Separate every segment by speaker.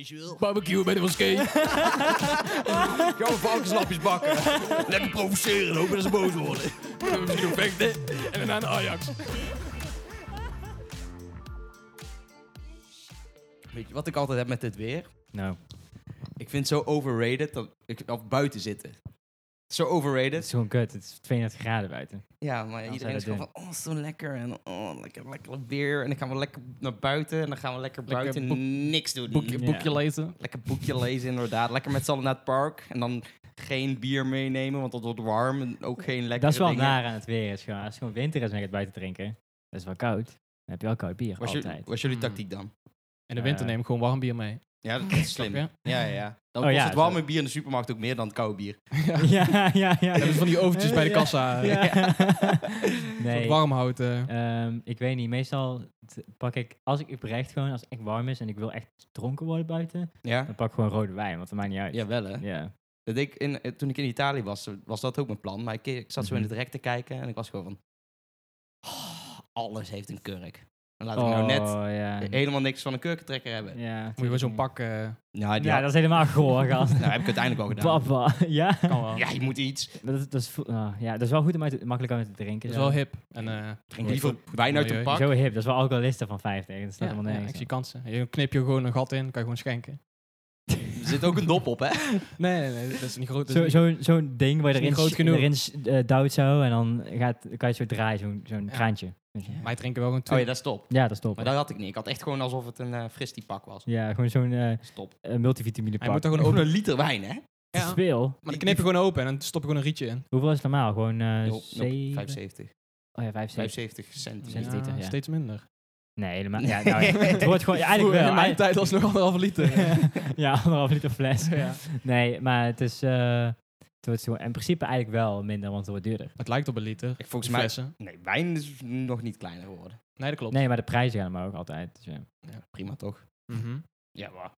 Speaker 1: Is je wil?
Speaker 2: Barbecue bij de moskee.
Speaker 1: Gaan we varkenslapjes bakken. Lekker provoceren, hopen dat ze boos worden.
Speaker 2: En Misschien op vechten. En daarna naar Ajax.
Speaker 1: Weet je wat ik altijd heb met dit weer?
Speaker 3: Nou,
Speaker 1: Ik vind het zo overrated dat ik of buiten zitten. Zo
Speaker 3: het
Speaker 1: overrated.
Speaker 3: is gewoon kut. Het is 32 graden buiten.
Speaker 1: Ja, maar
Speaker 3: zou
Speaker 1: iedereen is
Speaker 3: dat
Speaker 1: gewoon van, oh, zo lekker. En oh, lekker, lekker weer. En dan gaan we lekker naar buiten. En dan gaan we lekker
Speaker 2: Lekker
Speaker 1: buiten niks doen.
Speaker 2: Boekje,
Speaker 3: Ja.
Speaker 2: boekje lezen.
Speaker 1: Lekker boekje lezen, inderdaad. Lekker met z'n allen naar het park. En dan geen bier meenemen, want dat wordt warm. En ook geen lekkere
Speaker 3: dat is wel
Speaker 1: dingen.
Speaker 3: naar aan het weer. Is gewoon, als het gewoon winter is en je gaat buiten drinken, dat is wel koud. Dan heb je wel koud bier,
Speaker 1: Was,
Speaker 3: altijd.
Speaker 1: jullie- was jullie
Speaker 2: Mm.
Speaker 1: tactiek dan?
Speaker 2: In de winter
Speaker 3: Eh.
Speaker 2: neem ik gewoon warm bier mee.
Speaker 1: Ja, dat is slim.
Speaker 2: Snap je?
Speaker 1: Ja, ja, ja. Dan
Speaker 3: Oh,
Speaker 1: kost
Speaker 3: ja,
Speaker 1: het warme bier in de supermarkt ook meer dan het koude bier.
Speaker 2: Ja.
Speaker 3: ja, ja, ja.
Speaker 2: En hebben ze van die oventjes bij de kassa. eh,
Speaker 3: Ja.
Speaker 2: dat
Speaker 3: nee.
Speaker 2: warm houdt. eh.
Speaker 3: Ehm, ik weet niet, meestal t- pak ik, als ik oprecht gewoon, als het echt warm is en ik wil echt dronken worden buiten,
Speaker 1: Ja?
Speaker 3: dan pak ik gewoon rode wijn, want dat maakt niet uit.
Speaker 1: Jawel, hè?
Speaker 3: Ja.
Speaker 1: Dat deed ik in, eh, toen ik in Italië was, was dat ook mijn plan. Maar ik, ik zat zo
Speaker 3: Mhm.
Speaker 1: in het rek te kijken en ik was gewoon van... "Oh, alles heeft een kurk. En laat ik nou net
Speaker 3: Oh, ja.
Speaker 1: helemaal niks van een kurkentrekker hebben.
Speaker 3: Ja,
Speaker 2: Moet je wel zo'n
Speaker 3: tuurlijk.
Speaker 2: pak... eh,
Speaker 1: Nou, die
Speaker 3: Ja,
Speaker 1: had-
Speaker 3: dat is helemaal goor, gast.
Speaker 1: nou, heb ik uiteindelijk wel gedaan.
Speaker 3: Papa, ja.
Speaker 2: kan wel.
Speaker 1: Ja, je moet iets.
Speaker 3: Dat is, dat is vo- ah, ja, dat is wel goed om uit te- makkelijk om uit te drinken.
Speaker 2: Dat is
Speaker 3: zo.
Speaker 2: wel hip. En, eh,
Speaker 1: Drink liever wijn uit een
Speaker 2: Milieu.
Speaker 1: pak.
Speaker 3: Zo hip, dat is wel alcoholisten van 50. Dat
Speaker 2: ja,
Speaker 3: staat
Speaker 2: ja,
Speaker 3: helemaal nergens.
Speaker 2: ik zie
Speaker 3: op.
Speaker 2: kansen. Je knip je gewoon een gat in, kan je gewoon schenken.
Speaker 1: Er zit ook een dop op, hè?
Speaker 2: Nee, nee, nee, dat is niet groot. dat is
Speaker 3: Zo-
Speaker 2: niet-
Speaker 3: Zo'n zo'n ding waar je
Speaker 2: Is niet
Speaker 3: erin,
Speaker 2: groot
Speaker 3: s-
Speaker 2: genoeg.
Speaker 3: erin s- eh, duwt zo en dan gaat, kan je zo draaien, zo'n zo'n
Speaker 2: Ja.
Speaker 3: kraantje. Weet je.
Speaker 2: Wij drinken wel gewoon
Speaker 1: Oh
Speaker 2: twee.
Speaker 1: ja, dat is top.
Speaker 3: Ja, dat is top.
Speaker 1: Maar dat had ik niet. Ik had echt gewoon alsof het een eh fristie pak was.
Speaker 3: Ja, gewoon zo'n eh
Speaker 1: Dat is top.
Speaker 3: eh, multivitamine
Speaker 2: Hij Ah, moet
Speaker 3: pak.
Speaker 2: er gewoon
Speaker 1: Gewoon
Speaker 2: open.
Speaker 1: een liter wijn, hè?
Speaker 3: Dat is
Speaker 2: Ja.
Speaker 3: veel.
Speaker 2: Maar dan knip je gewoon open en dan stop je gewoon een rietje in.
Speaker 3: Hoeveel is het normaal? Gewoon eh
Speaker 1: Jo, nope,
Speaker 3: zeven-
Speaker 1: 75.
Speaker 3: Oh ja, 75.
Speaker 1: 75 cent.
Speaker 3: Zes liter, ja.
Speaker 2: Steeds minder.
Speaker 3: Nee, helemaal Ja, nou, ja. het wordt gewoon... Ja,
Speaker 2: Vroeger
Speaker 3: eigenlijk wel.
Speaker 2: In mijn
Speaker 3: eigenlijk-
Speaker 2: tijd was het nog anderhalve liter.
Speaker 3: ja, anderhalf liter fles.
Speaker 2: ja.
Speaker 3: Nee, maar het is... eh, het wordt zo, in principe eigenlijk wel minder, want het wordt duurder.
Speaker 2: Het lijkt op een liter.
Speaker 1: Ik,
Speaker 2: Die
Speaker 1: volgens mij...
Speaker 2: Flessen.
Speaker 1: Nee, wijn is nog niet kleiner geworden.
Speaker 2: Nee, dat klopt.
Speaker 3: Nee, maar de prijzen gaan maar ook altijd. Dus ja.
Speaker 1: Prima, toch?
Speaker 2: Mhm.
Speaker 1: Ja, maar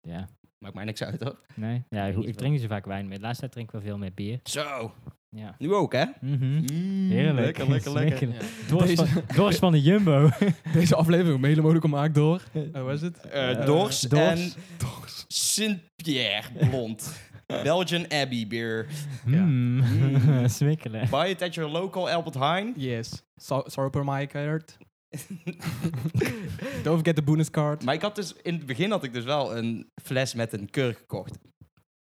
Speaker 3: ja.
Speaker 1: maakt mij niks uit, hoor.
Speaker 3: Nee? Ja,
Speaker 1: weet
Speaker 3: hoe-
Speaker 1: niet
Speaker 3: ik drink niet zo vaak wijn meer. De laatste tijd drink ik wel veel meer bier.
Speaker 1: Zo,
Speaker 3: Ja.
Speaker 1: nu ook, hè?
Speaker 3: Mhm.
Speaker 1: Mm,
Speaker 3: Heerlijk. Smakelijk. Dwars,
Speaker 2: Deze-
Speaker 3: van, dwars van de Jumbo.
Speaker 2: Deze aflevering wordt mede mogelijk gemaakt door... Oh, was het?
Speaker 1: Eh,
Speaker 3: Eh,
Speaker 1: Dors,
Speaker 3: Dors.
Speaker 1: en Sint-Pierre Blond. Belgian Abbey beer.
Speaker 2: Ja.
Speaker 3: Mm.
Speaker 1: Mm.
Speaker 3: Smikkelen.
Speaker 1: Buy it at your local Albert Heijn.
Speaker 2: Yes. So, sorry for my card. Don't forget the bonus card.
Speaker 1: Maar ik had dus, in het begin had ik dus wel een fles met een kurk gekocht.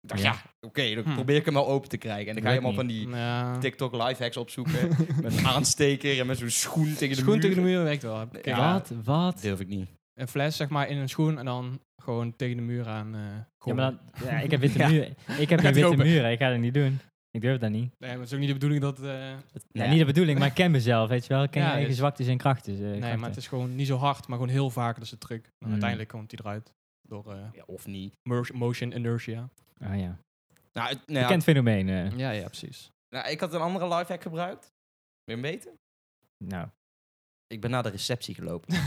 Speaker 1: Ik dacht, ja,
Speaker 3: Ja.
Speaker 1: oké, dan
Speaker 2: Hmm.
Speaker 1: probeer ik hem wel open te krijgen. En dan ga je
Speaker 3: Lukt
Speaker 1: helemaal van die
Speaker 2: Ja.
Speaker 1: TikTok lifehacks opzoeken. met een aansteker en met zo'n schoen tegen de
Speaker 2: Schoen
Speaker 1: muur.
Speaker 2: tegen de muur werkt wel.
Speaker 1: Ja.
Speaker 2: Kijk,
Speaker 3: Wat? Wat?
Speaker 1: Durf ik niet.
Speaker 2: Een fles zeg maar in een schoen en dan gewoon tegen de muur aan. eh
Speaker 3: Ja,
Speaker 2: gooien.
Speaker 3: maar dan, ja, ik heb witte
Speaker 1: Ja.
Speaker 3: muren. Ik heb
Speaker 2: Gaat
Speaker 3: geen witte
Speaker 2: lopen.
Speaker 3: muren. Ik ga dat niet doen. Ik durf dat niet.
Speaker 2: Nee, maar het is ook niet de bedoeling dat... eh,
Speaker 3: Ja, Niet de bedoeling, maar ik ken mezelf, weet je wel. Ik ken
Speaker 2: Ja,
Speaker 3: je eigen
Speaker 2: dus-
Speaker 3: zwaktes en krachten. eh,
Speaker 2: nee,
Speaker 3: krachten.
Speaker 2: maar het is gewoon niet zo hard, maar gewoon heel vaak. Dat is de truc. En
Speaker 3: Hmm.
Speaker 2: uiteindelijk komt hij eruit door eh,
Speaker 1: Ja, of niet.
Speaker 2: mer- motion inertia.
Speaker 3: Ah ja.
Speaker 1: Nou, het- nou ja,
Speaker 3: Bekend fenomeen. eh.
Speaker 2: Ja, ja, precies.
Speaker 1: nou, ik had een andere lifehack gebruikt. Wil je hem weten?
Speaker 3: Nou.
Speaker 1: Ik ben naar de receptie gelopen.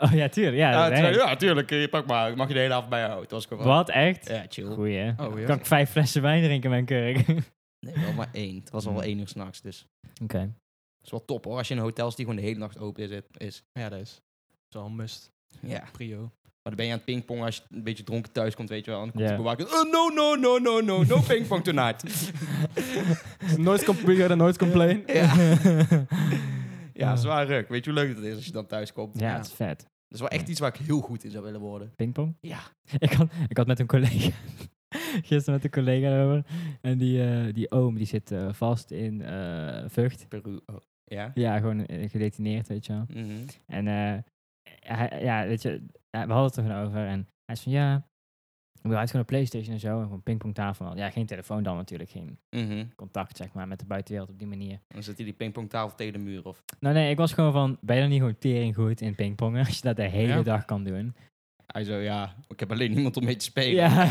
Speaker 3: Oh ja, tuurlijk. Ja,
Speaker 1: Ja,
Speaker 3: nee.
Speaker 1: tuurlijk, ja, tuurlijk. eh, Pak maar. Ik mag je de hele avond bij je houden. Dat was gewoon
Speaker 3: Wat, echt?
Speaker 1: Ja, chill.
Speaker 3: Goeie, hè?
Speaker 2: Oh, ja.
Speaker 3: Kan ik vijf flessen wijn drinken in mijn kurk? Oké.
Speaker 1: Nee, wel maar één. Het was al
Speaker 3: Hmm.
Speaker 1: één uur s'nachts, dus... Dat is wel top, hoor. Als je in een hotel zit die gewoon de hele nacht open is. is.
Speaker 2: Ja, dat is. Dat is wel een must.
Speaker 1: Ja.
Speaker 2: Prio.
Speaker 1: Maar dan ben je aan het pingpongen als je een beetje dronken thuis komt, weet je wel. En dan komt
Speaker 3: Ja.
Speaker 1: de bewaker, oh, no, no, no, no, no, no pingpong tonight.
Speaker 2: Nooit complain, nooit complain.
Speaker 1: ja. ja, zwaar ruk. Weet je hoe leuk dat is als je dan thuis komt?
Speaker 3: Ja,
Speaker 2: Ja.
Speaker 3: het is vet.
Speaker 1: Dat is wel echt iets waar ik heel goed in zou willen worden.
Speaker 3: Pingpong?
Speaker 1: Ja.
Speaker 3: Ik had, ik had met een collega... Gisteren met een collega erover. En die, eh, die oom, die zit eh, vast in eh Vught.
Speaker 1: Peru. Oh. Ja?
Speaker 3: Ja, gewoon eh, gedetineerd, weet je wel.
Speaker 1: Mhm.
Speaker 3: En eh, hij, ja, weet je, ja, we hadden het er gewoon over. En hij is van, ja, we hadden gewoon een Playstation en zo. En gewoon pingpongtafel. Ja, geen telefoon dan natuurlijk. Geen
Speaker 1: Mhm.
Speaker 3: contact, zeg maar, met de buitenwereld op die manier.
Speaker 1: Dan zit hij die pingpongtafel tegen de muur. Of...
Speaker 3: Nou nee, ik was gewoon van, ben je dan niet gewoon tering goed in pingpongen? Als je dat de hele
Speaker 2: Ja.
Speaker 3: dag kan doen.
Speaker 1: Hij zo, ja, ik heb alleen niemand om mee te spelen.
Speaker 3: Ja.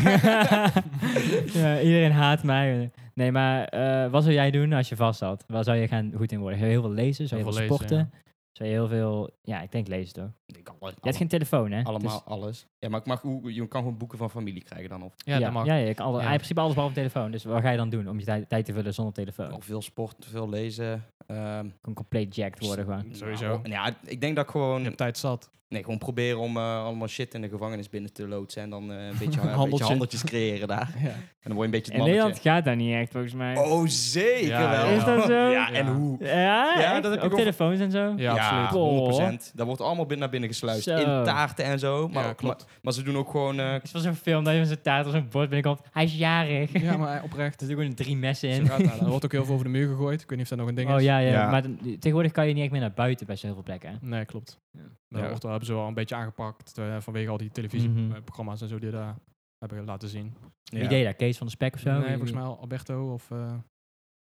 Speaker 3: ja, iedereen haat mij. Nee, maar eh, wat zou jij doen als je vast zat? Waar zou je gaan goed in worden? Zou je heel veel lezen? Zou je
Speaker 2: Heel
Speaker 3: heel
Speaker 2: veel
Speaker 3: veel
Speaker 2: lezen,
Speaker 3: sporten? Zou je heel veel... Ja, ik denk lezen toch?
Speaker 1: Ik kan wel-
Speaker 3: Je hebt geen telefoon, hè?
Speaker 1: Allemaal
Speaker 3: Dus-
Speaker 1: alles. Ja, maar ik mag, hoe- je kan gewoon boeken van familie krijgen dan. Of,
Speaker 2: Ja, dat mag.
Speaker 3: Ja, je kan alle,
Speaker 2: Ja.
Speaker 3: in principe alles behalve telefoon. Dus wat ga je dan doen om je tijd, tijd te vullen zonder telefoon?
Speaker 1: of veel sport, veel lezen. ehm,
Speaker 3: Gewoon compleet jacked worden gewoon.
Speaker 1: Nou,
Speaker 2: Sowieso.
Speaker 1: en ja, ik denk dat ik gewoon.
Speaker 2: Je hebt tijd zat.
Speaker 1: Nee, gewoon proberen om eh, allemaal shit in de gevangenis binnen te loodsen. En dan eh, een, beetje, een beetje
Speaker 2: Handeltje.
Speaker 1: handeltjes creëren daar.
Speaker 2: Ja.
Speaker 1: En dan word je een beetje
Speaker 3: In
Speaker 1: het
Speaker 3: Nederland
Speaker 1: mannetje.
Speaker 3: gaat dat niet echt, volgens mij.
Speaker 1: Oh, zeker
Speaker 2: Ja,
Speaker 1: wel.
Speaker 2: ja. Is
Speaker 3: dat zo?
Speaker 1: Ja, en
Speaker 2: Ja.
Speaker 1: hoe?
Speaker 3: Ja,
Speaker 1: Ja,
Speaker 3: echt?
Speaker 1: dat heb ik
Speaker 3: ook
Speaker 1: wel-
Speaker 3: telefoons en zo.
Speaker 2: Ja, absoluut.
Speaker 1: Ja, 100%. Dat wordt allemaal binnen naar binnen gesluist.
Speaker 3: Zo.
Speaker 1: In taarten en zo. Maar,
Speaker 2: Ja, klopt.
Speaker 1: maar, maar ze doen ook gewoon... eh,
Speaker 3: Het was zo'n film dat je met zo'n taart op zo'n bord binnenkomt. Hij is jarig. Er
Speaker 2: Ja, maar eh, oprecht.
Speaker 3: zitten gewoon drie messen
Speaker 2: Zo
Speaker 3: in.
Speaker 2: gaat dat. Er wordt ook heel veel over de muur gegooid. Ik weet niet of dat nog een ding
Speaker 3: Oh
Speaker 2: is.
Speaker 3: ja, ja.
Speaker 1: Ja.
Speaker 3: maar dan- tegenwoordig kan je niet echt meer naar buiten bij zoveel plekken. hè?
Speaker 2: Nee, klopt.
Speaker 3: Ja. Mhm.
Speaker 2: Dat
Speaker 1: Ja.
Speaker 2: wordt daar hebben ze wel een beetje aangepakt eh, vanwege al die televisieprogramma's en zo die daar hebben laten zien.
Speaker 3: Wie deed dat? Kees van de Spek of zo?
Speaker 2: nee, volgens mij al Alberto of eh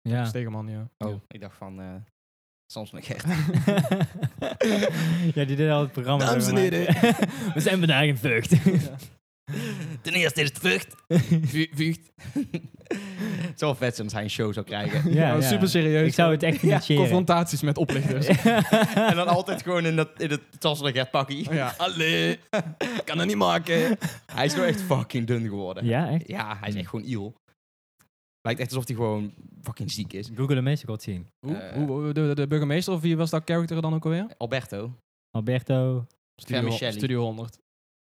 Speaker 3: Ja.
Speaker 2: Stegeman, ja.
Speaker 1: Oh, ik dacht van... eh Samson en Gert.
Speaker 3: ja, die deed al het programma.
Speaker 1: Dames
Speaker 3: zeg
Speaker 1: en
Speaker 3: maar. We zijn vandaag in Vught.
Speaker 1: Ten eerste is het vrucht. Vucht. het zou wel vet zijn als hij een show zou krijgen.
Speaker 3: Ja,
Speaker 2: Nou,
Speaker 3: ja.
Speaker 2: super serieus.
Speaker 3: Ik zou het echt
Speaker 2: Ja,
Speaker 3: financieren.
Speaker 2: confrontaties met oplichters.
Speaker 1: en dan altijd gewoon in dat, in dat Samson en Gert pakkie.
Speaker 2: ja.
Speaker 1: Allee, kan dat niet maken. Hij is nou echt fucking dun geworden.
Speaker 3: ja, echt.
Speaker 1: Ja, hij is echt gewoon iel. Lijkt echt alsof hij gewoon fucking ziek is.
Speaker 3: Google de mensen, ik wil het zien.
Speaker 2: Hoe,
Speaker 1: Eh.
Speaker 2: hoe- hoe- de, de burgemeester of wie was dat character dan ook alweer?
Speaker 1: Alberto.
Speaker 3: Alberto.
Speaker 2: Studio,
Speaker 1: Vermicelli.
Speaker 2: Studio 100.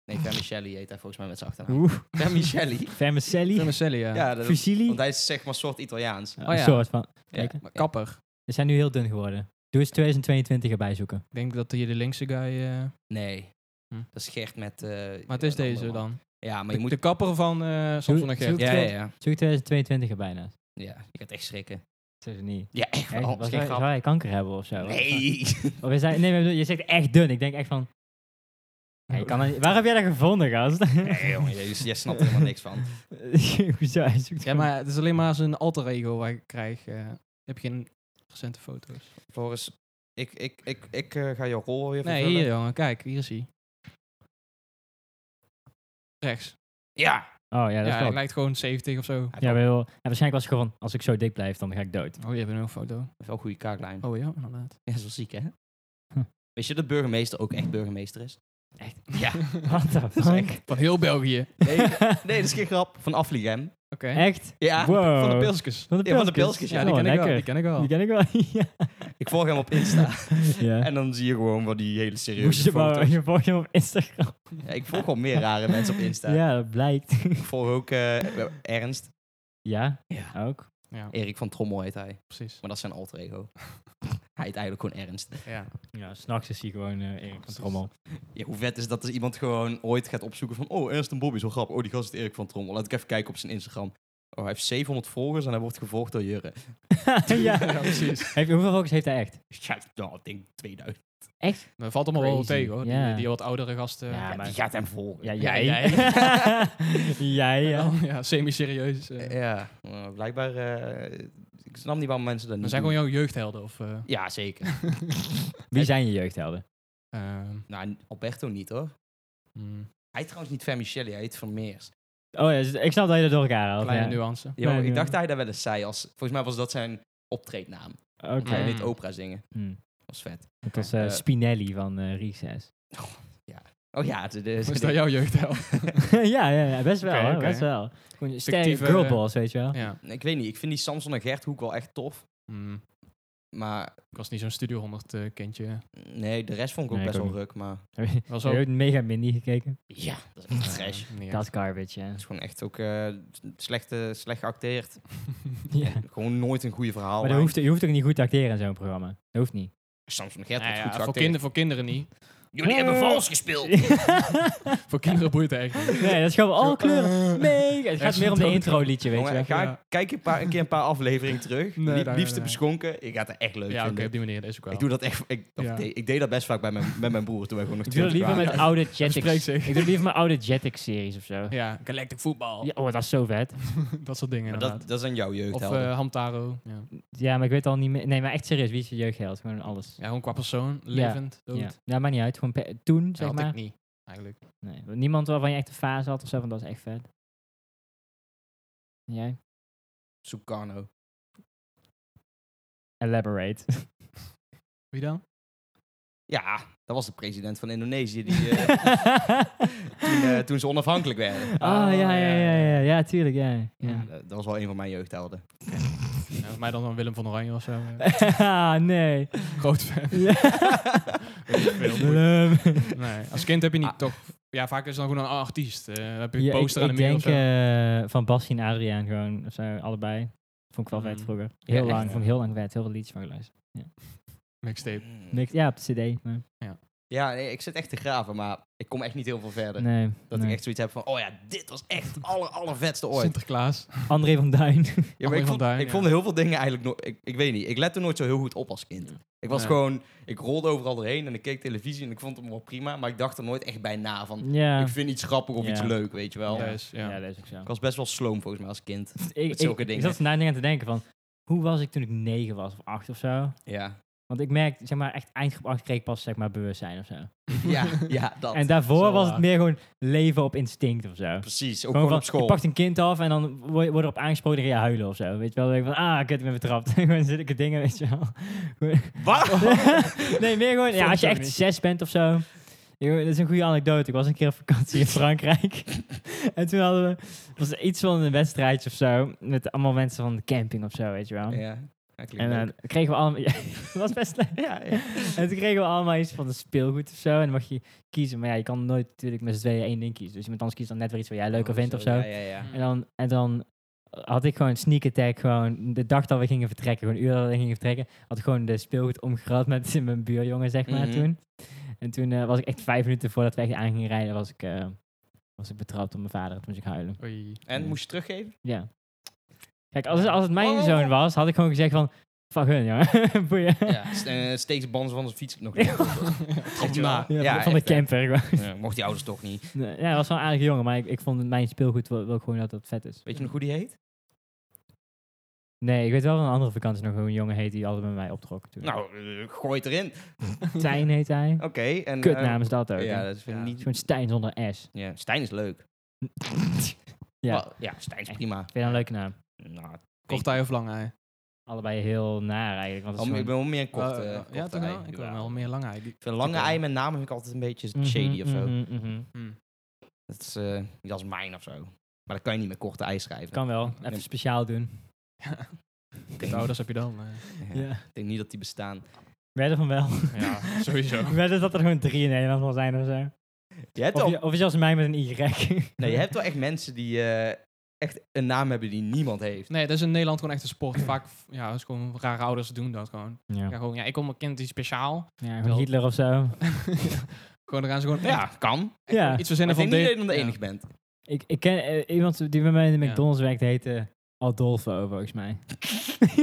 Speaker 1: Nee, Vermicelli heet hij volgens mij met zijn achternaam.
Speaker 3: Oeh.
Speaker 1: Vermicelli?
Speaker 3: Vermicelli.
Speaker 2: Vermicelli, ja.
Speaker 1: ja, dat,
Speaker 3: Fusilli.
Speaker 1: want hij is zeg maar soort Italiaans.
Speaker 3: Een
Speaker 2: Oh ja.
Speaker 3: soort van.
Speaker 1: Ja,
Speaker 3: Zeker.
Speaker 1: maar ja.
Speaker 2: Kapper.
Speaker 3: Ze zijn nu heel dun geworden. Doe eens 2022 erbij zoeken.
Speaker 2: Ik denk dat hier de linkse guy... eh,
Speaker 1: Nee.
Speaker 2: Hm.
Speaker 1: Dat is Gert met... eh,
Speaker 2: maar het is
Speaker 1: een andere
Speaker 2: deze
Speaker 1: man.
Speaker 2: dan.
Speaker 1: Ja, maar
Speaker 2: De,
Speaker 1: je moet...
Speaker 2: de kapper van eh Samson en Gert.
Speaker 3: zoek-
Speaker 1: Ja, ja, ja.
Speaker 3: Zoek 2022 erbij naast.
Speaker 1: Ja, ik had echt schrikken.
Speaker 3: Zeg ze niet.
Speaker 1: Ja, echt
Speaker 3: Echt,
Speaker 1: wel.
Speaker 3: was
Speaker 1: Geen
Speaker 3: hij,
Speaker 1: grap.
Speaker 3: zou hij kanker hebben of zo?
Speaker 1: Nee.
Speaker 3: Of is hij, nee, maar ik bedoel, je zegt echt dun. Ik denk echt van... Ja, je kan dat niet- waar heb jij dat gevonden, gast?
Speaker 1: Nee, jongen. Jij, jij snapt er helemaal niks van.
Speaker 3: Hoezo? Hij zoekt
Speaker 2: Ja, maar het is alleen maar zijn alter ego waar ik krijg. eh. ik heb geen recente foto's.
Speaker 1: Floris, ik, ik, ik, ik eh, ga jouw rol weer
Speaker 2: Nee,
Speaker 1: vervullen.
Speaker 2: hier jongen. Kijk, hier is hij. Rechts.
Speaker 1: Ja.
Speaker 3: gewoon- Oh ja,
Speaker 2: Ja,
Speaker 3: dat is
Speaker 2: hij
Speaker 3: klopt.
Speaker 2: lijkt gewoon 70 of zo.
Speaker 3: Ja, wel, en waarschijnlijk was het gewoon, als ik zo dik blijf, dan ga ik dood.
Speaker 2: Oh, je hebt een foto.
Speaker 1: Wel een goede kaaklijn.
Speaker 2: Oh ja, inderdaad.
Speaker 1: Ja, zo ziek, hè?
Speaker 3: Hm.
Speaker 1: Weet je dat burgemeester ook echt burgemeester is?
Speaker 3: Echt?
Speaker 1: Ja.
Speaker 3: What the
Speaker 1: is
Speaker 3: fuck?
Speaker 2: Van heel België. Oké.
Speaker 1: Nee, nee, dat is geen grap. Van Afligem.
Speaker 3: Echt?
Speaker 1: Ja.
Speaker 3: Wow.
Speaker 2: Van de Pilskes.
Speaker 3: Van de
Speaker 1: Ja, van de
Speaker 3: Pilskes.
Speaker 1: Pilskes, ja,
Speaker 2: die,
Speaker 3: Oh,
Speaker 2: ken ik wel,
Speaker 3: lekker.
Speaker 2: die ken ik wel.
Speaker 3: Die ken ik wel. ja.
Speaker 1: Ik volg hem op Insta.
Speaker 3: ja.
Speaker 1: En dan zie je gewoon van die hele
Speaker 3: Moest
Speaker 1: serieuze
Speaker 3: je maar
Speaker 1: foto's.
Speaker 3: je volgt hem op Instagram.
Speaker 1: Ja, ik volg wel meer rare mensen op Insta.
Speaker 3: Ja, dat blijkt.
Speaker 1: Ik volg ook eh, Ernst.
Speaker 3: ja,
Speaker 1: Ja.
Speaker 3: ook.
Speaker 2: Ja,
Speaker 1: Erik van Trommel heet hij.
Speaker 2: precies.
Speaker 1: Maar dat is zijn alter ego. hij heet eigenlijk gewoon Ernst.
Speaker 2: Ja.
Speaker 3: Ja, s'nachts is hij gewoon eh Erik van Trommel.
Speaker 1: Ja, hoe vet is dat als iemand gewoon ooit gaat opzoeken van... Oh, Ernst en Bobby, zo grappig. Oh, die gast is Erik van Trommel. Laat ik even kijken op zijn Instagram. Oh, hij heeft 700 volgers en hij wordt gevolgd door Jurre.
Speaker 3: ja.
Speaker 2: Ja, precies.
Speaker 3: Heeft, hoeveel volgers heeft hij echt?
Speaker 1: Ja, nou, ik denk 2000.
Speaker 3: Echt?
Speaker 2: Dat valt allemaal wel
Speaker 3: Crazy.
Speaker 2: tegen hoor. Die-
Speaker 3: Ja.
Speaker 2: Die, wat oudere gasten.
Speaker 3: Ja,
Speaker 1: Ja,
Speaker 3: maar-
Speaker 1: die gaat hem volgen.
Speaker 3: Ja,
Speaker 1: Ja,
Speaker 3: jij.
Speaker 2: jij.
Speaker 3: jij, ja.
Speaker 2: ja. Oh, ja semi-serieus. eh.
Speaker 1: eh, blijkbaar... eh, ik snap niet waarom mensen dat
Speaker 2: Dan
Speaker 1: niet
Speaker 2: zijn
Speaker 1: doen.
Speaker 2: gewoon jouw jeugdhelden of... eh,
Speaker 1: Ja, zeker.
Speaker 3: Wie zijn je jeugdhelden?
Speaker 2: ehm,
Speaker 1: nou, Alberto niet, hoor.
Speaker 2: mm,
Speaker 1: Hij heet trouwens niet Vermicelli, hij heet Vermeers.
Speaker 3: Oh ja, dus ik snap dat je dat door elkaar haalt.
Speaker 2: kleine
Speaker 3: ja.
Speaker 2: nuance.
Speaker 1: Ja,
Speaker 3: Nee,
Speaker 1: ik
Speaker 3: nee.
Speaker 1: dacht dat hij dat wel eens zei. Als, volgens mij was dat zijn optreednaam.
Speaker 3: Oké.
Speaker 1: Want Hij
Speaker 2: Ja.
Speaker 1: deed opera zingen.
Speaker 3: Hm.
Speaker 1: Dat was vet.
Speaker 3: Het was eh,
Speaker 1: Eh,
Speaker 3: Spinelli van eh Recess.
Speaker 1: Oh ja, de, de,
Speaker 2: Is dat jouw jeugdheld?
Speaker 3: ja, ja, ja, best wel,
Speaker 2: Oké,
Speaker 3: hoor,
Speaker 2: oké.
Speaker 3: best wel. Gewoon sterke
Speaker 2: Fictieve-
Speaker 3: girlballs, weet je wel.
Speaker 2: ja.
Speaker 1: Ik weet niet, ik vind die Samson en Gert Hoek wel echt tof.
Speaker 2: Mm,
Speaker 1: Maar
Speaker 2: ik was niet zo'n Studio 100 eh, kindje.
Speaker 1: nee, de rest vond ik ook
Speaker 3: Nee, ik
Speaker 1: best
Speaker 3: ook
Speaker 1: wel ruk. Maar
Speaker 3: Heb je-
Speaker 2: Was
Speaker 3: Heb
Speaker 2: ook
Speaker 3: je ooit Mega Mini gekeken?
Speaker 1: ja, dat is echt trash.
Speaker 2: Eh, niet
Speaker 3: Dat is garbage, ja.
Speaker 1: Dat is gewoon echt ook eh, slecht, eh, slecht geacteerd.
Speaker 3: Ja.
Speaker 1: En gewoon nooit een goede verhaal.
Speaker 3: Maar dat hoeft, je hoeft ook niet goed te acteren in zo'n programma. Dat hoeft niet.
Speaker 1: Samson en Gert
Speaker 2: echt. Nou
Speaker 1: wordt
Speaker 2: ja,
Speaker 1: goed
Speaker 2: voor,
Speaker 1: geacteerd.
Speaker 2: kinder, voor kinderen niet.
Speaker 1: Jullie
Speaker 3: Eh.
Speaker 1: hebben vals gespeeld.
Speaker 2: voor kinderen boeit het echt niet. Eh,
Speaker 3: Nee, dat is gewoon al kleuren. Mega. Het gaat
Speaker 2: Echt
Speaker 3: meer om de
Speaker 2: zo'n-
Speaker 3: intro liedje, weet je
Speaker 1: Jongen,
Speaker 3: wel.
Speaker 1: ga,
Speaker 2: Ja.
Speaker 1: Kijk een, paar, een keer een paar afleveringen terug.
Speaker 2: Nee,
Speaker 1: Lie-
Speaker 2: nee, nee,
Speaker 1: liefste
Speaker 2: nee.
Speaker 1: beschonken. Ik ga het er echt leuk
Speaker 2: Ja, oké,
Speaker 1: vinden.
Speaker 2: op die manier. Dat is ook wel.
Speaker 1: Ik doe dat echt. Ik, of
Speaker 2: Ja.
Speaker 1: deed, ik deed dat best vaak bij mijn, met mijn broer toen wij gewoon nog
Speaker 3: Ik doe het
Speaker 1: 20
Speaker 3: liever
Speaker 1: waren.
Speaker 3: met oude Jetix.
Speaker 2: Spreek
Speaker 3: Ik
Speaker 2: zich.
Speaker 3: doe het liever met oude Jetix series of zo.
Speaker 2: Ja, Galactic voetbal.
Speaker 3: Ja, oh, dat is zo vet.
Speaker 2: dat soort dingen
Speaker 1: Maar
Speaker 2: inderdaad.
Speaker 1: dat, dat zijn jouw
Speaker 2: of
Speaker 1: jeugdhelden.
Speaker 2: eh Hamtaro. Ja.
Speaker 3: Ja, maar ik weet al niet meer. Nee, maar echt serieus, wie is je jeugdheld? Gewoon alles.
Speaker 2: ja, gewoon qua persoon. Levend, dood.
Speaker 3: Ja, ja maakt niet uit. Gewoon pe- toen,
Speaker 2: Dat
Speaker 3: zeg
Speaker 2: had
Speaker 3: maar.
Speaker 2: ik niet, eigenlijk.
Speaker 3: Nee, niemand waarvan je echt een fase had of zo, want dat is echt vet. En jij?
Speaker 1: Sukarno.
Speaker 3: Elaborate.
Speaker 2: Wie dan?
Speaker 1: Ja, dat was de president van Indonesië die, eh, toen, eh, toen ze onafhankelijk werden.
Speaker 3: Ah, oh, ja, ja, ja, ja, ja, tuurlijk, ja. ja.
Speaker 1: Ja, dat, dat was wel een van mijn jeugdhelden.
Speaker 2: Ja, voor mij dan wel Willem van Oranje of zo. eh.
Speaker 3: ah, nee.
Speaker 2: Groot fan.
Speaker 3: Ja.
Speaker 2: Veel moeite.
Speaker 3: Blum.
Speaker 2: nee, als kind heb je niet
Speaker 1: Ah.
Speaker 2: toch... Ja, vaak is het dan gewoon een artiest. Eh, heb je een
Speaker 3: Ja, ik,
Speaker 2: poster aan
Speaker 3: ik
Speaker 2: de muur
Speaker 3: denk
Speaker 2: of zo.
Speaker 3: eh, van Bassie en Adriaan gewoon, of zo, allebei. Vond ik wel vet
Speaker 2: Mhm.
Speaker 3: vroeger. Heel
Speaker 1: Ja,
Speaker 3: lang,
Speaker 1: echt,
Speaker 3: vond ik heel lang vet. Heel veel liedjes van geluisterd.
Speaker 2: Mixtape.
Speaker 3: Niks, ja, op de cd. Maar,
Speaker 1: Mm. Ja, nee, ik zit echt te graven, maar ik kom echt niet heel veel verder.
Speaker 3: nee,
Speaker 1: Dat
Speaker 3: nee.
Speaker 1: ik echt zoiets heb van, oh ja, dit was echt het aller, allervetste ooit.
Speaker 2: Sinterklaas.
Speaker 3: André van Duin.
Speaker 1: Ja, maar ik
Speaker 2: Alwin
Speaker 1: vond,
Speaker 2: van Duin,
Speaker 1: ik
Speaker 2: ja.
Speaker 1: vond heel veel dingen eigenlijk nooit... Ik, ik weet niet, ik lette nooit zo heel goed op als kind. Ik was
Speaker 2: Nee.
Speaker 1: gewoon... Ik rolde overal doorheen en ik keek televisie en ik vond hem wel prima. Maar ik dacht er nooit echt bij na van...
Speaker 3: ja.
Speaker 1: Ik vind iets grappig of
Speaker 3: Ja.
Speaker 1: iets leuk, weet je wel.
Speaker 2: Ja. Dus, ja.
Speaker 3: ja, dat is ook zo.
Speaker 1: Ik was best wel sloom volgens mij als kind.
Speaker 3: ik,
Speaker 1: met zulke
Speaker 3: ik,
Speaker 1: dingen.
Speaker 3: Ik zat vandaag aan te denken van, hoe was ik toen ik negen was of acht of zo?
Speaker 1: Ja,
Speaker 3: Want ik merkte, zeg maar, echt eindgroep acht kreeg ik pas, zeg maar, bewustzijn of zo.
Speaker 1: ja, ja dat.
Speaker 3: en daarvoor
Speaker 2: zo
Speaker 3: was het
Speaker 2: waar.
Speaker 3: meer gewoon leven op instinct of zo. Gewoon
Speaker 1: Precies, ook gewoon,
Speaker 3: van,
Speaker 1: op school.
Speaker 3: Je pakt een kind af en dan wo- wordt er op aangesproken en dan ga je huilen of zo. Weet je wel, dan denk ik van, ah, kut, ik ben betrapt. gewoon zulke dingen, weet je wel. nee, meer gewoon, ja, als je
Speaker 2: Vond ik
Speaker 3: echt
Speaker 2: niet.
Speaker 3: zes bent of zo. Yo, dat is een goede anekdote. Ik was een keer op vakantie in Frankrijk. en toen hadden we, was er iets van een wedstrijdje of zo. Met allemaal mensen van de camping of zo, weet je wel.
Speaker 1: Ja, dat klinkt
Speaker 3: En eh,
Speaker 1: leuk.
Speaker 3: dan kregen we allemaal... Ja, dat was best leuk.
Speaker 1: Ja, ja.
Speaker 3: En toen kregen we allemaal iets van een speelgoed of zo. En dan mag je kiezen. Maar ja, je kan nooit natuurlijk met z'n tweeën één ding kiezen. Dus iemand anders kiest dan net weer iets wat jij leuker
Speaker 1: Oh,
Speaker 3: vindt of zo.
Speaker 1: Ja, ja, ja.
Speaker 3: En, dan, en dan had ik gewoon sneak attack. Gewoon de dag dat we gingen vertrekken. Gewoon een uur dat we gingen vertrekken. Had ik gewoon de speelgoed omgeruild met mijn buurjongen, zeg maar,
Speaker 1: Mhm.
Speaker 3: toen. En toen eh, was ik echt vijf minuten voordat we echt aan gingen rijden, was ik... eh, was ik betrapt door mijn vader, toen moest ik huilen.
Speaker 2: Oei.
Speaker 1: En moest je teruggeven?
Speaker 3: Ja. Kijk, als, als het mijn
Speaker 1: Oh.
Speaker 3: zoon was, had ik gewoon gezegd van... Fuck hun, jongen. Boeien.
Speaker 1: Ja. St- eh, Steek de banden van zijn fiets nog niet. Echt waar.
Speaker 3: Ja,
Speaker 1: Ja,
Speaker 3: van de
Speaker 1: echt, hè.
Speaker 3: camper. gewoon.
Speaker 1: Ja, Mocht die ouders toch niet.
Speaker 3: Nee, Ja, hij was wel een aardige jongen, maar ik, ik vond het mijn speelgoed wel, wel gewoon dat dat vet is.
Speaker 1: Weet je nog hoe die heet?
Speaker 3: Nee, ik weet wel van een andere vakantie nog hoe een jongen heet die altijd bij mij optrok. toen.
Speaker 1: Nou, eh, gooi het erin.
Speaker 3: Stijn heet hij.
Speaker 1: Oké. en,
Speaker 3: Kutnaam is dat ook.
Speaker 1: eh, Ja,
Speaker 3: Ja,
Speaker 1: dat vind ik
Speaker 2: Ja.
Speaker 1: niet...
Speaker 3: Zo'n Stijn zonder S.
Speaker 1: Ja, Stijn is leuk.
Speaker 3: Ja.
Speaker 1: Maar- ja Stijn is prima.
Speaker 3: Vind je dat een leuke naam?
Speaker 1: Nou,
Speaker 2: Kort ei of lang ei?
Speaker 3: Allebei heel naar eigenlijk. Want het
Speaker 1: al-
Speaker 3: is
Speaker 1: ik ben
Speaker 3: gewoon-
Speaker 1: wel meer een kort,
Speaker 2: Eh,
Speaker 1: eh,
Speaker 2: ja,
Speaker 1: kort
Speaker 2: toch
Speaker 1: ei.
Speaker 2: wel? Ik wil
Speaker 1: Ja.
Speaker 2: wel meer lang ei. Die-
Speaker 1: Ik vind lange
Speaker 2: Type-
Speaker 1: ei met namen vind ik altijd een beetje shady of zo.
Speaker 3: Mhm, mhm, mhm.
Speaker 2: Hmm.
Speaker 1: Dat is eh, niet als mijn of zo. Maar dat kan je niet met korte ei schrijven.
Speaker 3: Kan wel.
Speaker 1: Nee.
Speaker 3: Even speciaal doen.
Speaker 1: Ik
Speaker 2: De
Speaker 1: denk,
Speaker 2: ouders heb je dan. eh.
Speaker 1: ja,
Speaker 3: Ja.
Speaker 1: ik denk niet dat die bestaan.
Speaker 3: Wedden van wel.
Speaker 2: Ja, sowieso.
Speaker 3: Wedden dat er gewoon drie in Nederland zal zijn of zo.
Speaker 1: Je hebt
Speaker 3: Of,
Speaker 1: al,
Speaker 3: je- of zelfs mij met een Y.
Speaker 1: nee, je hebt wel echt mensen die eh, echt een naam hebben die niemand heeft.
Speaker 2: Nee, dat is in Nederland gewoon echt een sport. Vaak, ja, dat is gewoon rare ouders doen dat gewoon.
Speaker 3: Ja.
Speaker 2: Ja, gewoon, ja, ik kom mijn kind iets speciaal.
Speaker 3: Ja, gewoon Hitler of zo.
Speaker 2: Gewoon, dan gaan ze gewoon
Speaker 1: Ja, kan.
Speaker 3: Ja.
Speaker 2: iets
Speaker 1: Maar ik denk
Speaker 2: verzinnen van
Speaker 1: niet dat
Speaker 2: dit.
Speaker 1: je dan de
Speaker 2: Ja.
Speaker 1: enige bent.
Speaker 3: Ik, ik ken eh, iemand die bij mij in de
Speaker 2: Ja.
Speaker 3: McDonald's werkt, heette Adolfo volgens mij.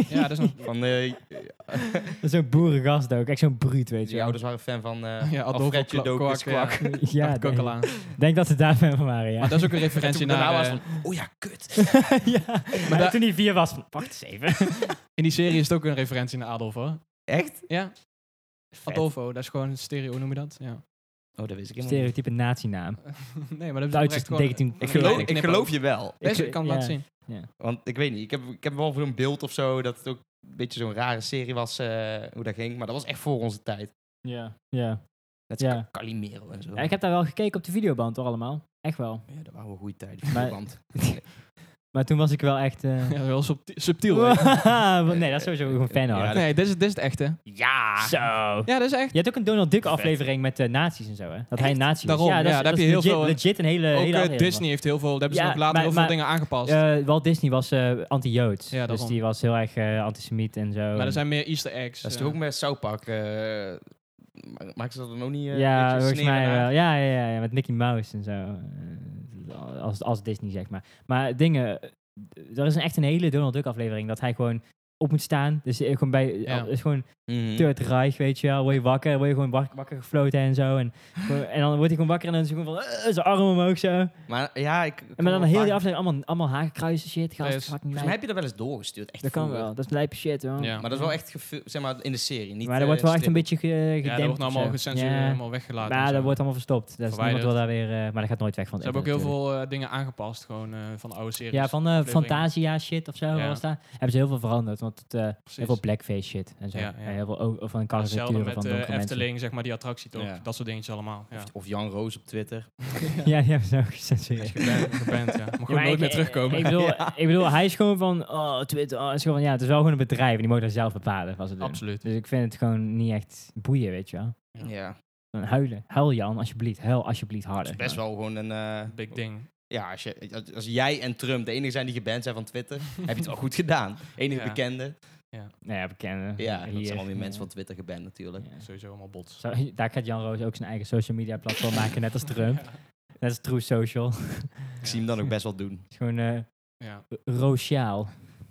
Speaker 2: Ja, dat is een...
Speaker 1: Van, eh
Speaker 3: Dat is zo'n boerengast ook, echt zo'n bruut, weet je.
Speaker 1: die
Speaker 3: wel.
Speaker 1: ouders waren fan van eh
Speaker 2: Ja,
Speaker 1: ja,
Speaker 2: Adolfo
Speaker 1: Alfredje,
Speaker 2: Kwa-
Speaker 1: Dokus,
Speaker 2: Kwak,
Speaker 1: Kwak.
Speaker 3: ja,
Speaker 2: dat kan ik al
Speaker 3: denk,
Speaker 2: aan.
Speaker 3: denk dat ze daar fan van waren, ja.
Speaker 2: Maar dat is ook een referentie
Speaker 1: Toen ik daarna
Speaker 2: naar...
Speaker 1: was
Speaker 2: eh,
Speaker 1: van, oh ja, kut.
Speaker 3: ja. Maar
Speaker 2: da-
Speaker 3: toen hij vier was, van, wacht eens even.
Speaker 2: in die serie is het ook een referentie naar Adolfo.
Speaker 1: Echt?
Speaker 2: Ja, Adolfo. Dat is gewoon een stereo, hoe noem je dat? Ja.
Speaker 1: Oh, dat wist ik helemaal niet.
Speaker 3: Stereotype nazi-naam.
Speaker 2: nee, maar dat is
Speaker 3: Duitsers
Speaker 2: echt gewoon...
Speaker 1: Ik
Speaker 3: 1940.
Speaker 1: geloof, ik
Speaker 2: Knip
Speaker 1: geloof
Speaker 2: ook.
Speaker 1: je wel.
Speaker 2: Deze
Speaker 3: Ik-
Speaker 2: kan
Speaker 3: ja.
Speaker 2: laten zien.
Speaker 1: Want ik weet niet, ik heb, ik heb wel zo'n beeld of zo dat het ook een beetje zo'n rare serie was, eh, hoe dat ging. Maar dat was echt voor onze tijd.
Speaker 3: Ja, ja.
Speaker 1: Net als
Speaker 3: Ja.
Speaker 1: Calimero en zo.
Speaker 3: Ja, Ik heb daar wel gekeken op de videoband, hoor, allemaal. Echt wel.
Speaker 1: Ja, dat waren we goede tijden.
Speaker 3: Maar-
Speaker 1: Videoband.
Speaker 3: Maar toen was ik wel echt... eh,
Speaker 2: Ja, wel subti- subtiel. hè.
Speaker 3: Wow, nee, dat is sowieso gewoon fan, hoor.
Speaker 1: Ja,
Speaker 2: Nee, dit is, dit is het echte.
Speaker 1: Ja!
Speaker 3: Zo.
Speaker 2: Ja, dat is echt.
Speaker 3: Je hebt ook een Donald Duck
Speaker 1: Vet.
Speaker 3: aflevering met eh nazi's en zo, hè? Dat hij een nazi is.
Speaker 2: Daarom,
Speaker 3: ja, dat,
Speaker 2: ja, daar
Speaker 3: is, dat
Speaker 2: heb
Speaker 3: is
Speaker 2: je heel
Speaker 3: legit,
Speaker 2: veel, eh,
Speaker 3: legit een hele,
Speaker 2: Ook
Speaker 3: hele
Speaker 2: eh,
Speaker 3: aflevering.
Speaker 2: Disney heeft heel veel... Daar hebben ze
Speaker 3: Ja,
Speaker 2: nog later
Speaker 3: maar-
Speaker 2: heel veel
Speaker 3: maar-
Speaker 2: dingen aangepast.
Speaker 3: Eh, Walt Disney was eh, anti-Joods.
Speaker 2: Ja,
Speaker 3: dus
Speaker 2: daarom.
Speaker 3: die was heel erg eh, antisemiet en zo.
Speaker 2: maar
Speaker 3: En-
Speaker 2: er zijn meer easter eggs.
Speaker 1: Dat is
Speaker 2: eh.
Speaker 1: toch ook met South Park. eh, ma- maken ze dat dan ook niet? eh,
Speaker 3: ja,
Speaker 1: een beetje
Speaker 3: volgens mij
Speaker 1: sneren
Speaker 3: wel.
Speaker 1: naar?
Speaker 3: Ja, ja, ja, ja, met Mickey Mouse en zo. Eh, als, als Disney, zeg maar. Maar dingen... eh, Er is een, echt een hele Donald Duck aflevering dat hij gewoon op moet staan. Dus eh, gewoon bij...
Speaker 2: Ja.
Speaker 3: al- is gewoon
Speaker 1: Mhm.
Speaker 3: Third Reich, weet je wel. Word je wakker, word je gewoon wak- wakker gefloten en zo. En, gewoon- en dan wordt hij gewoon wakker en dan is hij gewoon van... eh, zijn arm omhoog zo.
Speaker 1: Maar ja, ik.
Speaker 3: En maar dan heel die aflevering allemaal, allemaal hakenkruisen shit. Gast,
Speaker 2: Dus-
Speaker 3: fucking
Speaker 1: Volgens mij
Speaker 3: lijp.
Speaker 1: heb je dat wel eens doorgestuurd. Echt
Speaker 3: Dat kan
Speaker 1: vroeger.
Speaker 3: wel. Dat is lijpe shit, hoor.
Speaker 2: Ja.
Speaker 1: Maar dat is wel echt gefil- zeg maar, in de serie. Niet,
Speaker 3: maar dat
Speaker 1: eh,
Speaker 3: wordt wel echt een
Speaker 1: strippen.
Speaker 3: beetje ge gedempt.
Speaker 2: Ja, dat wordt nou
Speaker 3: of zo.
Speaker 2: allemaal gecensureerd,
Speaker 3: Ja.
Speaker 2: helemaal weggelaten. en
Speaker 3: Maar
Speaker 2: zo.
Speaker 3: dat wordt allemaal verstopt. Dat is niemand
Speaker 2: Verwijderd.
Speaker 3: wil daar weer... eh, maar dat gaat nooit weg van
Speaker 2: Ze
Speaker 3: het
Speaker 2: hebben ook heel
Speaker 3: internet
Speaker 2: veel eh, dingen aangepast, gewoon eh, van oude
Speaker 3: natuurlijk.
Speaker 2: series.
Speaker 3: Ja, van eh,
Speaker 2: afleveringen.
Speaker 3: Fantasia shit of zo. wat
Speaker 2: Ja.
Speaker 3: Was daar. Hebben ze heel veel veranderd. Want want het, eh, heel
Speaker 2: Precies.
Speaker 3: veel blackface shit en zo.
Speaker 2: Ja, ja.
Speaker 3: En heel veel o- van
Speaker 2: Ja, Hetzelfde
Speaker 3: karikaturen van
Speaker 2: met
Speaker 3: donkere
Speaker 2: de
Speaker 3: mensen.
Speaker 2: Efteling, zeg maar, die attractie toch.
Speaker 1: Ja.
Speaker 2: Dat soort dingetjes allemaal. Ja.
Speaker 1: Of, of Jan Roos op Twitter.
Speaker 3: Ja, die hebben ze ook gecensureerd.
Speaker 2: Geband, geband, ja. Mag
Speaker 3: Ja,
Speaker 2: ook
Speaker 3: maar
Speaker 2: nooit
Speaker 3: ik-
Speaker 2: meer
Speaker 3: ik-
Speaker 2: terugkomen.
Speaker 3: Ik bedoel, ik bedoel, hij is gewoon van, oh, Twitter, oh, het is gewoon van, ja, het is wel gewoon een bedrijf en die moet dat zelf bepalen wat ze doen.
Speaker 2: Absoluut.
Speaker 3: Dus ik vind het gewoon niet echt boeien, weet je wel.
Speaker 1: Ja.
Speaker 2: Ja.
Speaker 3: Dan huilen. Huil Jan, alsjeblieft. Huil alsjeblieft
Speaker 1: Dat
Speaker 3: harder.
Speaker 1: is best wel gewoon een... eh,
Speaker 2: Big ding.
Speaker 1: Ja, als, je, als- als jij en Trump de enige zijn die geband zijn van Twitter, heb je het wel goed gedaan. Enige
Speaker 2: Ja.
Speaker 1: bekende.
Speaker 3: Nou ja, bekende.
Speaker 1: Ja, dat
Speaker 3: Hier. eh,
Speaker 1: zijn allemaal weer mensen van Twitter geband natuurlijk.
Speaker 3: Ja.
Speaker 2: Sowieso allemaal bots.
Speaker 3: Zo, daar gaat Jan Roos ook zijn eigen social media platform maken, net als Trump. Net als True Social. Het
Speaker 1: Ik zie hem dan ook best wel doen.
Speaker 3: is gewoon eh
Speaker 2: Ja.
Speaker 3: roosjaal.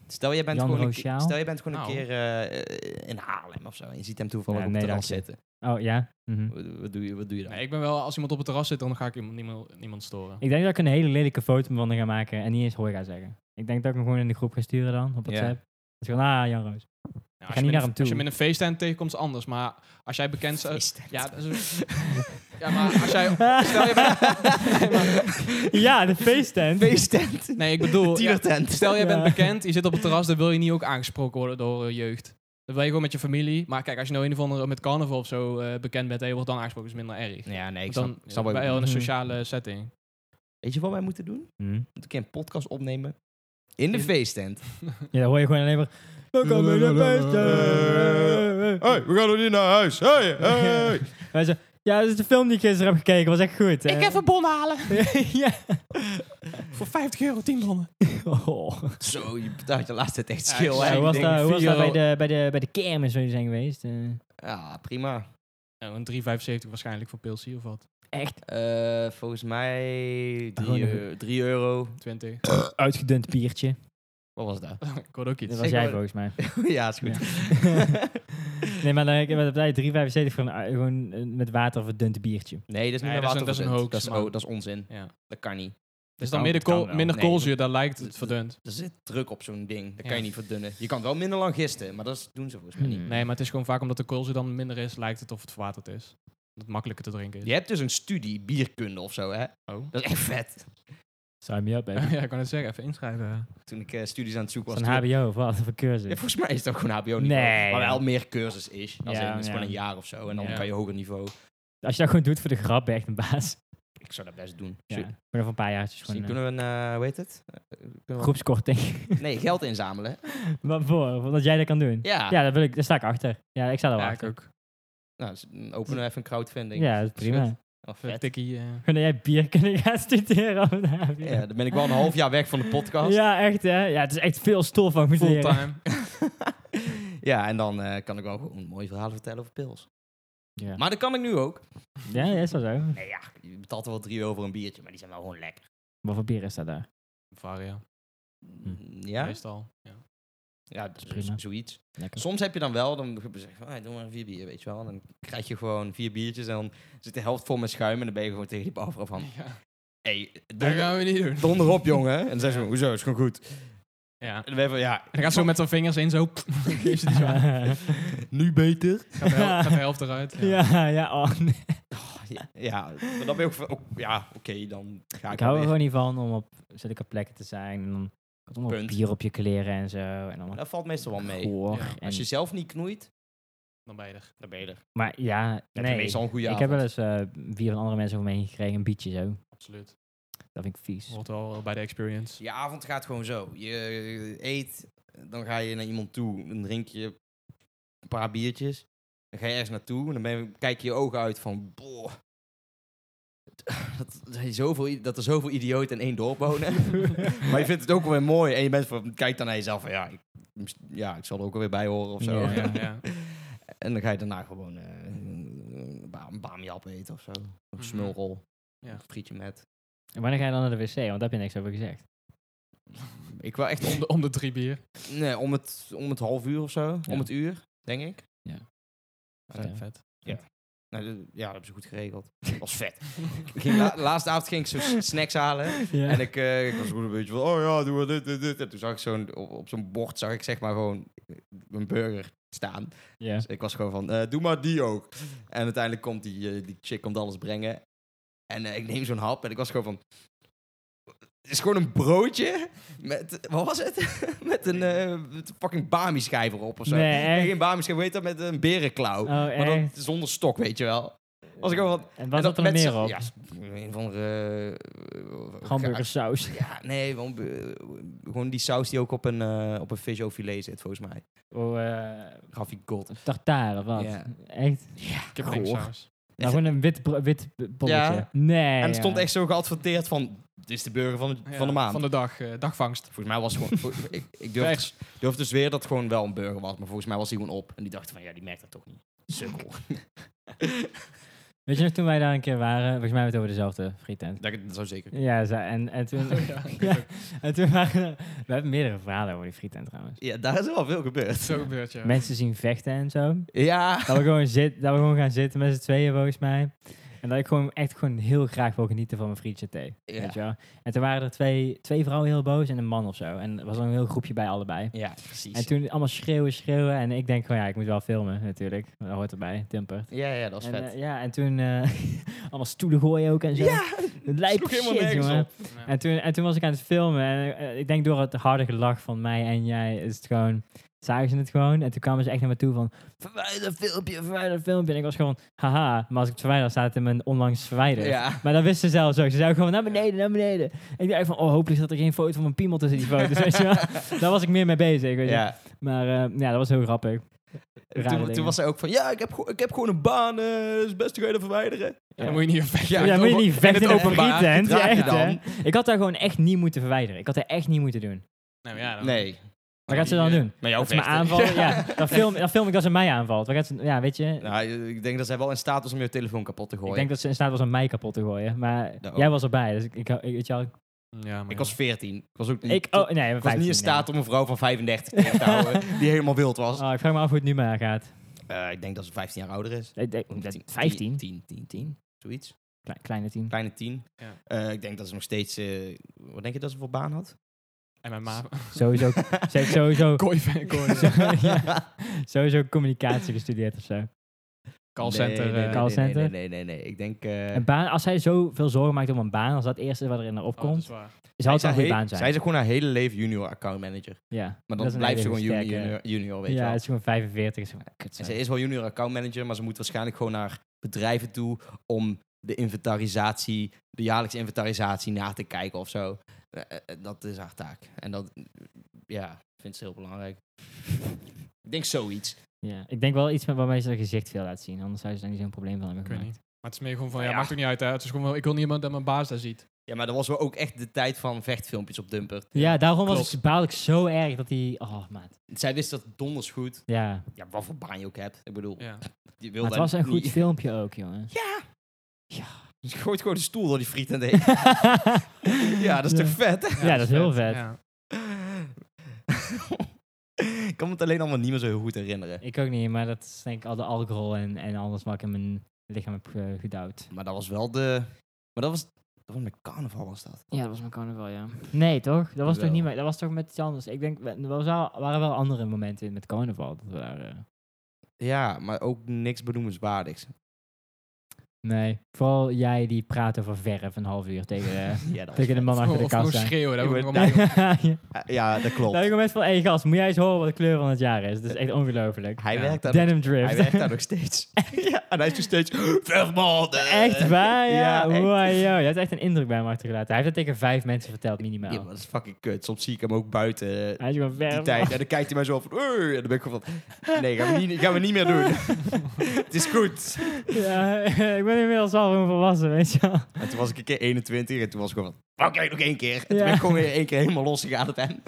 Speaker 1: Stel, jij bent
Speaker 3: Jan
Speaker 1: gewoon een, ke-
Speaker 3: Roosjaal?
Speaker 1: stel, jij bent gewoon een
Speaker 2: Nou.
Speaker 1: keer eh, in Haarlem of zo. En je ziet hem toevallig
Speaker 3: Ja,
Speaker 1: op
Speaker 3: nee,
Speaker 1: het terras
Speaker 3: dank
Speaker 1: zitten.
Speaker 3: Oh ja. Mhm.
Speaker 1: Wat, wat doe je, wat doe je dan?
Speaker 2: Nee, ik ben wel, als iemand op het terras zit, dan ga ik iemand- niemand, niemand storen.
Speaker 3: Ik denk dat ik een hele lelijke foto van hem ga maken en niet eens hoor ga zeggen. Ik denk dat ik hem gewoon in de groep ga sturen dan, op
Speaker 1: Ja.
Speaker 3: WhatsApp. Dat is gewoon, ah, Jan Roos.
Speaker 2: Nou, als,
Speaker 3: ga
Speaker 2: je
Speaker 3: niet naar
Speaker 2: met-
Speaker 3: hem toe.
Speaker 2: als je met een feesttent tegenkomt, is het anders. Maar als jij bekend zou-
Speaker 1: Feesttent.
Speaker 2: Ja, dat is- ja, maar als jij... Stel je
Speaker 3: ja, de feesttent.
Speaker 1: Feesttent.
Speaker 2: Nee, ik bedoel... ja,
Speaker 1: Tienertent.
Speaker 2: stel, jij bent
Speaker 3: Ja.
Speaker 2: bekend, je zit op het terras, dan wil je niet ook aangesproken worden door eh, jeugd. Dat wil je gewoon met je familie. Maar kijk, als je nou in ieder geval met carnaval of zo eh, bekend bent en je wordt dan aangesproken, is het minder erg.
Speaker 1: Ja, nee, ik
Speaker 2: Want
Speaker 1: snap,
Speaker 2: dan
Speaker 1: ik snap
Speaker 2: ben
Speaker 1: wat je
Speaker 2: je wel in een
Speaker 1: bedoelt.
Speaker 3: bedoelt.
Speaker 2: sociale setting.
Speaker 1: Weet je wat wij moeten doen?
Speaker 3: Hm.
Speaker 1: Moet ik een podcast opnemen? In de
Speaker 2: In-
Speaker 1: feesttent.
Speaker 3: Ja, dan hoor je gewoon alleen maar... Welkom in de feesttent.
Speaker 1: we gaan er niet naar huis. Hey,
Speaker 3: hey. Wij zo, ja, dat is de film die ik gisteren heb gekeken. was echt goed. hè.
Speaker 2: bon halen.
Speaker 3: ja.
Speaker 2: Voor 50 euro 10 bonnen.
Speaker 3: Oh.
Speaker 1: Zo, je betaalt je laatste tijd
Speaker 2: Ja,
Speaker 1: schil.
Speaker 2: ik
Speaker 1: hè.
Speaker 2: zei-
Speaker 3: Ja, hoe was
Speaker 1: Ik
Speaker 3: dat,
Speaker 1: denk,
Speaker 3: hoe was
Speaker 1: vier
Speaker 3: dat bij,
Speaker 1: euro-
Speaker 3: de, bij, de, bij de kermis zou je zijn geweest? Eh,
Speaker 1: Ja, prima.
Speaker 2: een 3,75 waarschijnlijk voor Pilsie of wat.
Speaker 3: echt
Speaker 1: Eh, volgens mij
Speaker 3: Gewoon
Speaker 1: 3
Speaker 3: een-
Speaker 1: euro, drie euro.
Speaker 2: 20.
Speaker 3: Eh, uitgedund biertje.
Speaker 1: Wat was dat?
Speaker 2: ik hoorde ook iets.
Speaker 3: Dat was
Speaker 1: Ik
Speaker 3: jij
Speaker 1: wou-
Speaker 3: volgens mij.
Speaker 1: ja, is goed.
Speaker 3: Nee, maar eh, ik heb het 3,75 voor een, eh, gewoon eh, met water verdund biertje.
Speaker 1: Nee, dat is niet
Speaker 2: Nee,
Speaker 1: meer
Speaker 2: dat is een- dat is een
Speaker 1: waterverdund.
Speaker 2: hoax,
Speaker 1: Dat is,
Speaker 2: man.
Speaker 1: oh, dat is onzin.
Speaker 2: Ja.
Speaker 1: Dat kan niet.
Speaker 2: Dus
Speaker 1: kan-
Speaker 2: dan minder,
Speaker 1: het kan
Speaker 2: kool-
Speaker 1: wel.
Speaker 2: minder
Speaker 1: Nee,
Speaker 2: koolzuur, daar lijkt het verdund.
Speaker 1: Er zit druk op zo'n ding. Dat kan
Speaker 2: Ja.
Speaker 1: je niet verdunnen. Je kan wel minder lang gisten, maar dat is- doen ze volgens mij niet.
Speaker 3: Hmm.
Speaker 2: Nee, maar het is gewoon vaak omdat de koolzuur dan minder is, lijkt het of het verwaterd is. Dat het makkelijker te drinken is.
Speaker 1: Je hebt dus een studie bierkunde of zo, hè?
Speaker 2: Oh.
Speaker 1: Dat is echt vet.
Speaker 3: Sign me up, baby.
Speaker 2: ja, ik kan het zeggen. Even inschrijven.
Speaker 1: Toen ik eh, studies aan het zoeken
Speaker 3: Is
Speaker 1: was...
Speaker 3: dat een
Speaker 1: toen-
Speaker 3: HBO of wat? Of een
Speaker 1: Ja,
Speaker 3: cursus?
Speaker 1: volgens mij is dat gewoon HBO-niveau.
Speaker 3: Nee.
Speaker 1: Maar wel meer cursus is. Als
Speaker 3: Ja,
Speaker 1: in, het is
Speaker 3: ja.
Speaker 1: gewoon een jaar of zo. En dan
Speaker 3: Ja.
Speaker 1: kan je hoger niveau.
Speaker 3: Als je dat gewoon doet voor de grap, ben je echt een baas.
Speaker 1: Ik zou dat best doen.
Speaker 3: Ja.
Speaker 1: Zo-
Speaker 3: Gewoon even een paar jaartjes
Speaker 1: Misschien
Speaker 3: gewoon
Speaker 1: kunnen we een... eh, hoe heet het? Eh, kunnen we-
Speaker 3: eh, groepskorting.
Speaker 1: Nee, geld inzamelen.
Speaker 3: Wat voor? Omdat jij dat kan doen?
Speaker 1: Ja.
Speaker 3: Ja, daar, wil ik, daar sta ik achter. Ja, ik sta daar wel
Speaker 2: Ja, ik
Speaker 3: achter.
Speaker 2: ook.
Speaker 1: Nou, dus, mm, openen we even een crowdfunding.
Speaker 3: Ja, dat is prima.
Speaker 1: Shit. Oh,
Speaker 2: Even een
Speaker 1: vet.
Speaker 2: tikkie. eh.
Speaker 3: Kunnen jij bier kunnen gaan studeren op de HBO?
Speaker 1: Ja, dan ben ik wel een half jaar weg van de podcast.
Speaker 3: Ja, echt hè. Ja, het is echt veel stof van moet leren.
Speaker 2: fulltime.
Speaker 1: Ja, en dan eh, kan ik wel gewoon mooie verhalen vertellen over pils.
Speaker 3: Ja.
Speaker 1: Maar dat kan ik nu ook.
Speaker 3: ja, ja, is wel zo.
Speaker 1: Nee, ja, je betaalt er wel drie euro voor een biertje, maar die zijn wel gewoon lekker.
Speaker 3: Wat voor bier is dat daar?
Speaker 2: Varia.
Speaker 3: Hm.
Speaker 1: Mm, Ja,
Speaker 2: Meestal. Ja.
Speaker 1: ja dat is
Speaker 3: Prima.
Speaker 1: z- zoiets.
Speaker 3: Lekker.
Speaker 1: Soms heb je dan wel, dan zeg je van, "Ah, doe maar vier bier, weet je wel. En dan krijg je gewoon vier biertjes en dan zit de helft vol met schuim en dan ben je gewoon tegen die bouwvrouw van...
Speaker 2: Ja.
Speaker 1: Hé,
Speaker 2: Dat
Speaker 1: donder,
Speaker 2: gaan we niet doen.
Speaker 1: donder op, jongen. En dan zeggen ze, hoezo, is gewoon goed.
Speaker 2: Ja.
Speaker 1: En dan ben je van, ja,
Speaker 2: En dan gaat ze zo met haar vingers in, zo. Geef ze die zo aan.
Speaker 1: nu beter.
Speaker 2: Gaat de hel- gaat de helft eruit. Ja.
Speaker 3: ja, ja, oh nee.
Speaker 1: Ja, ja, maar dan ben je ook, van- ook ja, oké, dan ga ik,
Speaker 3: Ik hou er
Speaker 1: wel weer.
Speaker 3: gewoon niet van om op zulke plekken te zijn. En dan komt allemaal
Speaker 1: Punt.
Speaker 3: bier op je kleren en zo. En allemaal
Speaker 1: Dat valt meestal wel mee.
Speaker 3: goor.
Speaker 2: Ja,
Speaker 3: En,
Speaker 1: Als je zelf niet knoeit,
Speaker 2: Dan ben je er.
Speaker 1: dan ben je er.
Speaker 3: maar ja,
Speaker 1: Dan heb je
Speaker 3: nee.
Speaker 1: meestal een goede
Speaker 3: Ik
Speaker 1: avond.
Speaker 3: heb wel eens eh bier van andere mensen over me heen gekregen. Een bietje zo.
Speaker 2: Absoluut.
Speaker 3: Dat vind ik vies.
Speaker 2: Hoort wel bij de experience.
Speaker 1: Je avond gaat gewoon zo. Je eet, dan ga je naar iemand toe, dan drink je een paar biertjes. Dan ga je ergens naartoe en dan ben je, kijk je je ogen uit van... Boah, dat, dat, je zoveel, i- dat er zoveel idioten in één dorp wonen. maar je vindt het ook wel weer mooi. En je bent van, kijk dan naar jezelf van... Ja, ik, ja, ik zal er ook wel weer bij horen of zo.
Speaker 3: Ja.
Speaker 2: Ja, ja.
Speaker 1: En dan ga je daarna gewoon eh, een ba- een baamjap eten of zo. Of
Speaker 2: Mhm.
Speaker 1: smulrol.
Speaker 2: Ja.
Speaker 1: Een frietje met.
Speaker 3: En wanneer ga je dan naar de wc? Want daar heb je niks over gezegd.
Speaker 1: Ik wil echt
Speaker 2: Om, de, om de drie bier.
Speaker 1: nee, om, het, om het half uur of zo.
Speaker 3: Ja.
Speaker 1: Om het uur, denk ik.
Speaker 3: Ja.
Speaker 1: Ja,
Speaker 3: Ja.
Speaker 2: Vet.
Speaker 1: nou, dat- ja, dat hebben ze goed geregeld. Dat was vet. Ik ging la- laatste avond ging ik zo s- snacks halen.
Speaker 3: Ja.
Speaker 1: En ik, eh, ik was gewoon een beetje van, oh ja, doen we dit, dit, dit. En toen zag ik zo'n, op, op zo'n bord zag ik zeg maar gewoon eh, een burger staan.
Speaker 3: ja.
Speaker 1: Dus ik was gewoon van, eh, doe maar die ook. En uiteindelijk komt die, eh, die chick komt alles brengen. En eh, ik neem zo'n hap en ik was gewoon van... Het is gewoon een broodje met, wat was het? met een eh, met een fucking bami-schijf erop of zo.
Speaker 3: Nee, echt?
Speaker 1: geen bami-schijf, hoe heet dat? Met een berenklauw.
Speaker 3: Oh,
Speaker 1: maar dan
Speaker 3: echt?
Speaker 1: zonder stok, weet je wel. Was ik gewoon van...
Speaker 3: En was
Speaker 1: en
Speaker 3: dat er nog
Speaker 1: met
Speaker 3: meer
Speaker 1: z'n-
Speaker 3: op?
Speaker 1: Ja, een van de... eh,
Speaker 3: Hamburgersaus.
Speaker 1: Ja, nee, gewoon, eh, gewoon die saus die ook op een, eh op een fish au filet zit, volgens mij.
Speaker 3: Oh, eh
Speaker 1: Ravigot.
Speaker 3: tartare of wat?
Speaker 1: Ja.
Speaker 3: Echt?
Speaker 2: Ik heb
Speaker 1: Goh.
Speaker 2: geen saus.
Speaker 3: Nou, gewoon een wit, bro- wit b- bolletje.
Speaker 1: Ja.
Speaker 3: Nee.
Speaker 1: En het
Speaker 3: ja.
Speaker 1: stond echt zo geadverteerd van, dit is de burger van de, van de maand.
Speaker 2: Van de dag, eh, dagvangst.
Speaker 1: Volgens mij was het gewoon... vo- ik ik durf,
Speaker 2: Vers.
Speaker 1: durf dus weer dat het gewoon wel een burger was, maar volgens mij was hij gewoon op. En die dachten van, ja, die merkt dat toch niet. Sukkel.
Speaker 3: Weet je nog, toen wij daar een keer waren, volgens mij hebben we het over dezelfde frietent.
Speaker 1: dat, dat zou zeker...
Speaker 3: Ja, ze- en, en toen...
Speaker 1: Oh,
Speaker 2: ja.
Speaker 3: ja, en toen waren er- We hebben meerdere verhalen over die frietent trouwens.
Speaker 1: Ja, daar is wel veel gebeurd.
Speaker 2: Zo gebeurt ja.
Speaker 3: Mensen zien vechten en zo.
Speaker 1: Ja.
Speaker 3: Dat we gewoon, zit, dat we gewoon gaan zitten met z'n tweeën volgens mij. En dat ik gewoon echt gewoon heel graag wil genieten van mijn frietje thee.
Speaker 1: Ja.
Speaker 3: Weet je wel? En toen waren er twee, twee vrouwen heel boos en een man of zo. En er was dan een heel groepje bij allebei.
Speaker 1: Ja, precies.
Speaker 3: En toen allemaal schreeuwen, schreeuwen. En ik denk gewoon, ja, ik moet wel filmen natuurlijk. Dat hoort erbij, Timper.
Speaker 1: ja, ja, dat is
Speaker 3: En,
Speaker 1: vet.
Speaker 3: eh, ja, en toen eh, allemaal stoelen gooien ook en zo. Ja, het lijkt
Speaker 1: sloeg helemaal
Speaker 3: shit,
Speaker 1: nergens
Speaker 3: jongen.
Speaker 1: op.
Speaker 2: Ja.
Speaker 3: En toen, en toen was ik aan het filmen en eh, ik denk door het harde gelach van mij en jij is het gewoon, zagen ze het gewoon. En toen kwamen ze echt naar me toe van, verwijder filmpje, verwijder filmpje. En ik was gewoon, haha, maar als ik het verwijder, staat het in mijn onlangs verwijderd.
Speaker 1: Ja.
Speaker 3: Maar dat wisten ze zelf zo. Ze zeiden gewoon naar beneden, naar beneden. En ik dacht van, oh, hopelijk zat er geen foto van mijn piemel tussen die foto's. Oh, dus weet je wel. Daar was ik meer mee bezig. Weet je.
Speaker 1: ja.
Speaker 3: Maar eh, ja, dat was heel grappig.
Speaker 1: En
Speaker 3: Rare
Speaker 1: Toen, toen
Speaker 3: dingen.
Speaker 1: was hij ook van, ja, ik heb, gewoon- ik heb gewoon een baan, eh, dat is best te gaan verwijderen.
Speaker 3: Ja.
Speaker 2: Dan moet je niet op weg.
Speaker 1: Ja,
Speaker 3: Ja,
Speaker 1: in
Speaker 3: ja
Speaker 1: het
Speaker 3: moet je
Speaker 1: open-
Speaker 3: niet
Speaker 1: in
Speaker 3: vechten in
Speaker 1: het
Speaker 3: het
Speaker 1: openbaar.
Speaker 3: openbaar.
Speaker 1: Draag je
Speaker 3: Echt, hè?
Speaker 1: dan.
Speaker 3: Ik had daar gewoon echt niet moeten verwijderen. Ik had daar echt niet moeten doen.
Speaker 2: Nou, ja, dan-
Speaker 1: Nee.
Speaker 3: Wat gaat ze dan doen?
Speaker 1: Met jou
Speaker 3: Dat ze me
Speaker 1: oh, vechten.
Speaker 3: aanvallen? Ja, dan film, dan film ik dat ze mij aanvalt. Wat gaat ze, ja, weet je.
Speaker 1: Nou, ik denk dat zij wel in staat was om je telefoon kapot te gooien.
Speaker 3: ik denk dat ze in staat was om mij kapot te gooien. Maar
Speaker 1: Ja, ook.
Speaker 3: jij was erbij, dus ik, ik, ik- weet je wel.
Speaker 2: Ja, maar
Speaker 1: Ik
Speaker 2: ja.
Speaker 1: was 14. Ik was ook niet,
Speaker 3: Ik, oh, nee,
Speaker 1: ik was niet in staat om een vrouw van 35 tegen te houden die helemaal wild was.
Speaker 3: Oh, ik vraag me af hoe het nu maar gaat. Eh,
Speaker 1: Eh, ik denk dat ze 15 jaar ouder is.
Speaker 3: Ik denk- dat- 15?
Speaker 1: 10, 10, 10. Zoiets.
Speaker 3: Kle- kleine 10.
Speaker 1: Kleine 10.
Speaker 2: Ja.
Speaker 1: Eh, ik denk dat ze nog steeds... eh, wat denk je dat ze voor baan had?
Speaker 2: En mijn ma...
Speaker 3: Sowieso, ze heeft sowieso,
Speaker 2: Kooi, kooi.
Speaker 3: Ja. sowieso communicatie gestudeerd of zo.
Speaker 2: Callcenter.
Speaker 1: Nee, nee, nee,
Speaker 2: eh,
Speaker 3: Call- callcenter.
Speaker 1: Nee, nee, nee, nee, nee. Ik denk... eh,
Speaker 3: Een baan, als zij zoveel zorgen maakt om een baan, als dat het eerste wat er in haar
Speaker 2: Oh, dat
Speaker 3: opkomt,
Speaker 2: is waar.
Speaker 3: zou
Speaker 1: zij
Speaker 3: het wel een goede
Speaker 1: he-
Speaker 3: baan zijn.
Speaker 1: Zij is gewoon haar hele leven junior account manager.
Speaker 3: ja,
Speaker 1: Maar
Speaker 3: dat
Speaker 1: dan
Speaker 3: is een
Speaker 1: blijft ze gewoon
Speaker 3: hele
Speaker 1: junior,
Speaker 3: sterke-
Speaker 1: junior, junior, weet je
Speaker 3: Ja,
Speaker 1: wel.
Speaker 3: het is gewoon 45. is gewoon, ah, kut,
Speaker 1: En
Speaker 3: sorry.
Speaker 1: ze is wel junior account manager, maar ze moet waarschijnlijk gewoon naar bedrijven toe om de inventarisatie, de jaarlijkse inventarisatie na te kijken of zo. Eh, eh, eh, Dat is haar taak. En dat, eh, ja, vindt ze heel belangrijk. Ik denk zoiets.
Speaker 3: Ja, ik denk wel iets met waarmee ze haar gezicht veel laat zien. Anders zou ze daar niet zo'n probleem van hebben
Speaker 2: Ik weet
Speaker 3: gemaakt.
Speaker 2: niet. Maar het is meer gewoon van, ja,
Speaker 1: Ja.
Speaker 2: maakt ook niet uit. Hè. Het is gewoon wel, ik wil niemand dat mijn baas daar ziet.
Speaker 1: Ja, maar dat was wel ook echt de tijd van vechtfilmpjes op Dumper.
Speaker 3: Ja, daarom was
Speaker 2: Klopt.
Speaker 3: ik baalde ik zo erg dat die... Oh, maat.
Speaker 1: Zij wist dat donders goed.
Speaker 3: Ja,
Speaker 1: Ja, wat voor baan je ook hebt. Ik bedoel,
Speaker 2: Ja.
Speaker 1: die
Speaker 3: maar
Speaker 1: wilde
Speaker 3: het was een goed
Speaker 1: niet-
Speaker 3: filmpje ook, jongen.
Speaker 1: Ze gooit gewoon de stoel door die friet en deed. ja, dat is toch vet, hè?
Speaker 3: Ja, dat is heel vet.
Speaker 2: Ja.
Speaker 1: ik kan me het alleen allemaal niet meer zo heel goed herinneren.
Speaker 3: Ik ook niet, maar dat is denk ik al de alcohol en, en alles wat ik in mijn lichaam heb eh, gedouwd.
Speaker 1: Maar dat was wel de. Maar dat was. Dat was met carnaval was dat.
Speaker 3: Ja, dat was mijn carnaval, ja. Nee, toch? Dat was toch
Speaker 1: Wel.
Speaker 3: niet meer... Dat was toch met iets anders? Ik denk, we- er was wel- waren wel andere momenten in met carnaval. Dat we daar, eh,
Speaker 1: Ja, maar ook niks benoemenswaardigs.
Speaker 3: nee, vooral jij die praat over verf een half uur tegen, eh,
Speaker 1: Ja, dat
Speaker 3: tegen de man achter de
Speaker 2: Of gewoon
Speaker 3: kassa.
Speaker 2: schreeuwen. Dat
Speaker 1: Ik
Speaker 2: wordt nog
Speaker 1: word-
Speaker 2: allemaal-
Speaker 3: ja.
Speaker 1: ja, dat klopt.
Speaker 3: Dat ik moment van, hé gast, moet jij eens horen wat de kleur van het jaar is? Dat is echt ongelooflijk.
Speaker 1: Hij,
Speaker 2: Ja.
Speaker 1: werkt daar nog,
Speaker 3: Denim drift.
Speaker 1: hij werkt daar nog steeds. ja, en hij is nog steeds. Vermand!
Speaker 3: echt waar, ja.
Speaker 1: Ja, echt.
Speaker 3: Wow, yo. Je hebt echt een indruk bij hem achtergelaten. Hij heeft dat tegen vijf mensen verteld, minimaal.
Speaker 1: Ja, maar dat is fucking kut. Soms zie ik hem ook buiten eh,
Speaker 3: hij is gewoon ver.
Speaker 1: die tijd. En dan kijkt hij mij zo van. "Oei," En dan ben ik gewoon van. Nee, gaan we niet, gaan we niet meer doen. Het is goed.
Speaker 3: Ja, ik ben inmiddels al gewoon volwassen, weet je wel.
Speaker 1: En toen was ik een keer 21 en toen was ik gewoon van. Oké, nog één keer. En toen
Speaker 3: Ja.
Speaker 1: ben ik gewoon weer één keer helemaal losgegaan op hem.
Speaker 3: En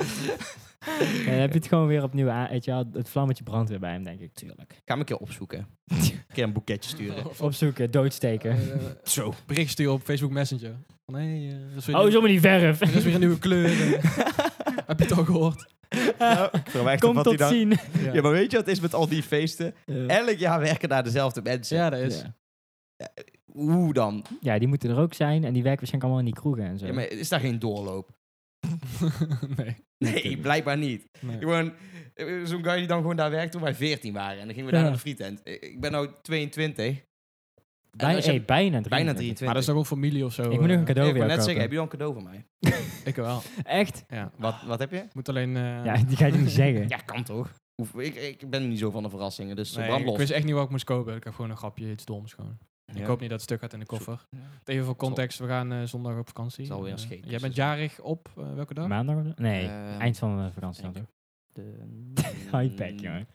Speaker 3: dan heb je het gewoon weer opnieuw aan, weet je wel. Het vlammetje brandt weer bij hem, denk ik.
Speaker 1: Tuurlijk. Ik ga hem een keer opzoeken. een keer een boeketje sturen.
Speaker 2: Of- of-
Speaker 3: Opzoeken, doodsteken.
Speaker 2: eh,
Speaker 1: Zo.
Speaker 2: Bericht sturen op Facebook Messenger. Van, hé, eh, dat is weer
Speaker 3: oh,
Speaker 2: nieuw-
Speaker 3: zo maar die verf.
Speaker 2: dat is weer een nieuwe kleur. eh. Heb je het al gehoord?
Speaker 1: ik verwijt
Speaker 3: Kom tot zien.
Speaker 2: Ja,
Speaker 1: Ja, maar weet je wat het is met al die feesten?
Speaker 3: Ja.
Speaker 1: Elk jaar werken daar dezelfde mensen.
Speaker 2: Ja, dat is.
Speaker 1: Hoe dan?
Speaker 3: Ja, die moeten er ook zijn. En die werken waarschijnlijk allemaal in die kroegen en zo.
Speaker 1: Ja, maar is daar geen doorloop?
Speaker 2: nee.
Speaker 1: Nee, blijkbaar niet.
Speaker 2: nee.
Speaker 1: Gewoon, eh, zo'n guy die dan gewoon daar werkte toen wij 14 waren. En dan gingen we daar
Speaker 3: Ja.
Speaker 1: naar de frietent. Ik ik ben nu 22. En
Speaker 3: Bij,
Speaker 1: als je-
Speaker 3: hey,
Speaker 1: bijna
Speaker 3: bijna 23.
Speaker 1: 23.
Speaker 2: Maar dat is toch ook familie of zo?
Speaker 3: Ik moet nog
Speaker 2: eh.
Speaker 3: een
Speaker 1: Ja,
Speaker 3: cadeau
Speaker 1: ik
Speaker 3: weer
Speaker 1: wou net
Speaker 3: kopen.
Speaker 1: zeggen, heb je dan een cadeau voor mij?
Speaker 2: Ik wel.
Speaker 3: Echt?
Speaker 2: Ja.
Speaker 1: Wat, wat heb je?
Speaker 2: Moet alleen... eh,
Speaker 3: Ah. Ja, die ga je niet zeggen.
Speaker 1: Ja, kan toch? Hoef- Ik, ik ben niet zo van de verrassingen, dus
Speaker 2: nee,
Speaker 1: brand los.
Speaker 2: ik wist echt niet wat ik moest kopen. Ik heb gewoon een grapje, iets doms gewoon.
Speaker 1: Ja.
Speaker 2: Ik hoop niet dat het stuk gaat in de koffer. Even voor context, we gaan eh, zondag op vakantie.
Speaker 1: Zal weer een
Speaker 2: Eh,
Speaker 1: scheet
Speaker 2: Jij
Speaker 1: tussen
Speaker 2: bent jarig op eh, welke dag?
Speaker 3: Maandag? of zo? Nee,
Speaker 1: Ehm,
Speaker 3: eind van de vakantie dan
Speaker 1: denk Mm.
Speaker 3: toch?
Speaker 1: De...
Speaker 3: High-pack, jongen.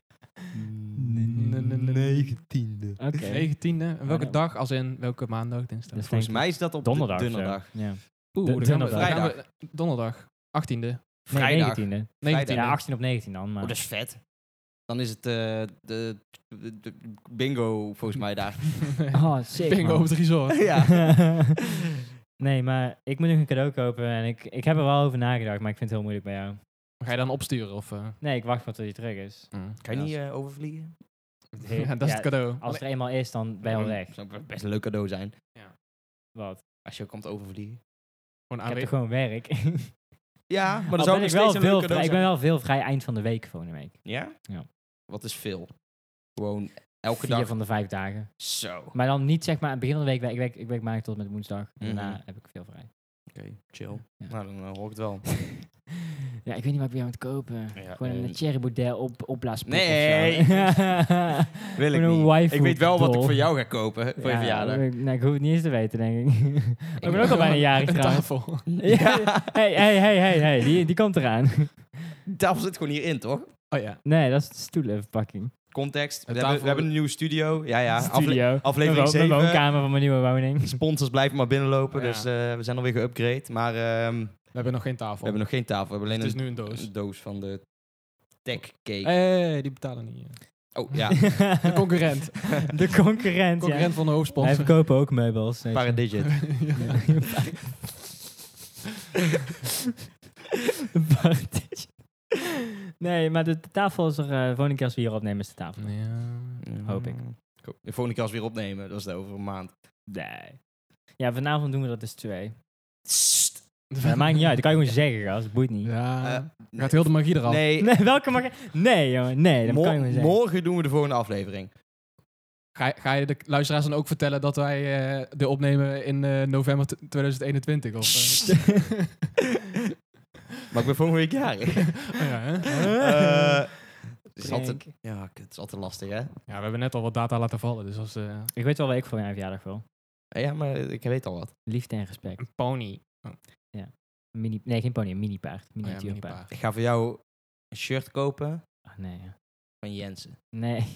Speaker 1: Mm. Negentiende.
Speaker 3: Oké.
Speaker 2: 19e. En welke
Speaker 3: Ja.
Speaker 2: dag? Als in welke maandag, dinsdag?
Speaker 3: Dus
Speaker 1: Volgens
Speaker 3: denk
Speaker 1: mij is dat op de
Speaker 3: donderdag. eh, of zo.
Speaker 1: Donderdag.
Speaker 3: Ja.
Speaker 2: Oeh,
Speaker 3: de-
Speaker 2: dan gaan we-
Speaker 3: donderdag.
Speaker 2: dan gaan we- donderdag. 18e.
Speaker 3: Nee,
Speaker 1: Vrijdag.
Speaker 3: 19e.
Speaker 2: 19e.
Speaker 1: Vrijdag.
Speaker 3: Ja, 18 op 19 dan. Maar.
Speaker 1: Oh, dat is vet. Dan is het eh, de, de- de bingo volgens mij daar.
Speaker 3: Oh, sick,
Speaker 2: Bingo
Speaker 3: man.
Speaker 2: op het resort.
Speaker 1: ja.
Speaker 3: nee, maar ik moet nog een cadeau kopen en ik, ik heb er wel over nagedacht, maar ik vind het heel moeilijk bij jou.
Speaker 2: Ga je dan opsturen? Of, eh?
Speaker 3: Nee, ik wacht wat tot je terug is.
Speaker 1: Kan je niet eh, overvliegen?
Speaker 2: Mm. Ja, dat is het cadeau.
Speaker 3: Als het er eenmaal is, dan ben je al weg.
Speaker 1: zou best een leuk cadeau zijn.
Speaker 3: Wat?
Speaker 1: Als je ook komt overvliegen.
Speaker 2: Gewoon
Speaker 1: Ah,
Speaker 3: Ik heb
Speaker 2: aanwezig.
Speaker 3: toch gewoon werk.
Speaker 1: Ja, maar
Speaker 3: Al
Speaker 1: dat zou
Speaker 3: ben
Speaker 1: nog
Speaker 3: ik wel
Speaker 1: steeds een
Speaker 3: veel
Speaker 1: leuk
Speaker 3: vrij,
Speaker 1: cadeau
Speaker 3: Ik ben
Speaker 1: zijn.
Speaker 3: wel veel vrij eind van de week volgende week.
Speaker 1: Ja?
Speaker 3: Ja.
Speaker 1: Wat is veel? Gewoon elke
Speaker 3: Vier
Speaker 1: dag.
Speaker 3: van de vijf dagen.
Speaker 1: Zo. Oké,
Speaker 3: Maar dan niet zeg maar aan het begin van de week. Ik werk, ik werk maandag tot en met woensdag. En
Speaker 1: Mhm.
Speaker 3: daarna heb ik veel vrij.
Speaker 1: chill.
Speaker 3: Ja.
Speaker 1: Nou, dan eh, hoor ik het wel.
Speaker 3: Ja, ik weet niet wat ik bij jou moet kopen.
Speaker 1: Ja,
Speaker 3: Gewoon een
Speaker 1: eh,
Speaker 3: cherry Baudet op, opblaaspop
Speaker 1: Nee,
Speaker 3: of zo.
Speaker 1: Wil ik
Speaker 3: Gewoon een
Speaker 1: niet.
Speaker 3: waifu
Speaker 1: Ik weet wel wat ik
Speaker 3: doll.
Speaker 1: voor jou ga kopen voor je
Speaker 3: Ja,
Speaker 1: verjaardag.
Speaker 3: Ik, nou, ik hoef het niet eens te weten, denk ik. ik ben ook al bijna jarig
Speaker 2: Een
Speaker 3: trouwens.
Speaker 2: tafel.
Speaker 3: Ja. Hey, hey, hey, hey, hey, die, die komt eraan.
Speaker 1: De tafel zit gewoon hierin, toch?
Speaker 2: Oh ja.
Speaker 3: Nee, dat is de stoelenverpakking.
Speaker 1: Context. We,
Speaker 2: De
Speaker 1: hebben,
Speaker 2: tafel-
Speaker 1: we hebben een nieuwe studio. Ja, ja. afle-
Speaker 3: Studio.
Speaker 1: aflevering
Speaker 3: Mijn wo-
Speaker 1: zeven.
Speaker 3: Mijn woonkamer van mijn nieuwe woning.
Speaker 1: Sponsors blijven maar binnenlopen,
Speaker 2: Ja.
Speaker 1: dus eh, we zijn alweer geüpgrade. Maar ehm,
Speaker 2: We hebben nog geen
Speaker 1: we
Speaker 2: tafel.
Speaker 1: hebben nog geen tafel, we hebben alleen
Speaker 2: het is dus.
Speaker 1: een,
Speaker 2: nu een doos.
Speaker 1: een doos van de Tech Cake.
Speaker 2: Eh, die betalen niet. eh.
Speaker 1: Oh ja,
Speaker 2: De concurrent.
Speaker 3: de concurrent,
Speaker 2: concurrent van de
Speaker 3: ja. Wij
Speaker 2: hoofdsponsor.
Speaker 3: verkopen ook meubels. weet je.
Speaker 1: Paradigit.
Speaker 2: Ja.
Speaker 3: Paradigit. Nee, maar de, de tafel is er... eh, de volgende keer als we hier opnemen is de tafel. Hoop
Speaker 1: Mm.
Speaker 3: ik.
Speaker 1: De volgende keer als we weer opnemen, dat is dat over een maand.
Speaker 3: Nee. Ja, vanavond doen we dat dus twee.
Speaker 1: Sst.
Speaker 3: Maar dat maakt niet uit. Dat kan je gewoon zeggen, gast. Het boeit niet.
Speaker 2: Ja.
Speaker 1: Eh,
Speaker 2: Gaat heel de magie eraf.
Speaker 1: Nee,
Speaker 3: Ah. Nee, welke mag Nee, jongen. Nee, dat
Speaker 1: mo-
Speaker 3: kan je gewoon zeggen.
Speaker 1: morgen doen we de volgende aflevering.
Speaker 2: Ga, je- ga je de luisteraars dan ook vertellen dat wij eh, de opnemen in eh, november t- 2021? Of, eh?
Speaker 1: Maar ik ben volgende week jarig.
Speaker 2: Oh ja, hè?
Speaker 1: Eh, het is
Speaker 3: Prank.
Speaker 1: altijd- ja, kut, het is altijd lastig, hè?
Speaker 2: ja, we hebben net al wat data laten vallen. Dus als eh,
Speaker 3: Ik weet wel wat ik voor mijn verjaardag wil.
Speaker 1: Eh, Ja, maar ik weet al wat. Oh,
Speaker 3: Liefde en respect.
Speaker 2: een pony.
Speaker 3: Mini, nee, geen pony, een mini-paard.
Speaker 2: Oh ja,
Speaker 3: Miniatuurpaard.
Speaker 2: mini-paard.
Speaker 1: Ik ga voor jou een shirt kopen
Speaker 3: Ah, nee. ja.
Speaker 1: van Jensen.
Speaker 3: Nee.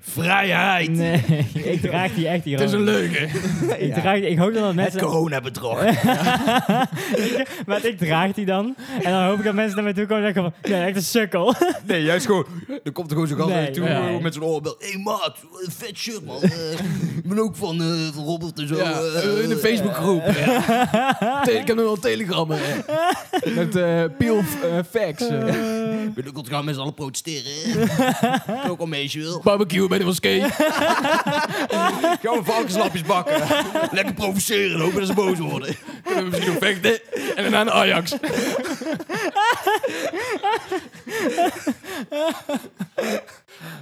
Speaker 1: Vrijheid!
Speaker 3: Nee. ik draag die echt hier.
Speaker 1: Het is een
Speaker 3: ook.
Speaker 1: leuke.
Speaker 3: Ik, draag die, ik hoop dan dat
Speaker 1: Het
Speaker 3: mensen...
Speaker 1: coronabedrog.
Speaker 3: Ik- maar ik draag die dan. En dan hoop ik dat mensen naar me toe komen en denken van... Nee, echt een sukkel.
Speaker 1: Nee, juist gewoon. Er komt er gewoon zo'n gast
Speaker 3: Nee,
Speaker 1: naar je toe
Speaker 3: nee.
Speaker 1: eh, met zo'n oorbel. Hé, hey, maat, eh, vet shirt, man. Eh, Ik ben ook van eh, van Robert en zo.
Speaker 2: Ja,
Speaker 1: eh,
Speaker 2: in de
Speaker 1: eh,
Speaker 2: Facebookgroep.
Speaker 1: eh, eh.
Speaker 2: ik heb nog wel telegrammen. Met eh peel eh, facts. eh.
Speaker 1: Binnenkort gaan mensen alle protesteren. eh. Ik ben ook al mee, wil.
Speaker 2: Barbecue bij de moskee.
Speaker 1: Gaan we varkenslapjes bakken. Lekker provoceren, hopen dat ze boos worden.
Speaker 2: Kunnen we misschien nog vechten. En daarna de Ajax.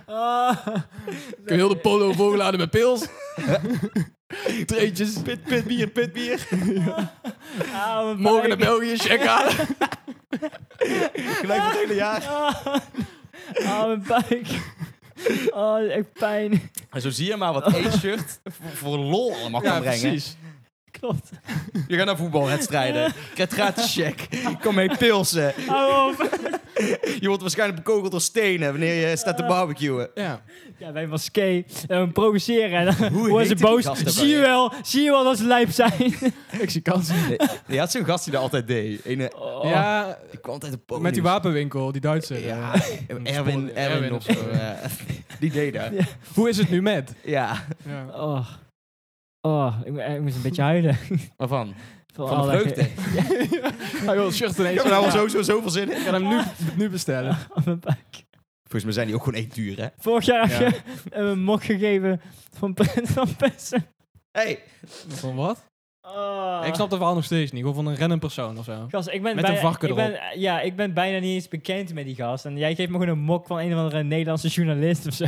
Speaker 3: Oh.
Speaker 2: Kun je heel de polo volgeladen met pils. Treetjes. Pit, pit, bier, pit, bier.
Speaker 3: Oude
Speaker 2: Morgen naar
Speaker 3: Oh, buik.
Speaker 2: België, check halen.
Speaker 1: Gelijk voor het hele jaar.
Speaker 3: Ah, ah, mijn buik. Oh, dat is echt pijn.
Speaker 1: En zo zie je maar wat één shirt voor, voor lol allemaal kan brengen.
Speaker 3: Klopt.
Speaker 1: Je gaat naar voetbalwedstrijden. Krijgt gratis check. Kom mee pilsen.
Speaker 3: Hou op.
Speaker 1: Je wordt waarschijnlijk bekogeld door stenen wanneer je staat te barbecuen.
Speaker 2: Ja.
Speaker 3: Ja, wij moskee. En we provoceren. En dan
Speaker 1: Hoe
Speaker 3: worden
Speaker 1: heet
Speaker 3: ze
Speaker 1: die
Speaker 3: boos.
Speaker 1: gasten
Speaker 3: Zie je
Speaker 1: bij
Speaker 3: wel. Zie je wel dat ze lijp zijn.
Speaker 2: Ik zie kansen.
Speaker 1: Je had zo'n gast die dat altijd deed. Ene,
Speaker 3: Oh.
Speaker 2: Ja,
Speaker 1: die kwam altijd op podium.
Speaker 2: met die wapenwinkel, die Duitse.
Speaker 1: Ja,
Speaker 2: eh.
Speaker 1: Erwin,
Speaker 2: Erwin
Speaker 1: Erwin, of
Speaker 2: of
Speaker 1: zo. ja. Die deed dat.
Speaker 3: Ja.
Speaker 2: Hoe is het nu met?
Speaker 1: Ja.
Speaker 2: Ja.
Speaker 3: Oh. Oh, ik, mo- eh, ik moest een beetje huilen.
Speaker 1: Waarvan?
Speaker 3: Van,
Speaker 1: Van de
Speaker 3: alle-
Speaker 1: vreugde.
Speaker 2: Hij wil het shirt ineens.
Speaker 1: Ik heb er nou al sowieso zoveel zin in.
Speaker 2: Ik ga hem nu, nu bestellen.
Speaker 3: Oh, mijn buik.
Speaker 1: Volgens mij zijn die ook gewoon echt duur, hè?
Speaker 3: Vorig jaar
Speaker 2: Ja.
Speaker 3: heb je hem een mok gegeven van Prins van Persen.
Speaker 1: Hey.
Speaker 2: Van wat?
Speaker 3: Oh.
Speaker 2: Ik snap de verhaal nog steeds niet. Gewoon van een random persoon of zo.
Speaker 3: Gast, ik ben
Speaker 2: Met
Speaker 3: bijna,
Speaker 2: een varken
Speaker 3: ik ben, eh, Ja, ik ben bijna niet eens bekend met die gast. En jij geeft me gewoon een mok van een of andere Nederlandse journalist of zo.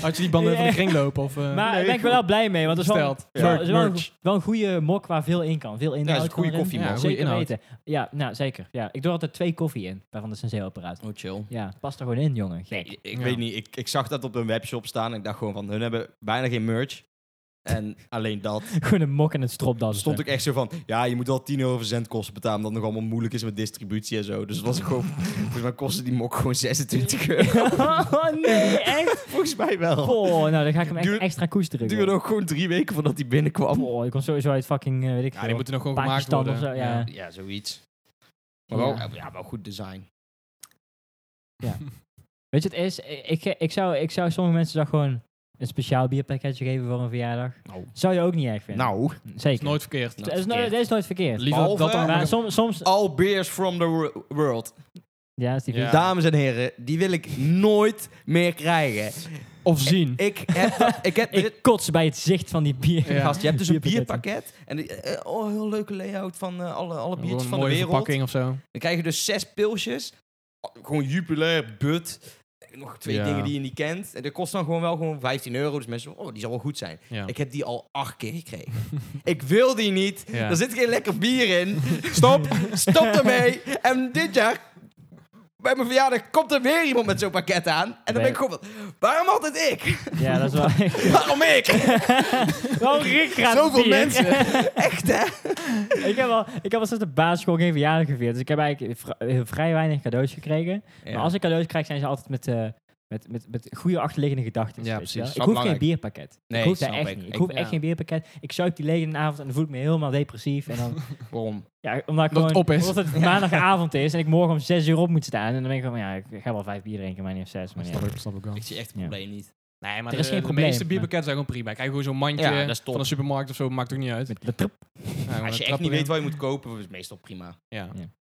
Speaker 2: Had je die banden van de kring lopen? Of, eh,
Speaker 3: Maar
Speaker 2: nee,
Speaker 3: daar ben ik wel blij mee, want dat is wel,
Speaker 2: besteld.
Speaker 3: wel,
Speaker 2: Ja.
Speaker 3: is wel, een,
Speaker 2: Merch.
Speaker 3: go- wel een goede mok waar veel in kan. Veel inhoud.
Speaker 1: is een
Speaker 3: kan
Speaker 1: goede
Speaker 3: erin.
Speaker 1: koffiemok.
Speaker 2: Ja, goede
Speaker 3: zeker
Speaker 2: inhoud.
Speaker 3: weten. Ja, nou zeker. Ja, ik doe er altijd twee koffie in, waarvan de Senseo-apparaat.
Speaker 1: Oh, chill.
Speaker 3: Ja, het past er gewoon in, jongen.
Speaker 1: Nee,
Speaker 3: Gek.
Speaker 1: ik
Speaker 2: Ja.
Speaker 1: weet niet. Ik, ik zag dat op hun webshop staan en ik dacht gewoon van, hun hebben bijna geen merch. En alleen dat.
Speaker 3: Gewoon een mok en het stropdas.
Speaker 1: Stond ik echt zo van, ja, je moet wel 10 euro verzendkosten betalen, omdat het nog allemaal moeilijk is met distributie en zo. Dus het was gewoon, volgens mij kostte die mok gewoon 26 euro.
Speaker 3: oh nee, echt?
Speaker 1: volgens mij wel.
Speaker 3: Goh, nou dan ga ik hem echt
Speaker 1: Duur-
Speaker 3: extra koesteren.
Speaker 1: Het duurde ook gewoon drie weken voordat die binnenkwam.
Speaker 3: Oh, ik kom sowieso uit fucking, eh, weet ik
Speaker 2: Ja,
Speaker 3: veel.
Speaker 2: die moeten nog gewoon gemaakt
Speaker 3: Pakistan
Speaker 2: worden.
Speaker 3: of zo, ja.
Speaker 1: Ja, zoiets. Maar wel,
Speaker 3: Ja.
Speaker 1: ja. wel goed design.
Speaker 3: Weet je wat het is? Eh, Ik, ik, ik zou, ik zou sommige mensen zou gewoon een speciaal bierpakketje geven voor een verjaardag.
Speaker 1: Nou.
Speaker 3: Zou je ook niet erg vinden.
Speaker 1: Nou,
Speaker 2: Is
Speaker 3: Zeker.
Speaker 2: nooit verkeerd.
Speaker 3: Dat is, nou- nooit, dat is nooit verkeerd.
Speaker 2: Liever
Speaker 1: Behalve-
Speaker 2: dat dan...
Speaker 3: maar soms, soms...
Speaker 1: all beers from the wor- world.
Speaker 3: Ja, is die
Speaker 2: Ja.
Speaker 3: vies.
Speaker 1: Dames en heren, die wil ik nooit meer krijgen.
Speaker 2: Of zien.
Speaker 1: Ik heb, dat- ik heb
Speaker 3: Ik kots bij het zicht van die bier.
Speaker 2: Ja.
Speaker 1: Gast, je hebt dus een
Speaker 3: Bierpakketten.
Speaker 1: bierpakket. En die, eh, oh, heel leuke layout van eh, alle, alle
Speaker 2: Gewoon
Speaker 1: biertjes
Speaker 2: een
Speaker 1: van de
Speaker 2: mooie
Speaker 1: wereld.
Speaker 2: verpakking of zo.
Speaker 1: Dan krijg je dus zes pilsjes. Oh, Gewoon jubilair, but. En Nog twee
Speaker 2: Ja.
Speaker 1: dingen die je niet kent. En dat kost dan gewoon wel gewoon 15 euro. Dus mensen, oh, die zal wel goed zijn.
Speaker 2: Ja.
Speaker 1: Ik heb die al acht keer gekregen. ik wil die niet.
Speaker 2: Ja.
Speaker 1: Er zit geen lekker bier in. Stop, stop ermee. En dit jaar, bij mijn verjaardag, komt er weer iemand met zo'n pakket aan. En dan ben ik gewoon van, waarom altijd ik?
Speaker 3: Ja, dat is wel echt...
Speaker 1: waarom ik?
Speaker 3: Wel rikkraat
Speaker 1: Zoveel
Speaker 3: bier.
Speaker 1: mensen. Echt, hè?
Speaker 3: ik heb al, ik heb al sinds de basisschool geen verjaardag gevierd. Dus ik heb eigenlijk vri- eh, vrij weinig cadeaus gekregen. Maar als ik cadeaus krijg, zijn ze altijd met, eh, met, met, met goede achterliggende gedachten.
Speaker 2: Ja,
Speaker 3: weet
Speaker 2: precies.
Speaker 3: je wel.
Speaker 2: Dat
Speaker 1: is
Speaker 3: Ik hoef
Speaker 1: wel
Speaker 3: geen
Speaker 1: belangrijk.
Speaker 3: bierpakket.
Speaker 1: Nee,
Speaker 3: ik hoef
Speaker 1: snap
Speaker 3: daar echt
Speaker 1: ik.
Speaker 3: niet. Ik
Speaker 1: Ik-
Speaker 3: hoef
Speaker 2: ja.
Speaker 3: echt geen bierpakket. Ik zuip die leeg in de avond en dan voel ik me helemaal depressief. En dan,
Speaker 1: Waarom?
Speaker 3: ja, omdat, ik
Speaker 2: Omdat het
Speaker 3: gewoon,
Speaker 2: op is.
Speaker 3: Omdat het maandagavond is en ik morgen om zes uur op moet staan. En dan denk ik van, ja, ik ga wel vijf bier drinken, maar niet of zes. Maar niet
Speaker 2: Snap ik, snap ik wel.
Speaker 1: Ik zie echt het
Speaker 3: Ja.
Speaker 1: probleem niet.
Speaker 2: Nee, maar
Speaker 3: Er is
Speaker 2: de,
Speaker 3: geen
Speaker 2: de
Speaker 3: probleem,
Speaker 2: meeste
Speaker 3: maar-
Speaker 2: bierpakketten zijn gewoon prima. Ik krijg gewoon zo'n mandje
Speaker 1: Ja, dat is top.
Speaker 2: van een supermarkt of zo, maakt ook niet uit.
Speaker 3: Met- met trap.
Speaker 2: Ja, gewoon
Speaker 1: Als je
Speaker 2: een
Speaker 1: echt
Speaker 2: trap
Speaker 1: niet
Speaker 2: erin.
Speaker 1: weet wat je moet kopen, is het meestal prima. Het
Speaker 2: Ja.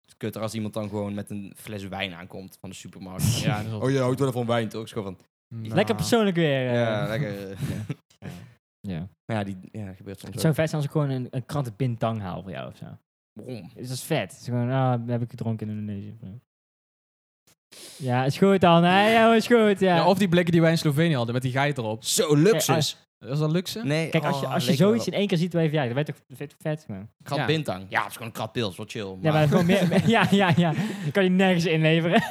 Speaker 1: is kutter als iemand dan gewoon met een fles wijn aankomt van de supermarkt.
Speaker 2: Ja, dat is
Speaker 1: Oh, je houdt wel van wijn, toch? Is gewoon van...
Speaker 2: Nou.
Speaker 3: Mm. Lekker persoonlijk weer. eh.
Speaker 1: Ja, lekker. eh.
Speaker 3: Ja.
Speaker 1: Maar ja, die ja, dat gebeurt soms
Speaker 3: Het
Speaker 1: ook.
Speaker 3: zou vet zijn als ik gewoon een, een krantenpintang haal voor jou of zo.
Speaker 1: Waarom?
Speaker 3: Dus dat is vet. Het is gewoon, ah, heb ik gedronken in Indonesië. Ja, is goed dan. Hè? Ja, is goed. Ja.
Speaker 2: Ja, of die blikken die wij in Slovenië hadden, met die geit erop. Ah,
Speaker 1: Zo, luxus.
Speaker 2: Is dat luxe?
Speaker 1: Nee,
Speaker 3: Kijk, als je,
Speaker 1: oh,
Speaker 3: als je
Speaker 1: leek wel
Speaker 3: zoiets in
Speaker 1: op.
Speaker 3: één keer ziet bij verjaardag, dan weet je toch dat weet je toch vet. Man.
Speaker 1: Krat
Speaker 2: Ja.
Speaker 1: Bintang. Ja, het is gewoon een krat pils, wat chill.
Speaker 3: Ja,
Speaker 1: Maar,
Speaker 3: maar gewoon meer, meer- ja, ja, ja. Dan kan je nergens inleveren.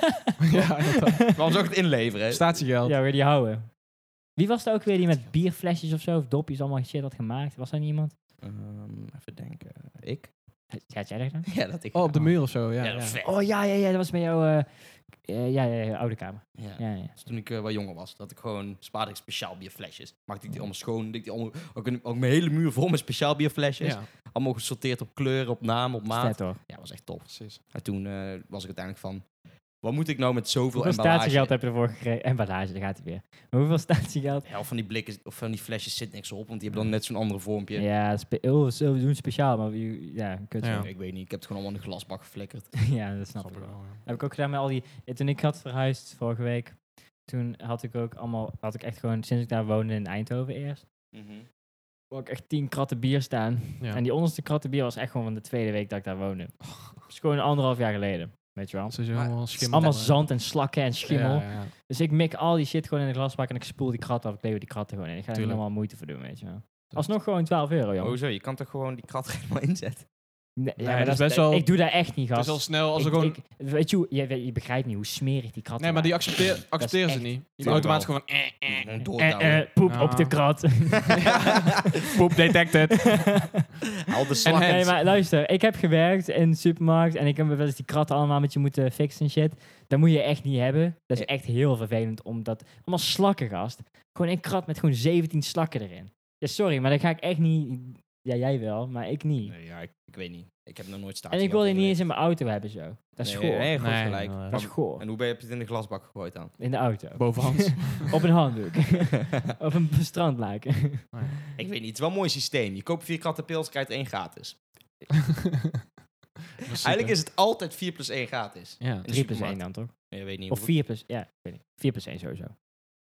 Speaker 2: ja, inderdaad.
Speaker 1: waarom zou ik het inleveren?
Speaker 2: statiegeld.
Speaker 3: Ja, wil je die houden. Wie was het ook weer die met bierflesjes of zo, of dopjes, allemaal shit had gemaakt? Was dat niet iemand?
Speaker 1: Ehm, even denken. Ik?
Speaker 3: Ja, jij dat dan?
Speaker 1: Ja, dat ik.
Speaker 2: Oh, op de muur of zo, ja.
Speaker 1: Ja, dat is vet.
Speaker 3: Oh ja, ja, ja, dat was bij jouw eh, eh, ja, ja, ja, oude kamer.
Speaker 1: Ja.
Speaker 3: Ja, ja.
Speaker 1: Dus toen ik eh, wat jonger was, dat ik gewoon spaarde ik speciaal bierflesjes. Maakte ik die allemaal schoon. deed ik die allemaal, ook, een- ook mijn hele muur vol met speciaal bierflesjes.
Speaker 2: Ja,
Speaker 1: Allemaal gesorteerd op kleur, op naam, op maat.
Speaker 3: Vet hoor.
Speaker 1: Ja, was echt tof.
Speaker 2: precies.
Speaker 1: En toen eh, was ik uiteindelijk van, wat moet ik nou met zoveel
Speaker 3: Hoeveel
Speaker 1: emballage?
Speaker 3: statiegeld heb je ervoor gekregen? Emballage, daar gaat hij weer. Maar hoeveel statiegeld?
Speaker 1: De helft van die blikken of van die flesjes zit niks op, want die hebben dan net zo'n andere vormpje.
Speaker 3: Ja, spe- oh, zo- we doen speciaal, maar we- ja, kut.
Speaker 2: Ja.
Speaker 3: Ja,
Speaker 1: Ik weet niet, ik heb het gewoon allemaal in een glasbak geflikkerd.
Speaker 3: ja dat snap, ik wel. Heb ik ook gedaan met al die... eh, Toen ik had verhuisd vorige week, toen had ik ook allemaal... Had ik echt gewoon, sinds ik daar woonde in Eindhoven eerst, had ik echt tien kratten bier staan.
Speaker 2: Ja.
Speaker 3: En die onderste kratten bier was echt gewoon van de tweede week dat ik daar woonde. Dat is gewoon anderhalf jaar geleden, weet je wel.
Speaker 2: Ze zijn allemaal
Speaker 3: Het is
Speaker 2: schimmel. eh.
Speaker 3: allemaal zand en slakken en schimmel.
Speaker 2: Ja, ja.
Speaker 3: Dus ik mik al die shit gewoon in de glasbak en ik spoel die kratten af. Ik leeuw die kratten gewoon in. Ik ga er
Speaker 2: Tuurlijk.
Speaker 3: helemaal moeite voor doen, weet je wel. Alsnog gewoon 12 euro, joh.
Speaker 1: Hoezo, je kan toch gewoon die krat helemaal inzetten?
Speaker 3: Nee,
Speaker 2: Nee,
Speaker 3: ja, maar
Speaker 2: dat
Speaker 3: dat
Speaker 2: is
Speaker 3: is
Speaker 2: best wel-
Speaker 3: Ik doe daar echt niet,
Speaker 2: Het
Speaker 3: gast.
Speaker 2: is al snel als
Speaker 3: Ik-
Speaker 2: er gewoon...
Speaker 3: ik- weet je, hoe- je, weet- je begrijpt niet hoe smerig die krat
Speaker 2: nee, maar die accepteer, accepteren ze
Speaker 3: echt-
Speaker 2: niet. Die
Speaker 1: Tuurlijk
Speaker 2: automatisch gewoon... Eh, eh,
Speaker 1: Gewoon
Speaker 3: eh,
Speaker 1: doordouwen.
Speaker 3: eh, Poep
Speaker 2: Ja.
Speaker 3: op de krat.
Speaker 2: Ah. Poep detected.
Speaker 1: Al de slag.
Speaker 2: En hij-
Speaker 3: nee, maar luister. Ik heb gewerkt in de supermarkt en ik heb wel eens die kratten allemaal met je moeten fixen en shit. Dat moet je echt niet hebben. Dat is echt heel vervelend, omdat... Allemaal slakken, gast. Gewoon een krat met gewoon 17 slakken erin. Ja, sorry, maar dat ga ik echt niet... Ja, jij wel, maar ik niet.
Speaker 1: Nee, ja, ik, ik weet niet. Ik heb nog nooit staan.
Speaker 3: en ik wil die niet eens in mijn auto hebben, zo. Dat is goor.
Speaker 1: Nee, goed
Speaker 2: Nee,
Speaker 1: gelijk.
Speaker 2: inderdaad.
Speaker 3: Dat is goor.
Speaker 1: En hoe ben je heb je het in de glasbak gegooid dan?
Speaker 3: In de auto.
Speaker 2: Bovenhands.
Speaker 3: Op een handdoek. Op een strandlaken.
Speaker 1: ik weet niet, het is wel een mooi systeem. Je koopt vier kratten pils, krijgt één gratis. Eigenlijk is het altijd 4 plus 1 gratis.
Speaker 2: Ja.
Speaker 3: 3 plus 1 dan toch?
Speaker 1: Ik weet niet.
Speaker 3: Of
Speaker 1: hoeveel-
Speaker 3: 4 plus, ja, ik weet niet. 4 plus 1 sowieso.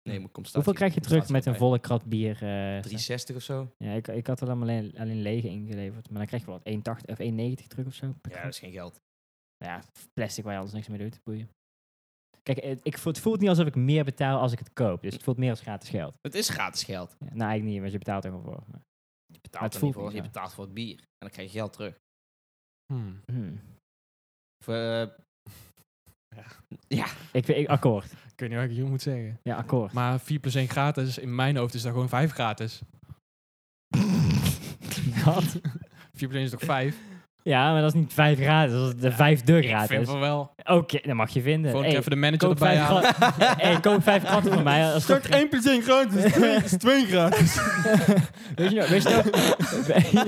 Speaker 1: Nee, moet compensatie-
Speaker 3: Hoeveel krijg je terug
Speaker 1: compensatie
Speaker 3: met een
Speaker 1: erbij.
Speaker 3: volle krat bier? eh,
Speaker 1: 360 of zo?
Speaker 3: ja, ik, ik had er dan alleen, alleen lege ingeleverd. Maar dan krijg je wel 1,80 of 1,90 terug of zo. per
Speaker 1: Ja,
Speaker 3: krat.
Speaker 1: dat is geen geld.
Speaker 3: Nou ja, plastic waar je anders niks mee doet. Boeien. Kijk, het, ik, voel- het voelt niet alsof ik meer betaal als ik het koop. Dus het voelt meer als gratis geld.
Speaker 1: Het is gratis geld.
Speaker 3: Ja, nou, eigenlijk niet, want je betaalt er gewoon voor. Maar,
Speaker 1: Je
Speaker 3: Maar
Speaker 1: betaalt
Speaker 3: het
Speaker 1: er
Speaker 3: voelt
Speaker 1: niet voor.
Speaker 3: niet
Speaker 1: Je
Speaker 3: zo.
Speaker 1: betaalt voor het bier. En dan krijg je geld terug.
Speaker 2: Hmm.
Speaker 3: hmm.
Speaker 1: Of, eh,
Speaker 3: ik, ik, akkoord.
Speaker 2: Ik weet niet wat ik hier moet zeggen.
Speaker 3: Ja, akkoord.
Speaker 2: Maar 4 plus 1 gratis, in mijn hoofd is dat gewoon 5 gratis.
Speaker 3: Wat?
Speaker 2: 4 plus 1 is toch 5?
Speaker 3: Ja, maar dat is niet vijf gratis. Dat is de vijfde
Speaker 2: Ik vind
Speaker 3: gratis.
Speaker 2: van wel.
Speaker 3: Oké, dat mag je vinden.
Speaker 2: Gewoon
Speaker 3: Hey,
Speaker 2: even de manager
Speaker 3: koop
Speaker 2: erbij
Speaker 3: vijf
Speaker 2: halen.
Speaker 3: gra- Oh. Hey, koop vijf kratten voor mij. Als dat-
Speaker 2: 1 plus 1 gratis,
Speaker 3: twee- is
Speaker 2: 2 gratis.
Speaker 3: Weet je nog? Weet je nou-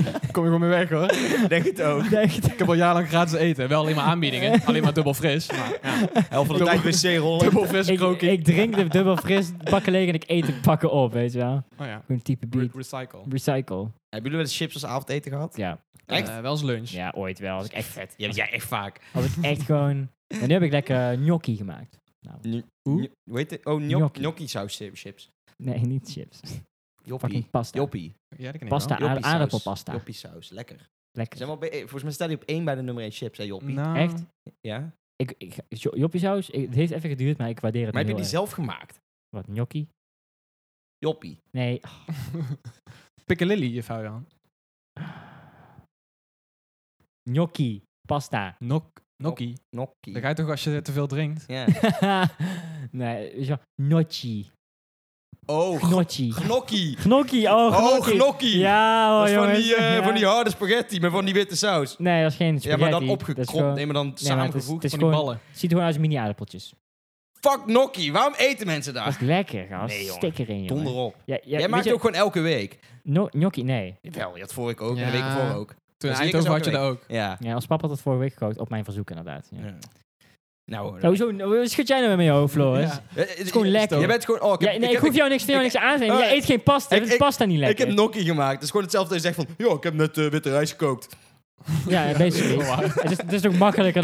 Speaker 3: nog?
Speaker 2: Kom je gewoon mee weg hoor.
Speaker 1: denk het ook.
Speaker 2: Ik heb al jarenlang gratis eten. Wel alleen maar aanbiedingen. Alleen maar dubbel fris. Maar, ja.
Speaker 1: Helft van de tijd wc-rollen.
Speaker 2: Dubbel fris
Speaker 3: ik,
Speaker 2: kroken.
Speaker 3: ik drink de dubbel fris pakken leeg en ik eet de pakken op, weet je wel.
Speaker 2: oh ja.
Speaker 3: Gewoon type
Speaker 2: Re-
Speaker 3: beat.
Speaker 2: recycle.
Speaker 3: Recycle.
Speaker 1: Hebben jullie wel eens chips als avondeten gehad?
Speaker 3: Ja.
Speaker 1: Echt?
Speaker 2: Eh, wel eens lunch.
Speaker 3: ja, ooit wel. Als ik echt vet.
Speaker 1: Ja, ja, echt vaak.
Speaker 3: Als ik echt gewoon... Maar nu heb ik lekker gnocchi gemaakt.
Speaker 2: Hoe?
Speaker 1: Hoe heet het? Oh,
Speaker 3: Gnocchi.
Speaker 1: gnocchi saus chips.
Speaker 3: Nee, niet chips.
Speaker 1: Joppie.
Speaker 3: Fucking pasta.
Speaker 1: Joppie.
Speaker 2: Ja, dat ken ik
Speaker 3: Pasta,
Speaker 1: Joppie
Speaker 3: aard-
Speaker 1: saus.
Speaker 3: aardappelpasta.
Speaker 1: Joppie saus. Lekker. Zijn
Speaker 3: Lekker.
Speaker 1: we al bij- eh, volgens mij staat hij op één bij de nummer 1 chips, hè
Speaker 2: wel.
Speaker 1: Joppie?
Speaker 2: Nou,
Speaker 3: Echt?
Speaker 1: Ja.
Speaker 3: Ik, ik, jo- joppiesaus, ik- het heeft even geduurd, maar ik waardeer het
Speaker 1: Maar heb je
Speaker 3: heel
Speaker 1: die
Speaker 3: erg.
Speaker 1: zelf gemaakt?
Speaker 3: Wat, gnocchi?
Speaker 1: Joppie.
Speaker 3: Nee. ah,
Speaker 2: Piccalilli, je vuil aan.
Speaker 3: Gnocchi. Pasta.
Speaker 2: Nok, nokkie.
Speaker 1: Gnocchi.
Speaker 2: Dan ga je toch als je te veel drinkt?
Speaker 1: Ja.
Speaker 3: nee, weet je wel, gnocchi.
Speaker 1: Oh, gno-
Speaker 3: Gnocchi.
Speaker 1: gnocchi.
Speaker 3: Gnocchi, oh,
Speaker 1: Oh,
Speaker 3: gnocchi.
Speaker 1: gnocchi.
Speaker 3: Ja, hoor,
Speaker 1: dat is van
Speaker 3: jongens.
Speaker 1: die, eh,
Speaker 3: Ja.
Speaker 1: van die harde spaghetti met van die witte saus.
Speaker 3: Nee, dat is geen spaghetti.
Speaker 1: Ja, maar dan
Speaker 3: Dat
Speaker 1: opgekropt.
Speaker 3: is gewoon-
Speaker 1: Nee, maar dan
Speaker 3: maar het is-
Speaker 1: samengevoegd.
Speaker 3: het is
Speaker 2: Van die
Speaker 3: gewoon-
Speaker 2: ballen.
Speaker 3: ziet er gewoon uit als mini-aardappeltjes.
Speaker 1: Ah. Fuck gnocchi. Waarom eten mensen
Speaker 3: Dat
Speaker 1: daar?
Speaker 3: is lekker, gast.
Speaker 1: Nee, jongen.
Speaker 3: Stik erin, jongen.
Speaker 1: Donder op.
Speaker 3: Ja, ja,
Speaker 1: Jij
Speaker 3: weet
Speaker 1: maakt
Speaker 3: je-
Speaker 1: het ook gewoon elke week.
Speaker 3: No- gnocchi, nee.
Speaker 1: Jawel, je had vorige week ook.
Speaker 2: Ja.
Speaker 1: En de week ervoor ook.
Speaker 2: Toen in
Speaker 1: Dat is
Speaker 2: Eindhoven had
Speaker 1: lekker
Speaker 2: je dat ook.
Speaker 1: Ja.
Speaker 3: Ja, als papa had dat vorige week gekookt, op mijn verzoek inderdaad. Ja.
Speaker 1: Ja. Nou hoor.
Speaker 3: Nou, hoezo, nou, wat schud jij nou weer met je hoofd, Floris?
Speaker 2: Ja.
Speaker 1: Eh, eh,
Speaker 3: is gewoon
Speaker 1: je-
Speaker 3: lekker.
Speaker 1: Je bent gewoon... Oh, ik
Speaker 3: Ja,
Speaker 1: heb,
Speaker 3: nee, ik,
Speaker 1: ik, heb,
Speaker 3: hoef jou niks, vind jou niks aan te zeggen.
Speaker 1: eh,
Speaker 3: Jij eet geen pasta,
Speaker 1: ik-
Speaker 3: ik,
Speaker 1: ik-
Speaker 3: pasta niet
Speaker 1: ik
Speaker 3: lekker.
Speaker 1: heb gnocchi gemaakt. Het is gewoon hetzelfde als je zegt van... Yo, ik heb net eh, witte rijst gekookt. Ik
Speaker 3: Ja, basically.
Speaker 2: Ja.
Speaker 3: het, is, het is ook makkelijker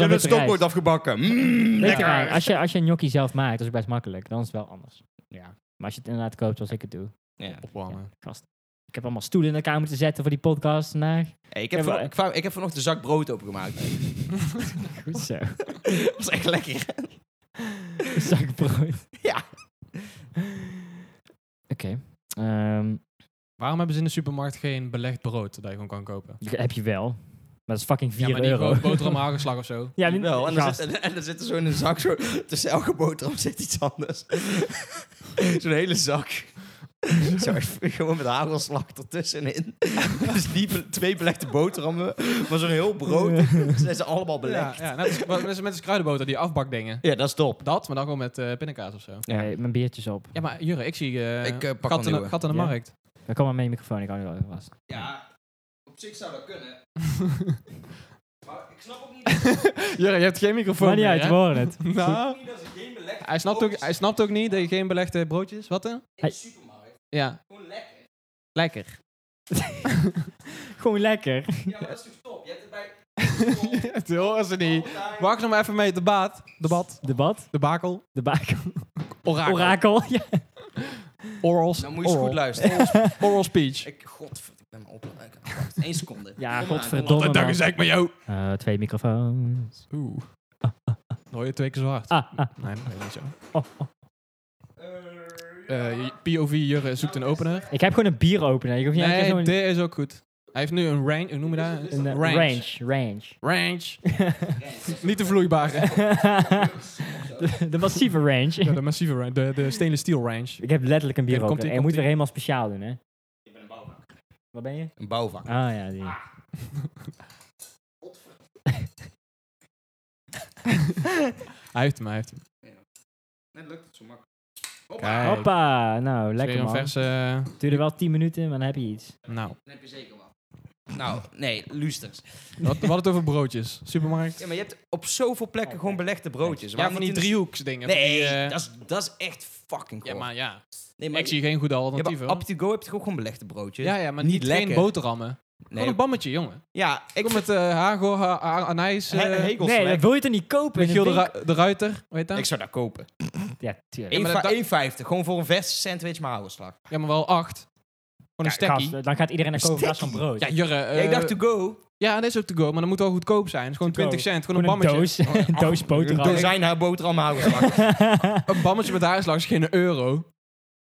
Speaker 1: heb
Speaker 3: dan
Speaker 1: net
Speaker 3: witte rijst.
Speaker 1: stokbrood afgebakken. Mm,
Speaker 3: Witte
Speaker 1: lekker.
Speaker 3: rijst. Als je, als je een gnocchi zelf maakt, dat is best makkelijk. Dan is het wel anders.
Speaker 1: Ja.
Speaker 3: Maar als je het inderdaad koopt zoals ik het doe.
Speaker 1: Ja.
Speaker 2: Opwarmen.
Speaker 3: Gast, ik heb allemaal stoelen in elkaar moeten zetten voor die podcast vandaag.
Speaker 1: Hey, ik, heb
Speaker 3: Ja, maar-
Speaker 1: vano- ik, wou- ik heb vanochtend een zak brood opengemaakt.
Speaker 3: Goed zo.
Speaker 1: dat was echt lekker.
Speaker 3: Zakbrood.
Speaker 1: Ja.
Speaker 3: Oké. Ehm,
Speaker 2: Waarom hebben ze in de supermarkt geen belegd brood dat je gewoon kan kopen?
Speaker 3: die heb je wel. Maar dat is fucking 4
Speaker 2: ja, maar die
Speaker 3: euro.
Speaker 2: gewoon boterham hagelslag of zo.
Speaker 3: ja, die-
Speaker 1: Wel, en dan
Speaker 3: gast.
Speaker 1: zit, en, dan zit er zo in een zak, zo, tussen elke boterham zit iets anders. Zo'n hele zak. zo, even- gewoon met hagelslag ertussenin. dus niet be- twee belegde boterhammen, maar zo'n heel brood. Ze zijn ze allemaal belegd.
Speaker 2: Ja, ja, net als, wat- net als- net als kruidenboter, die afbakdingen.
Speaker 1: Ja, dat is top.
Speaker 2: Dat, maar dan gewoon met eh pindakaas of zo.
Speaker 1: Ja.
Speaker 3: Nee, mijn biertjes op.
Speaker 2: Ja, maar Jure, ik zie eh
Speaker 1: Ik, eh, pak
Speaker 2: gat,
Speaker 1: een
Speaker 2: in de,
Speaker 1: nieuwe.
Speaker 2: gat in de
Speaker 3: Ja.
Speaker 2: markt.
Speaker 3: Dan kom maar met je microfoon, ik hou niet wel vast.
Speaker 1: Ja, op zich zou dat kunnen. maar ik snap ook niet,
Speaker 2: Jure, je hebt geen microfoon
Speaker 3: Maar niet uit, we
Speaker 2: meer,
Speaker 3: horen het.
Speaker 2: hè? Nou,
Speaker 1: niet dat ze geen belegde
Speaker 2: hij, snapt ook, hij snapt ook niet dat je geen belegde broodjes... Wat dan?
Speaker 3: Hij-
Speaker 1: supermarkt.
Speaker 2: Ja,
Speaker 1: Gewoon lekker.
Speaker 2: lekker.
Speaker 3: Gewoon lekker.
Speaker 1: Ja, maar dat is toch top. Je hebt het bij...
Speaker 2: Het horen ze niet. Wacht nog maar even mee, de baat. De bad.
Speaker 3: Debat,
Speaker 2: De bakel.
Speaker 3: de bakel,
Speaker 2: Orakel.
Speaker 3: orakel. Ja.
Speaker 2: Orals.
Speaker 1: Dan moet je eens goed
Speaker 2: oral.
Speaker 1: luisteren.
Speaker 2: Oral speech.
Speaker 1: Ik, godverd, ik ben me opgeruiken. Wacht, één seconde.
Speaker 3: Ja,
Speaker 1: Kom maar,
Speaker 3: godverdomme.
Speaker 1: kom
Speaker 2: Wat
Speaker 1: maar.
Speaker 2: Oh, dank is ik met jou?
Speaker 3: Eh, twee microfoons.
Speaker 2: Oeh. Hoor je twee keer zo hard?
Speaker 3: Ah, ah.
Speaker 2: Nee, dat weet niet zo.
Speaker 3: Oh, oh.
Speaker 1: Eh,
Speaker 2: Eh, POV Jurre zoekt een opener.
Speaker 3: Ik heb gewoon een bieropener. Ik hoef niet eens
Speaker 2: Nee,
Speaker 3: zo'n-
Speaker 2: dit is ook goed. Hij heeft nu een range, hoe noem je dat?
Speaker 3: een eh,
Speaker 2: range.
Speaker 3: range. range.
Speaker 2: Range. Niet de vloeibare.
Speaker 3: de, de massieve range.
Speaker 2: Ja, de massieve range, de, de stainless steel range.
Speaker 3: Ik heb letterlijk een
Speaker 2: Oké, dan komt-ie,
Speaker 3: bieropener. Je moet
Speaker 2: komt-ie.
Speaker 3: weer helemaal speciaal doen, hè?
Speaker 1: Ik ben een bouwvakker.
Speaker 3: Wat ben je?
Speaker 1: Een bouwvakker.
Speaker 3: Ah ja, die.
Speaker 2: Hij heeft hem, hij heeft hem.
Speaker 1: Net lukt het zo makkelijk.
Speaker 2: Kijk,
Speaker 3: Hoppa, nou
Speaker 2: Lekker
Speaker 3: lekker
Speaker 2: een
Speaker 3: man.
Speaker 2: verse... eh,
Speaker 3: Het duurde wel 10 minuten, maar dan heb je iets.
Speaker 2: nou,
Speaker 1: Dan heb je zeker wat. Nou, nee, luisters.
Speaker 2: wat, wat het over broodjes. Supermarkt.
Speaker 1: Ja, maar je hebt op zoveel plekken
Speaker 3: Oh,
Speaker 1: gewoon
Speaker 3: kijk.
Speaker 1: belegde broodjes.
Speaker 2: Ja,
Speaker 1: Waarom
Speaker 2: van die
Speaker 1: niet in
Speaker 2: driehoeksdingen.
Speaker 1: de-
Speaker 2: van die,
Speaker 1: Nee,
Speaker 2: eh,
Speaker 1: dat, is, dat is echt fucking
Speaker 2: Ja,
Speaker 1: goor.
Speaker 2: maar ja.
Speaker 1: nee,
Speaker 2: Ik zie geen goede alternatieven.
Speaker 1: ja, maar Up to Go heb je toch ook gewoon belegde broodjes?
Speaker 2: ja, ja, maar
Speaker 1: niet
Speaker 2: niet, geen
Speaker 1: lekker.
Speaker 2: boterhammen. Gewoon
Speaker 1: nee,
Speaker 2: een bammetje, jongen.
Speaker 1: ja ik
Speaker 2: Ik kom
Speaker 1: vind
Speaker 2: met eh hagel, ha- ha- anijs, eh,
Speaker 1: He- Hegels
Speaker 3: Nee, dat
Speaker 1: lekker.
Speaker 3: wil je toch niet kopen?
Speaker 2: met
Speaker 3: in een
Speaker 2: Giel de,
Speaker 3: winkel?
Speaker 2: Ru- de Ruiter, weet je
Speaker 1: Ik
Speaker 2: dat?
Speaker 1: zou dat kopen.
Speaker 3: Ja, tuurlijk.
Speaker 2: Ja, maar dat-
Speaker 1: 1,50. Gewoon voor een verse sandwich met hagelslag.
Speaker 2: Ja, maar wel acht. Gewoon een
Speaker 1: Ja,
Speaker 2: stekkie.
Speaker 3: Gast, dan gaat iedereen naar
Speaker 1: Een
Speaker 3: kopen in plaats van
Speaker 1: stekkie.
Speaker 3: brood.
Speaker 2: Ja, Jurre.
Speaker 1: Ja, ik
Speaker 2: eh,
Speaker 1: dacht to go.
Speaker 2: Ja, dat is ook to go, maar dat moet wel goedkoop zijn. Het is gewoon
Speaker 3: To go.
Speaker 2: 20 cent, gewoon,
Speaker 3: Gewoon
Speaker 2: een
Speaker 3: een
Speaker 2: bammetje.
Speaker 1: Oh,
Speaker 3: doos. Een doos boterham.
Speaker 1: Er zijn haar boterham houden.
Speaker 2: Een bammetje met haarslag is geen euro.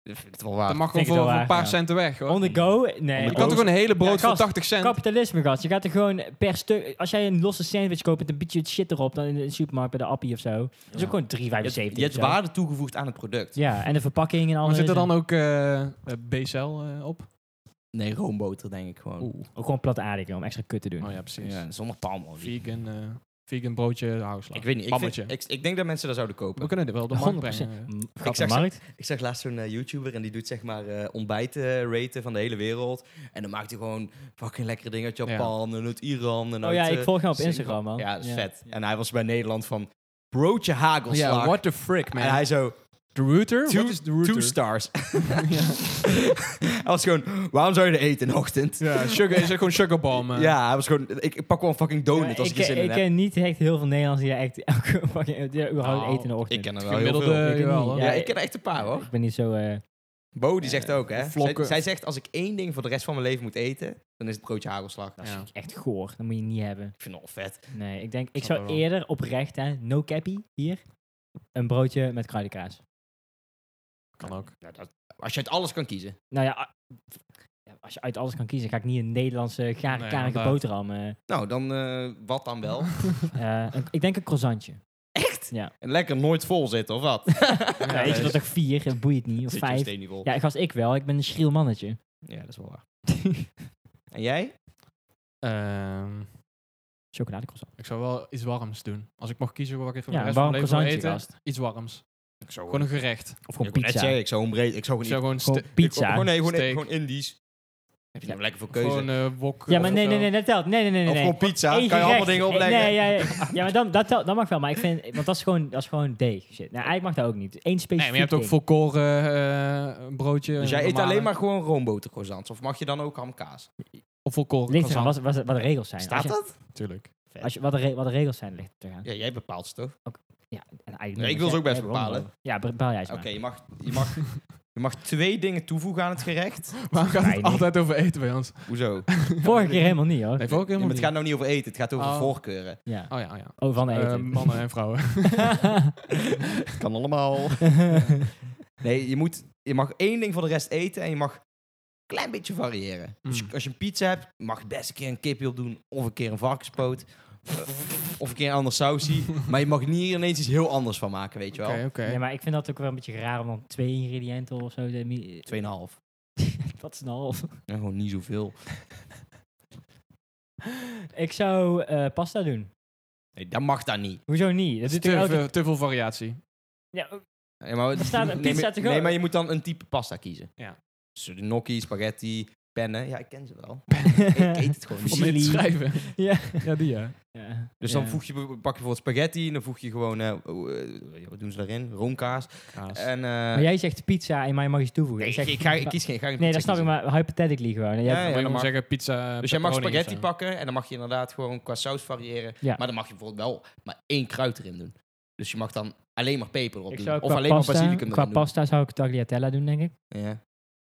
Speaker 1: Het is Ah, wel
Speaker 2: Dat
Speaker 1: waar.
Speaker 2: mag
Speaker 3: Vind
Speaker 2: gewoon
Speaker 3: ik wel
Speaker 2: voor, voor een
Speaker 3: waar,
Speaker 2: paar
Speaker 3: ja.
Speaker 2: centen weg. Hoor.
Speaker 3: On the go? Nee.
Speaker 1: On
Speaker 2: Je
Speaker 1: the
Speaker 2: kan toch
Speaker 1: go.
Speaker 2: een hele brood
Speaker 3: Ja,
Speaker 2: voor
Speaker 3: gast,
Speaker 2: 80 cent.
Speaker 3: Kapitalisme, gast. Je gaat er gewoon per stuk... Als jij een losse sandwich koopt met een beetje shit erop... dan in de supermarkt bij de appie of zo... dat is ook gewoon 3,75
Speaker 1: Je hebt, je
Speaker 3: of
Speaker 1: hebt
Speaker 3: zo.
Speaker 1: waarde toegevoegd aan het product.
Speaker 3: Ja, en de verpakking en alles.
Speaker 2: Maar zit er
Speaker 3: en-
Speaker 2: dan ook eh eh, BCL eh, op?
Speaker 1: Nee, roomboter denk ik gewoon.
Speaker 2: Oeh.
Speaker 3: Ook gewoon plat aardig om extra kut te doen.
Speaker 2: Oh ja, precies.
Speaker 1: Ja, zonder palmolie.
Speaker 2: Vegan, eh, vegan broodje, houtslag.
Speaker 1: Ik weet niet. Ik, vind-
Speaker 2: Bammetje.
Speaker 1: ik, ik denk dat mensen dat zouden kopen.
Speaker 2: We kunnen dit wel op de markt
Speaker 3: 100%.
Speaker 2: brengen.
Speaker 3: M- gat
Speaker 1: Ik
Speaker 3: de
Speaker 1: zeg-
Speaker 3: markt.
Speaker 1: Ik zag laatst zo'n eh, YouTuber en die doet zeg maar eh ontbijten raten van de hele wereld. En dan maakt hij gewoon fucking lekkere dingen uit Japan en uit Iran. En
Speaker 3: Oh
Speaker 1: uit,
Speaker 3: ja, ik
Speaker 1: eh,
Speaker 3: volg hem op
Speaker 1: Singapore.
Speaker 3: Instagram, man.
Speaker 1: Ja, dat is vet. En hij was bij Nederland van broodje hagelslag.
Speaker 2: Oh Ja, what the frick, man.
Speaker 1: en hij zo,
Speaker 2: de router?
Speaker 1: two,
Speaker 2: Wat is de router?
Speaker 1: two stars. hij was gewoon, waarom zou je er eten in de ochtend?
Speaker 2: Ja, sugar, is het gewoon sugarbomb. eh.
Speaker 1: Ja, hij was gewoon, ik, ik pak wel een fucking donut
Speaker 3: Ja,
Speaker 1: als ik,
Speaker 3: ik,
Speaker 1: er zin
Speaker 3: ken-
Speaker 1: in
Speaker 3: ik
Speaker 1: heb.
Speaker 3: ken niet echt heel veel Nederlanders die daar echt elke fucking die daar überhaupt
Speaker 2: Nou,
Speaker 3: eten in de ochtend.
Speaker 1: Ik ken er wel heel
Speaker 2: Gemiddelde,
Speaker 1: veel.
Speaker 3: Ik weet
Speaker 2: jawel,
Speaker 3: niet,
Speaker 2: hoor.
Speaker 1: Ja,
Speaker 3: ja,
Speaker 1: ik ken er echt een paar hoor.
Speaker 3: Ik ben niet zo. eh,
Speaker 1: Bo die zegt ook hè. Zij,
Speaker 2: vlokken.
Speaker 1: zij zegt als ik één ding voor de rest van mijn leven moet eten, dan is het broodje hagelslag. Nou,
Speaker 3: dat is
Speaker 2: Ja.
Speaker 3: echt goor. Dat moet je niet hebben.
Speaker 1: Ik vind het wel vet.
Speaker 3: Nee, ik denk, ik
Speaker 2: Snap
Speaker 3: zou
Speaker 2: ik wel.
Speaker 3: eerder oprecht, hè, no cappy hier, een broodje met kruidenkaas.
Speaker 2: Kan ook.
Speaker 1: Nou, dat, als je uit alles kan kiezen.
Speaker 3: Nou ja, a- ja, als je uit alles kan kiezen, ga ik niet een Nederlandse gare,
Speaker 2: Nee,
Speaker 3: karige
Speaker 2: inderdaad.
Speaker 3: boterham. eh,
Speaker 1: Nou, dan eh, wat dan wel?
Speaker 3: eh, een- ik denk een croissantje. Echt? Ja.
Speaker 1: En lekker nooit vol zitten, of wat?
Speaker 2: Ja,
Speaker 3: Ja, weet je,
Speaker 2: dat
Speaker 3: dat
Speaker 2: is-
Speaker 3: toch vier, eh, boeit niet, of
Speaker 1: Zit je nog
Speaker 3: vijf.
Speaker 1: steeds niet vol.
Speaker 3: Ja, gast, ik wel. Ik ben een schriel mannetje.
Speaker 1: Ja, dat is wel waar. en jij?
Speaker 2: Ehm,
Speaker 3: Chocoladecroissant.
Speaker 2: ik zou wel iets warms doen. Als ik mag kiezen wat ik voor de
Speaker 3: Ja, een
Speaker 2: rest van
Speaker 3: warm
Speaker 2: mijn leven wil
Speaker 3: croissantje,
Speaker 2: eten, iets warms.
Speaker 1: Ik zou
Speaker 2: Gewoon een gerecht.
Speaker 3: Of
Speaker 1: Oh. gewoon
Speaker 3: gewoon pizza.
Speaker 1: Ik zou gewoon breed. Ik zou
Speaker 2: Ik
Speaker 1: gewoon
Speaker 2: zou
Speaker 1: niet-
Speaker 2: gewoon,
Speaker 3: Gewoon
Speaker 2: ste-
Speaker 1: ik-
Speaker 3: pizza.
Speaker 1: Gewoon, nee, gewoon,
Speaker 2: Steak.
Speaker 1: gewoon Indisch. Heb je nou lekker veel keuze?
Speaker 2: gewoon eh, wok.
Speaker 3: Ja,
Speaker 2: of
Speaker 3: maar nee,
Speaker 2: zo.
Speaker 3: nee, nee, dat telt. Nee, nee, nee, nee.
Speaker 1: of
Speaker 3: eh, nee.
Speaker 1: gewoon pizza.
Speaker 3: Eén
Speaker 1: kan je allemaal
Speaker 3: gerecht.
Speaker 1: dingen
Speaker 3: Eh,
Speaker 1: opleggen.
Speaker 3: Nee, ja, ja, ja, maar dan, dat, telt- dat mag wel. Maar ik vind, want dat is gewoon, dat is gewoon deeg. Shit. Nou, eigenlijk mag dat ook niet. Eén specifiek
Speaker 2: Nee, maar je hebt ook
Speaker 3: ding.
Speaker 2: volkoren eh, eh, broodje.
Speaker 1: Dus jij
Speaker 2: een
Speaker 1: eet alleen
Speaker 2: normale-
Speaker 1: maar gewoon roomboter croissants? Of mag je dan ook hamkaas?
Speaker 2: Of volkoren
Speaker 3: Ligt eraan
Speaker 2: croissant.
Speaker 3: wat, wat, wat de regels zijn.
Speaker 1: Staat
Speaker 3: als je,
Speaker 1: dat?
Speaker 2: Natuurlijk.
Speaker 3: Als je, wat, de re- wat de regels zijn, ligt er aan.
Speaker 1: Ja, jij bepaalt het toch?
Speaker 3: Ja,
Speaker 1: ik wil ze ook best bepalen.
Speaker 3: Ja, bepaal jij ze
Speaker 1: Oké,
Speaker 3: maar.
Speaker 1: je, mag, je, mag, je mag twee dingen toevoegen aan het gerecht.
Speaker 2: Waarom gaat het
Speaker 3: Weinig.
Speaker 2: altijd over eten bij ons?
Speaker 1: Hoezo?
Speaker 3: Vorige keer helemaal niet, hoor.
Speaker 2: Nee, vond ik
Speaker 1: Ja, maar
Speaker 2: helemaal
Speaker 1: het
Speaker 2: niet.
Speaker 1: gaat nou niet over eten, het gaat over
Speaker 2: Oh.
Speaker 1: voorkeuren.
Speaker 3: Ja.
Speaker 2: Oh ja, oh, ja.
Speaker 3: Oh, van de
Speaker 2: Eh,
Speaker 3: eten.
Speaker 2: mannen en vrouwen.
Speaker 1: Het kan allemaal. Nee, je, moet, je mag één ding voor de rest eten en je mag een klein beetje variëren. Dus
Speaker 2: Mm.
Speaker 1: als je een pizza hebt, mag je best een keer een kipje op doen. Of een keer een varkenspoot. of een keer een ander sausie. maar je mag niet ineens iets heel anders van maken, weet je wel.
Speaker 2: Oké, oké.
Speaker 3: Nee, maar ik vind dat ook wel een beetje raar om dan twee ingrediënten of zo... te mi-
Speaker 1: Tweeënhalf.
Speaker 3: Wat is nou? een half?
Speaker 1: Ja, gewoon niet zoveel.
Speaker 3: Ik zou eh, pasta doen.
Speaker 1: Nee, dat mag dan niet.
Speaker 3: Hoezo niet? Dat
Speaker 2: Het
Speaker 3: is
Speaker 2: is
Speaker 3: natuurlijk
Speaker 2: te,
Speaker 3: elke...
Speaker 2: veel- te veel variatie.
Speaker 3: Ja, ook-
Speaker 1: Nee, maar,
Speaker 3: Er staat een
Speaker 1: nee,
Speaker 3: pizza
Speaker 1: maar-
Speaker 3: te go.
Speaker 1: Nee, maar je moet dan een type pasta kiezen.
Speaker 2: Ja.
Speaker 1: Dus de gnocchi, spaghetti, pennen. Ja, ik ken ze wel. ik eet het gewoon
Speaker 2: Om
Speaker 1: niet.
Speaker 2: mee te
Speaker 3: Chili.
Speaker 2: schrijven.
Speaker 3: ja.
Speaker 2: Ja, die ja.
Speaker 3: Ja.
Speaker 1: Dus
Speaker 3: Ja.
Speaker 1: dan voeg je, pak je bijvoorbeeld spaghetti en dan voeg je gewoon, eh, oh, eh, wat doen ze daarin? Roomkaas. En, eh,
Speaker 3: Maar jij zegt pizza en maar je mag iets toevoegen.
Speaker 1: nee,
Speaker 3: ik,
Speaker 1: ik,
Speaker 3: zeg,
Speaker 1: ik ga, ik kies geen. Ik ga geen
Speaker 3: Nee,
Speaker 1: pizza
Speaker 3: dat snap ik,
Speaker 1: kiezen.
Speaker 3: maar hypothetically gewoon. Jij-
Speaker 1: Ja, ja.
Speaker 2: dan
Speaker 1: dat
Speaker 2: moet
Speaker 1: mag.
Speaker 2: je zeggen pizza.
Speaker 1: Dus jij mag
Speaker 2: pepperoni
Speaker 1: spaghetti
Speaker 2: of zo.
Speaker 1: pakken en dan mag je inderdaad gewoon qua saus variëren.
Speaker 3: Ja.
Speaker 1: Maar dan mag je bijvoorbeeld wel maar één kruid erin doen. Dus je mag dan alleen maar peper erop
Speaker 3: Ik
Speaker 1: doen.
Speaker 3: zou
Speaker 1: Of
Speaker 3: qua
Speaker 1: alleen
Speaker 3: pasta,
Speaker 1: maar basilicum
Speaker 3: Qua
Speaker 1: erin doen.
Speaker 3: pasta zou ik tagliatella doen, denk ik.
Speaker 1: Ja.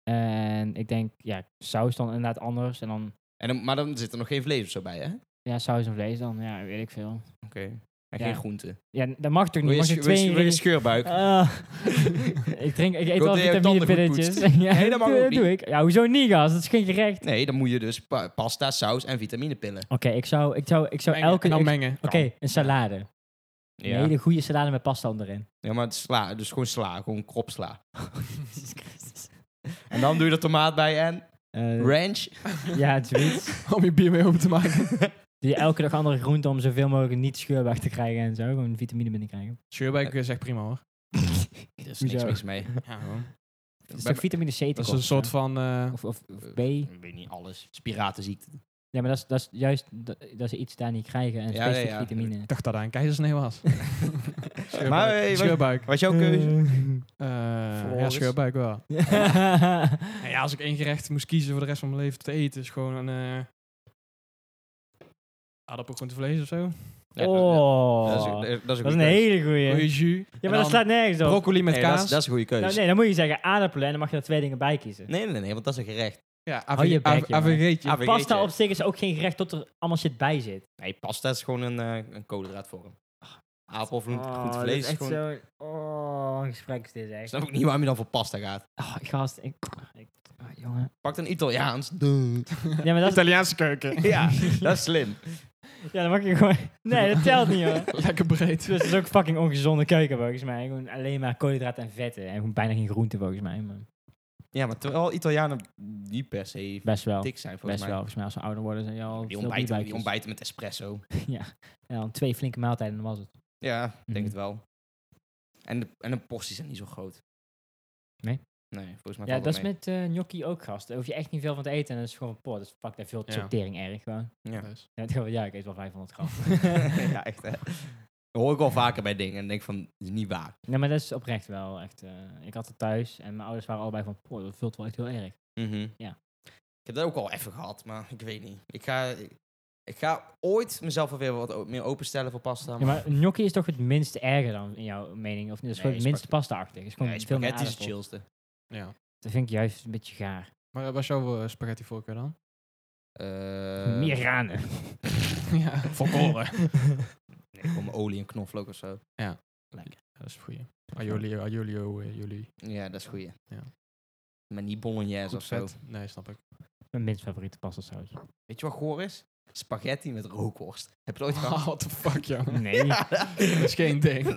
Speaker 3: En ik denk, ja, saus dan inderdaad anders. En dan,
Speaker 1: En dan, maar dan zit er nog geen vlees of zo bij, hè? Oké.
Speaker 3: ja, saus en vlees dan, ja, weet ik veel.
Speaker 1: En
Speaker 3: Ja.
Speaker 1: geen groenten.
Speaker 3: Ja, dat mag toch
Speaker 1: Wil
Speaker 3: niet?
Speaker 1: je,
Speaker 3: Mag je
Speaker 1: sch- wil je,
Speaker 3: twee
Speaker 1: wil je
Speaker 3: ingrediënten-
Speaker 1: scheurbuik?
Speaker 3: Ah, ik drink, ik eet wel
Speaker 1: dat je je
Speaker 3: vitaminepilletjes.
Speaker 1: tanden goed
Speaker 3: ja,
Speaker 1: Nee, dat mag
Speaker 3: doe-
Speaker 1: ook niet.
Speaker 3: doe ik. Ja, hoezo niet, gast? Dat is geen gerecht.
Speaker 1: Nee, dan moet je dus pa- pasta, saus en vitaminepillen.
Speaker 3: Oké, ik zou, ik zou, ik zou
Speaker 2: Mengen.
Speaker 3: elke...
Speaker 1: nou,
Speaker 2: En dan
Speaker 3: ik-
Speaker 2: mengen.
Speaker 3: Oké,
Speaker 1: oh.
Speaker 3: een salade. Een hele goede salade met pasta onderin.
Speaker 1: Ja, maar het sla, dus gewoon sla, gewoon krop sla. En dan doe je er tomaat bij en
Speaker 3: Eh,
Speaker 1: ranch.
Speaker 3: ja, zoiets.
Speaker 2: Om je bier mee open te maken.
Speaker 3: Doe je elke dag andere groenten om zoveel mogelijk niet scheurbaar te krijgen en zo. Gewoon vitamine binnen krijgen.
Speaker 2: Sherbake is echt prima hoor.
Speaker 1: Er is niks
Speaker 3: Hoezo?
Speaker 1: mis mee.
Speaker 2: Ja, gewoon.
Speaker 3: Dat is
Speaker 1: Bij-
Speaker 3: toch vitamine C
Speaker 2: Dat is een soort van... eh,
Speaker 3: Of, of, of B.
Speaker 1: Ik weet niet alles. Piratenziekte.
Speaker 3: Ja, maar dat is, dat is juist dat, dat ze iets daar niet krijgen. En
Speaker 1: Ja,
Speaker 3: specifiek
Speaker 1: ja, ja.
Speaker 3: vitamine.
Speaker 2: Ik dacht dat dat een keizersnee was. Scheurbuik.
Speaker 1: Maar, hey, eh, wat-
Speaker 2: Scheurbuik.
Speaker 1: Wat is jouw keuze?
Speaker 2: Eh, ja,
Speaker 1: Floris.
Speaker 2: scheurbuik wel. Nou
Speaker 3: ja,
Speaker 2: ja, als ik één gerecht moest kiezen voor de rest van mijn leven te eten, is gewoon een... eh aardappel, groente, vlees of zo.
Speaker 1: Ja,
Speaker 3: oh.
Speaker 1: Dat is, dat is- dat is een
Speaker 3: Dat is
Speaker 1: goede
Speaker 3: een
Speaker 1: keuze.
Speaker 3: hele goeie.
Speaker 2: Goeie jus.
Speaker 3: Ja,
Speaker 2: En
Speaker 3: maar
Speaker 2: dan
Speaker 3: dat slaat nergens op.
Speaker 2: Broccoli met
Speaker 1: Nee, dat
Speaker 2: kaas.
Speaker 1: is- Dat is een goede keuze.
Speaker 3: Nou, nee, dan moet je zeggen aardappelen en dan mag je er twee dingen bij kiezen.
Speaker 1: Nee, nee, nee, want dat is een gerecht.
Speaker 2: Ja,
Speaker 3: Hou je bek, jongen.
Speaker 2: AVG'tje.
Speaker 1: AVG. Weet
Speaker 3: Pasta
Speaker 1: je.
Speaker 3: op zich is ook geen gerecht tot er allemaal shit bij zit.
Speaker 1: Nee, pasta is gewoon een, eh een koolhydraatvorm. Aardappel,
Speaker 3: Oh, ah,
Speaker 1: goed vlees. is gewoon...
Speaker 3: zo... Oh, een gesprek is dit
Speaker 1: Ik
Speaker 3: echt.
Speaker 1: snap ook niet waarom je dan voor pasta gaat.
Speaker 3: Oh, gast, ik... ik ah, jongen.
Speaker 1: Pak dan Italiaans.
Speaker 3: Ja, maar dat is...
Speaker 2: Italiaanse keuken.
Speaker 1: ja, dat is slim.
Speaker 3: Ja, dan mag je gewoon... Nee, dat telt niet, hoor.
Speaker 2: Lekker breed.
Speaker 3: Dus het is ook fucking ongezonde keuken, volgens mij. Gewoon alleen maar koolhydraten en vetten. En gewoon bijna geen groenten, volgens mij. Maar
Speaker 1: Ja, maar terwijl Italianen niet per se
Speaker 3: best wel.
Speaker 1: dik zijn, volgens
Speaker 3: Best wel,
Speaker 1: mij.
Speaker 3: volgens mij. Als ze ouder worden, zijn je al
Speaker 1: Die
Speaker 3: veel
Speaker 1: ontbijten, die
Speaker 3: bierbuikjes.
Speaker 1: ontbijten met espresso.
Speaker 3: Ja, dan twee flinke maaltijden, dan was het.
Speaker 1: Ja, ik denk het
Speaker 3: Mhm.
Speaker 1: wel. En de, en de porties zijn niet zo groot.
Speaker 3: Nee?
Speaker 1: Nee, volgens mij
Speaker 3: Ja,
Speaker 1: valt
Speaker 3: dat
Speaker 1: mee.
Speaker 3: is met eh gnocchi ook, gast. Daar hoef je echt niet veel van te eten. En dat is gewoon, poh, dat is fuck, daar veel
Speaker 2: Ja.
Speaker 3: sortering erg, gewoon.
Speaker 1: Ja.
Speaker 3: Ja, het gewoon, ja, ik eet wel 500 gram.
Speaker 1: ja, echt hè. Dat hoor ik al vaker bij dingen en denk van, dat is niet waar.
Speaker 3: Nee, maar dat is oprecht wel echt. eh, ik had het thuis en mijn ouders waren allebei van, poh, dat vult wel echt heel erg.
Speaker 1: Mhm.
Speaker 3: Ja.
Speaker 1: Ik heb dat ook al even gehad, maar ik weet niet. Ik ga, ik, ik ga ooit mezelf alweer wat o- meer openstellen voor pasta.
Speaker 3: Ja, maar gnocchi is toch het minst erger dan in jouw mening? Of niet? Dat is
Speaker 1: Nee,
Speaker 3: gewoon het minst
Speaker 1: spaghetti-
Speaker 3: pasta-achtig. Het is gewoon
Speaker 1: nee,
Speaker 3: veel meer
Speaker 1: spaghetti is het
Speaker 3: aardappel.
Speaker 1: chillste.
Speaker 2: Ja.
Speaker 3: Dat vind ik juist een beetje gaar.
Speaker 2: Maar eh, was jouw eh, spaghetti voorkeur dan?
Speaker 1: Eh,
Speaker 3: meer ranen.
Speaker 2: ja, volkoren.
Speaker 1: Nee, gewoon olie en knoflook of zo.
Speaker 2: dat is een goeie. Aioli, aioli, eh, aioli.
Speaker 1: Ja, dat is goeie.
Speaker 2: Ja.
Speaker 1: Maar niet bolognese
Speaker 2: Goed
Speaker 1: of zo.
Speaker 2: vet. Nee, snap ik.
Speaker 3: Mijn minst favoriete pasta-saus.
Speaker 1: Weet je wat goor is? Spaghetti met rookworst. Heb je dat ooit gehad?
Speaker 2: What the fuck, jongen.
Speaker 3: Nee.
Speaker 2: Dat is geen ding.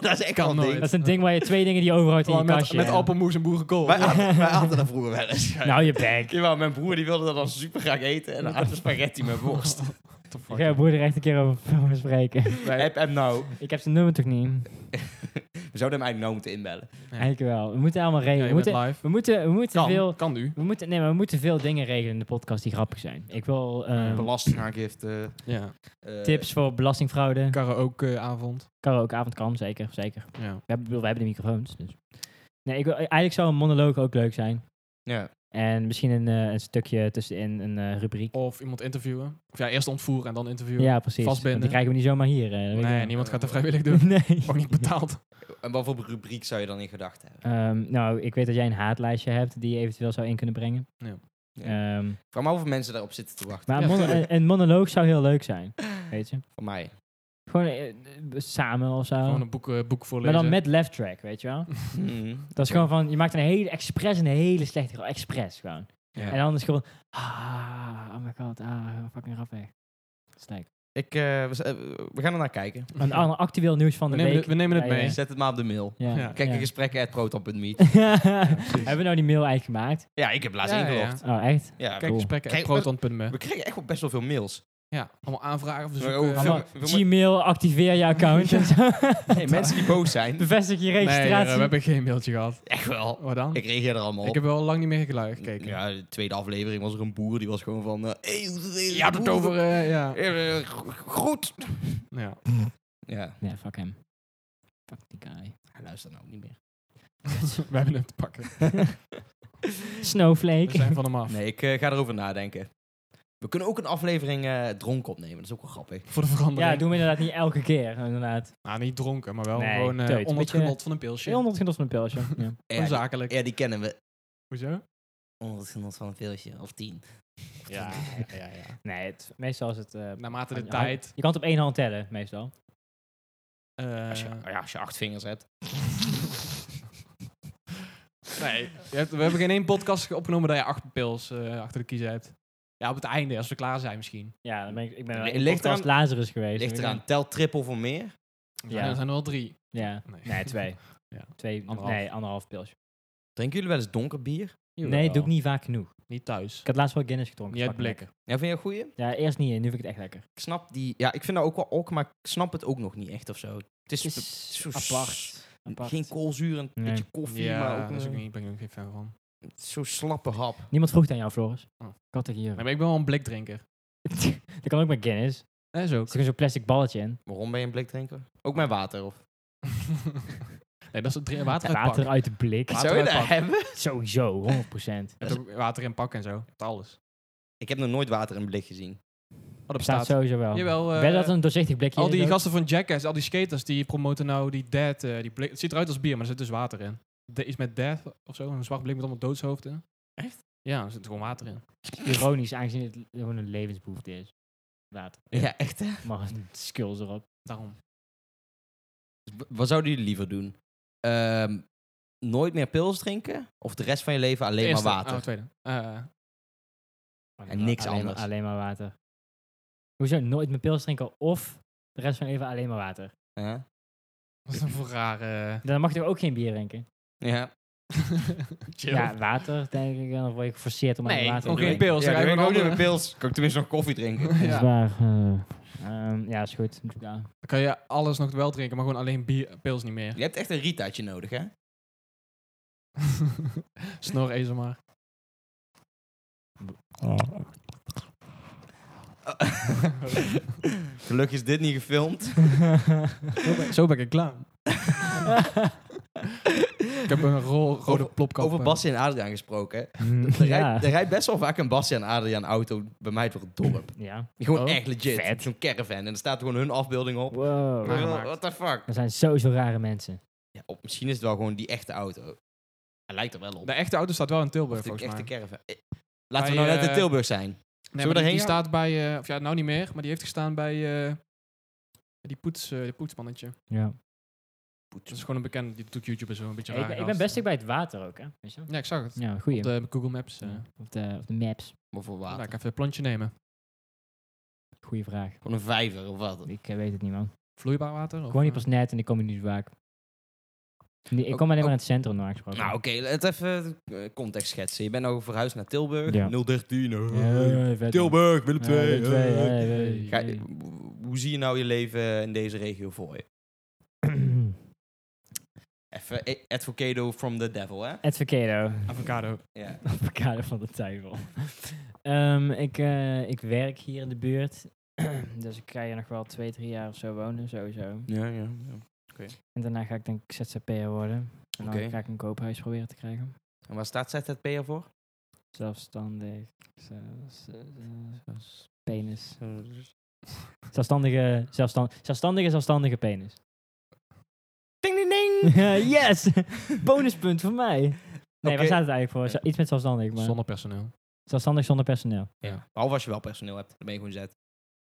Speaker 1: dat is echt
Speaker 2: Kan
Speaker 1: al een
Speaker 2: nooit.
Speaker 3: Dat
Speaker 1: ding.
Speaker 3: is een ding waar je twee dingen die je overhoudt in je
Speaker 2: Gewoon met,
Speaker 3: kastje.
Speaker 2: met
Speaker 3: hè.
Speaker 2: appelmoes en boerenkool.
Speaker 1: Wij aten, wij aten dat vroeger wel eens.
Speaker 3: Nou, je bek.
Speaker 1: Jawel, mijn broer die wilde dat dan super graag eten. En dan aten we spaghetti met worst.
Speaker 2: What the
Speaker 3: Ik
Speaker 2: fuck,
Speaker 3: ga je
Speaker 2: jongen.
Speaker 3: broeder echt een keer over filmen spreken.
Speaker 1: Heb hem nou.
Speaker 3: ik heb zijn nummer toch niet?
Speaker 1: We zouden hem eigenlijk nou moeten inbellen.
Speaker 3: Eigenlijk wel. We moeten allemaal
Speaker 2: Ja,
Speaker 3: regelen.
Speaker 2: je
Speaker 3: we,
Speaker 2: bent
Speaker 3: moeten,
Speaker 2: live.
Speaker 3: we moeten, we moeten veel...
Speaker 2: Kan, kan nu.
Speaker 3: We moeten, nee, maar we moeten veel dingen regelen in de podcast die grappig zijn. Ik wil eh,
Speaker 1: Belastingaangifte.
Speaker 2: Ja.
Speaker 1: eh,
Speaker 3: tips voor belastingfraude.
Speaker 2: eh, Karaokeavond.
Speaker 3: Karaokeavond kan, zeker, zeker.
Speaker 2: Ja.
Speaker 3: We hebben, ik bedoel, we hebben de microfoons, dus. Nee, ik, wil- eigenlijk zou een monoloog ook leuk zijn.
Speaker 1: Ja.
Speaker 3: En misschien een, eh, een stukje tussenin een eh, rubriek.
Speaker 2: Of iemand interviewen. Of ja, eerst ontvoeren en dan interviewen.
Speaker 3: Ja, precies.
Speaker 2: Vastbinden.
Speaker 3: Want die krijgen we niet zomaar hier. eh, dat weet
Speaker 2: Nee,
Speaker 3: ik wel.
Speaker 2: niemand gaat dat vrijwillig doen.
Speaker 3: Nee.
Speaker 2: Ook niet betaald.
Speaker 1: En wat voor rubriek zou je dan in gedachten hebben?
Speaker 3: Ehm, nou, ik weet dat jij een haatlijstje hebt die je eventueel zou in kunnen brengen.
Speaker 2: Ja.
Speaker 1: Ja.
Speaker 3: Ehm,
Speaker 1: Ik vraag me af of mensen daarop zitten te wachten.
Speaker 2: Ja,
Speaker 3: maar een, mono-
Speaker 2: tuurlijk.
Speaker 3: een, een monoloog zou heel leuk zijn, weet je.
Speaker 1: Voor mij.
Speaker 3: Gewoon eh, eh, samen of zo.
Speaker 2: Gewoon een boek, eh, boek
Speaker 3: maar
Speaker 2: voorlezen.
Speaker 3: dan met left track, weet je wel.
Speaker 1: Mhm.
Speaker 3: Dat is gewoon van, je maakt een hele expres een hele slechte grap. Expres gewoon.
Speaker 2: Ja.
Speaker 3: En dan is het gewoon, ah, oh my god, ah, fucking rap weg. Slecht.
Speaker 1: Ik, eh, we, z- eh, we gaan er naar kijken.
Speaker 3: Een ander actueel nieuws van
Speaker 2: We
Speaker 3: de
Speaker 2: nemen
Speaker 3: week.
Speaker 2: het- we nemen het
Speaker 3: bij,
Speaker 2: mee.
Speaker 3: eh,
Speaker 1: Zet het maar op de mail.
Speaker 3: Ja.
Speaker 2: Ja.
Speaker 1: Kijk
Speaker 3: ja.
Speaker 1: in gesprekken at proton.me.
Speaker 3: Hebben we nou die mail eigenlijk gemaakt?
Speaker 1: Ja, ik heb laatst
Speaker 2: Ja, ja,
Speaker 1: ingelogd.
Speaker 2: ja.
Speaker 3: Oh, echt?
Speaker 1: Ja.
Speaker 2: Kijk,
Speaker 3: Cool.
Speaker 2: gesprekken
Speaker 1: Kijk,
Speaker 2: at proton.me.
Speaker 1: We kregen echt wel best wel veel mails.
Speaker 2: Ja, allemaal aanvragen of verzoeken.
Speaker 1: Maar ook veel-
Speaker 3: Allemaal
Speaker 1: we- we-
Speaker 3: Gmail, activeer je account. en zo.
Speaker 1: Nee, mensen die boos zijn.
Speaker 3: Bevestig je
Speaker 2: Nee, eh,
Speaker 3: registratie.
Speaker 2: we hebben geen mailtje gehad.
Speaker 1: Echt wel.
Speaker 2: Wat dan?
Speaker 1: Ik
Speaker 2: Ik,
Speaker 1: reageer er allemaal op.
Speaker 2: heb wel lang niet meer geluid gekeken.
Speaker 1: Ja, de tweede aflevering was er een boer die was gewoon van... eh, hey, hoe- hoe-
Speaker 2: Je had het
Speaker 1: hoe-
Speaker 2: over... eh, ja.
Speaker 1: Eh, eh, go- Goed.
Speaker 2: ja.
Speaker 1: Ja,
Speaker 3: Nee, fuck hem. Fuck die guy.
Speaker 1: hij luistert nou ook niet meer.
Speaker 2: we hebben hem te pakken. We
Speaker 3: Snowflake.
Speaker 2: zijn van hem af.
Speaker 1: Nee, ik eh, ga erover nadenken. We kunnen ook een aflevering eh dronken opnemen. Dat is ook wel grappig.
Speaker 2: Voor de verandering.
Speaker 3: Ja, doen we inderdaad niet elke keer, inderdaad.
Speaker 2: Nou, niet dronken, maar wel
Speaker 3: Nee,
Speaker 2: gewoon eh,
Speaker 3: teut. Een
Speaker 2: onder het
Speaker 3: beetje-
Speaker 2: genot van een pilsje.
Speaker 3: Heel notgenots met een pilsje. Ja.
Speaker 1: Ja, die,
Speaker 2: Onzakelijk.
Speaker 1: ja, die kennen we.
Speaker 2: Hoezo?
Speaker 1: Onder het oh, genot van een veeltje. Of tien.
Speaker 3: Ja, ja, ja. Nee, het, meestal is het... eh,
Speaker 2: Naarmate
Speaker 3: van
Speaker 2: de
Speaker 3: je hand-
Speaker 2: tijd...
Speaker 3: Je kan het op één hand tellen, meestal.
Speaker 2: eh,
Speaker 1: Als je, oh ja, als je acht vingers hebt.
Speaker 2: Nee, je hebt- we hebben geen één podcast opgenomen dat je acht pils eh, achter de kiezer hebt. Ja, op het einde, als we klaar zijn misschien.
Speaker 3: Ja, dan ben ik, ik ben
Speaker 1: Nee,
Speaker 3: wel
Speaker 1: het
Speaker 3: in
Speaker 1: ligt
Speaker 3: podcast Lazarus geweest.
Speaker 1: Ligt
Speaker 3: Dan ben ik-
Speaker 1: eraan. Telt triple voor meer.
Speaker 2: Ja. Er zijn er wel drie.
Speaker 3: Ja.
Speaker 2: Nee.
Speaker 3: Nee, twee.
Speaker 2: Ja.
Speaker 3: Twee,
Speaker 2: Anderhalf.
Speaker 3: nee, anderhalf pilsje.
Speaker 1: Drinken jullie wel eens donker bier?
Speaker 3: Nee, dat doe ik niet vaak genoeg.
Speaker 2: Niet thuis.
Speaker 3: Ik had laatst wel Guinness gedronken.
Speaker 2: Niet uit
Speaker 3: Fucking
Speaker 2: blik.
Speaker 1: Ja, vind je een goeie?
Speaker 3: lekker. Ja, eerst niet. Nu vind ik het echt lekker.
Speaker 1: Ik snap die... Ja, ik vind dat ook wel ok, maar ik snap het ook nog niet echt of zo. Het is...
Speaker 3: Het
Speaker 1: be-
Speaker 3: is
Speaker 1: zo
Speaker 3: apart. apart.
Speaker 1: Geen koolzuur, en een
Speaker 3: Nee.
Speaker 1: beetje koffie, maar
Speaker 2: Ja,
Speaker 1: ook,
Speaker 2: daar is ook
Speaker 1: eh,
Speaker 2: niet- ik ben ik ook geen fan van.
Speaker 1: Zo'n slappe hap.
Speaker 3: Niemand vroeg het aan jou, Floris.
Speaker 2: Oh.
Speaker 3: Ik had er hier.
Speaker 2: Nee, maar ik ben wel een blikdrinker.
Speaker 3: dat kan ook met Guinness. Er
Speaker 2: Dat is ook.
Speaker 3: zit gewoon zo'n plastic balletje in.
Speaker 1: Waarom ben je een blikdrinker? Ook mijn water, of?
Speaker 2: nee, dat is het drinken- water uit
Speaker 3: Water
Speaker 2: pak.
Speaker 3: uit de blik.
Speaker 2: Water
Speaker 1: Zou je
Speaker 2: uit
Speaker 1: dat
Speaker 2: pak.
Speaker 1: hebben?
Speaker 3: Sowieso, 100%.
Speaker 2: Je hebt ook water in pak en zo. Met alles.
Speaker 1: Ik heb nog nooit water in blik gezien.
Speaker 2: Wat op
Speaker 3: Staat
Speaker 2: staat.
Speaker 3: sowieso wel.
Speaker 2: Jawel, eh,
Speaker 3: Wel dat een doorzichtig blikje
Speaker 2: Al die
Speaker 3: is ook.
Speaker 2: gasten van Jackass, al die skaters, die promoten nou die dead. eh, die blik. Het ziet eruit als bier, maar er zit dus water in. De, iets met death of zo, een zwart blik met allemaal doodshoofden.
Speaker 1: Echt?
Speaker 2: Ja, er zit gewoon water in.
Speaker 3: Ironisch, aangezien het gewoon een levensbehoefte is. Water.
Speaker 1: Ja, echt hè?
Speaker 3: Maar een skills erop.
Speaker 2: Daarom.
Speaker 1: Dus w- Wat zouden jullie liever doen? Ehm, nooit meer pils drinken? Of de rest van je leven alleen
Speaker 2: Eerste-
Speaker 1: maar water?
Speaker 2: Oh, tweede. Eh,
Speaker 1: En niks
Speaker 3: alleen
Speaker 1: anders.
Speaker 3: Maar, alleen maar water. Hoezo? Nooit meer pils drinken of de rest van je leven alleen maar water.
Speaker 1: Hè?
Speaker 2: wat een voor rare...
Speaker 3: Dan mag je toch ook geen bier drinken?
Speaker 1: Ja.
Speaker 2: Chill.
Speaker 3: Ja, water denk ik. Dan word je geforceerd om alleen
Speaker 2: Nee,
Speaker 3: water te
Speaker 2: ook geen
Speaker 3: drinken.
Speaker 2: pils.
Speaker 1: Ja,
Speaker 2: dan ga
Speaker 1: dan
Speaker 2: je
Speaker 1: drink ik
Speaker 2: gewoon
Speaker 1: ook niet
Speaker 2: andere-
Speaker 1: meer pils. Kan ik tenminste nog koffie drinken?
Speaker 3: Dat
Speaker 2: Ja.
Speaker 3: is waar. eh, ehm, ja, is goed. Ja.
Speaker 2: Dan kan je alles nog wel drinken, maar gewoon alleen bier, pils niet meer.
Speaker 1: Je hebt echt een ritaatje nodig, hè?
Speaker 2: Snor ezel maar.
Speaker 1: Gelukkig is dit niet gefilmd.
Speaker 2: Zo ben, zo ben ik klaar. Ik heb een ro rode
Speaker 1: Over-
Speaker 2: plopkap.
Speaker 1: Over
Speaker 2: eh.
Speaker 1: Basje en Adriaan gesproken. Er,
Speaker 3: Mm, ja.
Speaker 1: rijdt, er rijdt best wel vaak een Basje en Adriaan auto bij mij door het dorp.
Speaker 3: ja.
Speaker 1: Gewoon
Speaker 2: Oh,
Speaker 1: echt legit.
Speaker 3: vet.
Speaker 1: Zo'n caravan. En er staat gewoon hun afbeelding op.
Speaker 3: Wow.
Speaker 1: What
Speaker 2: Maar- Nagemaakt.
Speaker 1: What the fuck?
Speaker 3: We zijn sowieso rare mensen.
Speaker 1: Ja, op, misschien is het wel gewoon die echte auto. Hij lijkt er wel op.
Speaker 2: De echte auto staat wel in Tilburg,
Speaker 1: Of de
Speaker 2: volgens mij.
Speaker 1: echte caravan. Eh, Laten we
Speaker 2: Bij,
Speaker 1: nou net in
Speaker 2: eh,
Speaker 1: Tilburg zijn.
Speaker 2: Nee,
Speaker 1: Zullen
Speaker 2: maar
Speaker 1: we
Speaker 2: die, die
Speaker 1: daarheen gaan?
Speaker 2: staat bij... eh, of ja, nou niet meer, maar die heeft gestaan bij... eh, die, poets, eh die poetsmannetje.
Speaker 3: Ja.
Speaker 2: Dat is gewoon een bekende, die doet YouTube en zo, een beetje
Speaker 3: ik,
Speaker 2: raar.
Speaker 3: ben- ik ben best dicht bij het water ook, hè? Weet je?
Speaker 2: Ja, ik zag het.
Speaker 3: Ja, goeie.
Speaker 2: Op de Google Maps. eh.
Speaker 3: Ja, Op, de, op de maps.
Speaker 1: Maar voor
Speaker 2: Nou,
Speaker 1: water.
Speaker 2: ik ga even een plantje nemen.
Speaker 3: Goeie vraag.
Speaker 1: Gewoon een vijver of wat.
Speaker 3: Ik eh, weet het niet, man.
Speaker 2: Vloeibaar water?
Speaker 3: Ik
Speaker 2: Of,
Speaker 3: woon hier
Speaker 2: eh,
Speaker 3: pas net en ik kom hier niet zo vaak. Nee, ik
Speaker 1: Ook-
Speaker 3: kom alleen maar
Speaker 1: ook-
Speaker 3: in het centrum normaal gesproken.
Speaker 1: Nou oké, laten even eh, context schetsen. Je bent nou verhuisd naar Tilburg.
Speaker 3: Ja.
Speaker 1: 013. oh.
Speaker 3: Ja, vet,
Speaker 1: Tilburg, Willem
Speaker 3: man. Ja,
Speaker 1: II. eh.
Speaker 3: Willem twee,
Speaker 2: hey.
Speaker 3: ja,
Speaker 1: Ga-
Speaker 3: ja, ja.
Speaker 1: w- hoe zie je nou je leven in deze regio voor je? Even eh, advocado from the devil, hè?
Speaker 3: Advocado.
Speaker 2: Avocado.
Speaker 1: Ja.
Speaker 3: Avocado van de duivel. Ehm, ik, eh, ik werk hier in de buurt. dus ik ga hier nog wel twee, drie jaar of zo wonen, sowieso.
Speaker 1: Ja, ja,
Speaker 3: En daarna ga ik denk ik ZZP'er worden. En dan
Speaker 1: Oké.
Speaker 3: ga ik een koophuis proberen te krijgen.
Speaker 1: En waar staat ZZP voor?
Speaker 3: Zelfstandig. zelfs- eh, zelfs- penis.
Speaker 1: dus-
Speaker 3: Zelfstandige, zelfstand, zelfstandige, zelfstandige penis.
Speaker 1: Ding, ding, ding!
Speaker 3: yes! Bonuspunt voor mij. Nee,
Speaker 1: Oké.
Speaker 3: waar staat het eigenlijk voor? Zo- Iets met zelfstandig, maar...
Speaker 2: Zonder personeel.
Speaker 3: Zelfstandig zonder personeel.
Speaker 1: Ja. Behalve als je wel personeel hebt, dan ben je gewoon zet.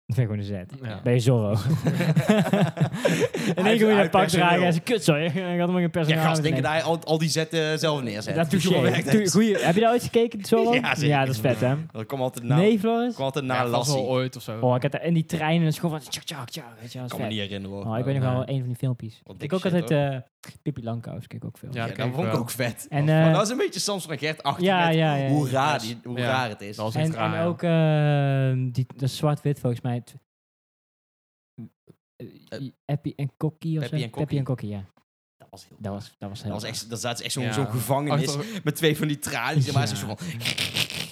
Speaker 3: Dat vind ik gewoon een zet.
Speaker 2: Ja.
Speaker 3: Ben je Zorro. en
Speaker 1: Uit-
Speaker 3: ik moet je
Speaker 1: uit
Speaker 3: dat pak
Speaker 1: personeel.
Speaker 3: dragen en ze kut zo. Ik had hem geen personeel.
Speaker 1: Ja, gast, denk je
Speaker 3: aan
Speaker 1: dat hij al, al die zetten zelf neerzet?
Speaker 3: Dat
Speaker 1: Die gewoon
Speaker 3: touché.
Speaker 1: werkt.
Speaker 3: Toe- Goeie. Heb je dat ooit gekeken, Zorro?
Speaker 1: Ja, zeker. Nou.
Speaker 3: dat is vet, hè?
Speaker 1: Dat komt altijd na,
Speaker 3: nee, Floris?
Speaker 1: komt altijd na
Speaker 2: ja, vast wel
Speaker 1: Lassie.
Speaker 2: ooit of zo.
Speaker 3: Oh, ik had daar in die trein en het is gewoon van... Tjak, tjak, tjak. Weet je, dat
Speaker 1: Ik
Speaker 3: is
Speaker 1: kan me
Speaker 3: vet.
Speaker 1: niet herinneren hoor.
Speaker 3: Oh, ik weet nog
Speaker 2: Ja.
Speaker 3: wel een van die filmpjes.
Speaker 1: Wat
Speaker 3: Ik
Speaker 1: dik
Speaker 3: ook
Speaker 1: shit,
Speaker 3: altijd eh Pippi Langkous, kijk ook veel.
Speaker 2: Ja,
Speaker 1: Ja,
Speaker 2: dat
Speaker 1: dat
Speaker 2: ken
Speaker 1: vond ik
Speaker 2: wel.
Speaker 1: ook vet.
Speaker 3: En,
Speaker 1: maar
Speaker 3: eh,
Speaker 1: dat is een beetje Samson en Gert achter
Speaker 3: ja,
Speaker 1: met
Speaker 3: ja, ja.
Speaker 1: hoe, raar die, hoe
Speaker 2: Ja.
Speaker 1: raar het is.
Speaker 2: Dat was echt
Speaker 3: En,
Speaker 2: raar.
Speaker 3: en
Speaker 2: ja.
Speaker 3: ook eh, die, dat zwart-wit volgens mij. het-
Speaker 1: Eh,
Speaker 3: Eppie en Kokkie of zo.
Speaker 1: Peppy en Kokkie.
Speaker 3: Peppy en Kokkie, ja.
Speaker 1: Dat was heel
Speaker 3: Dat was, dat was heel
Speaker 1: Dat was
Speaker 3: raar.
Speaker 1: echt, dat zaten ze echt zo'n
Speaker 2: Ja. Oh,
Speaker 1: zo'n gevangenis
Speaker 2: Achter-
Speaker 1: met twee van die tralies. En waar ze
Speaker 3: Ja.
Speaker 1: zo van...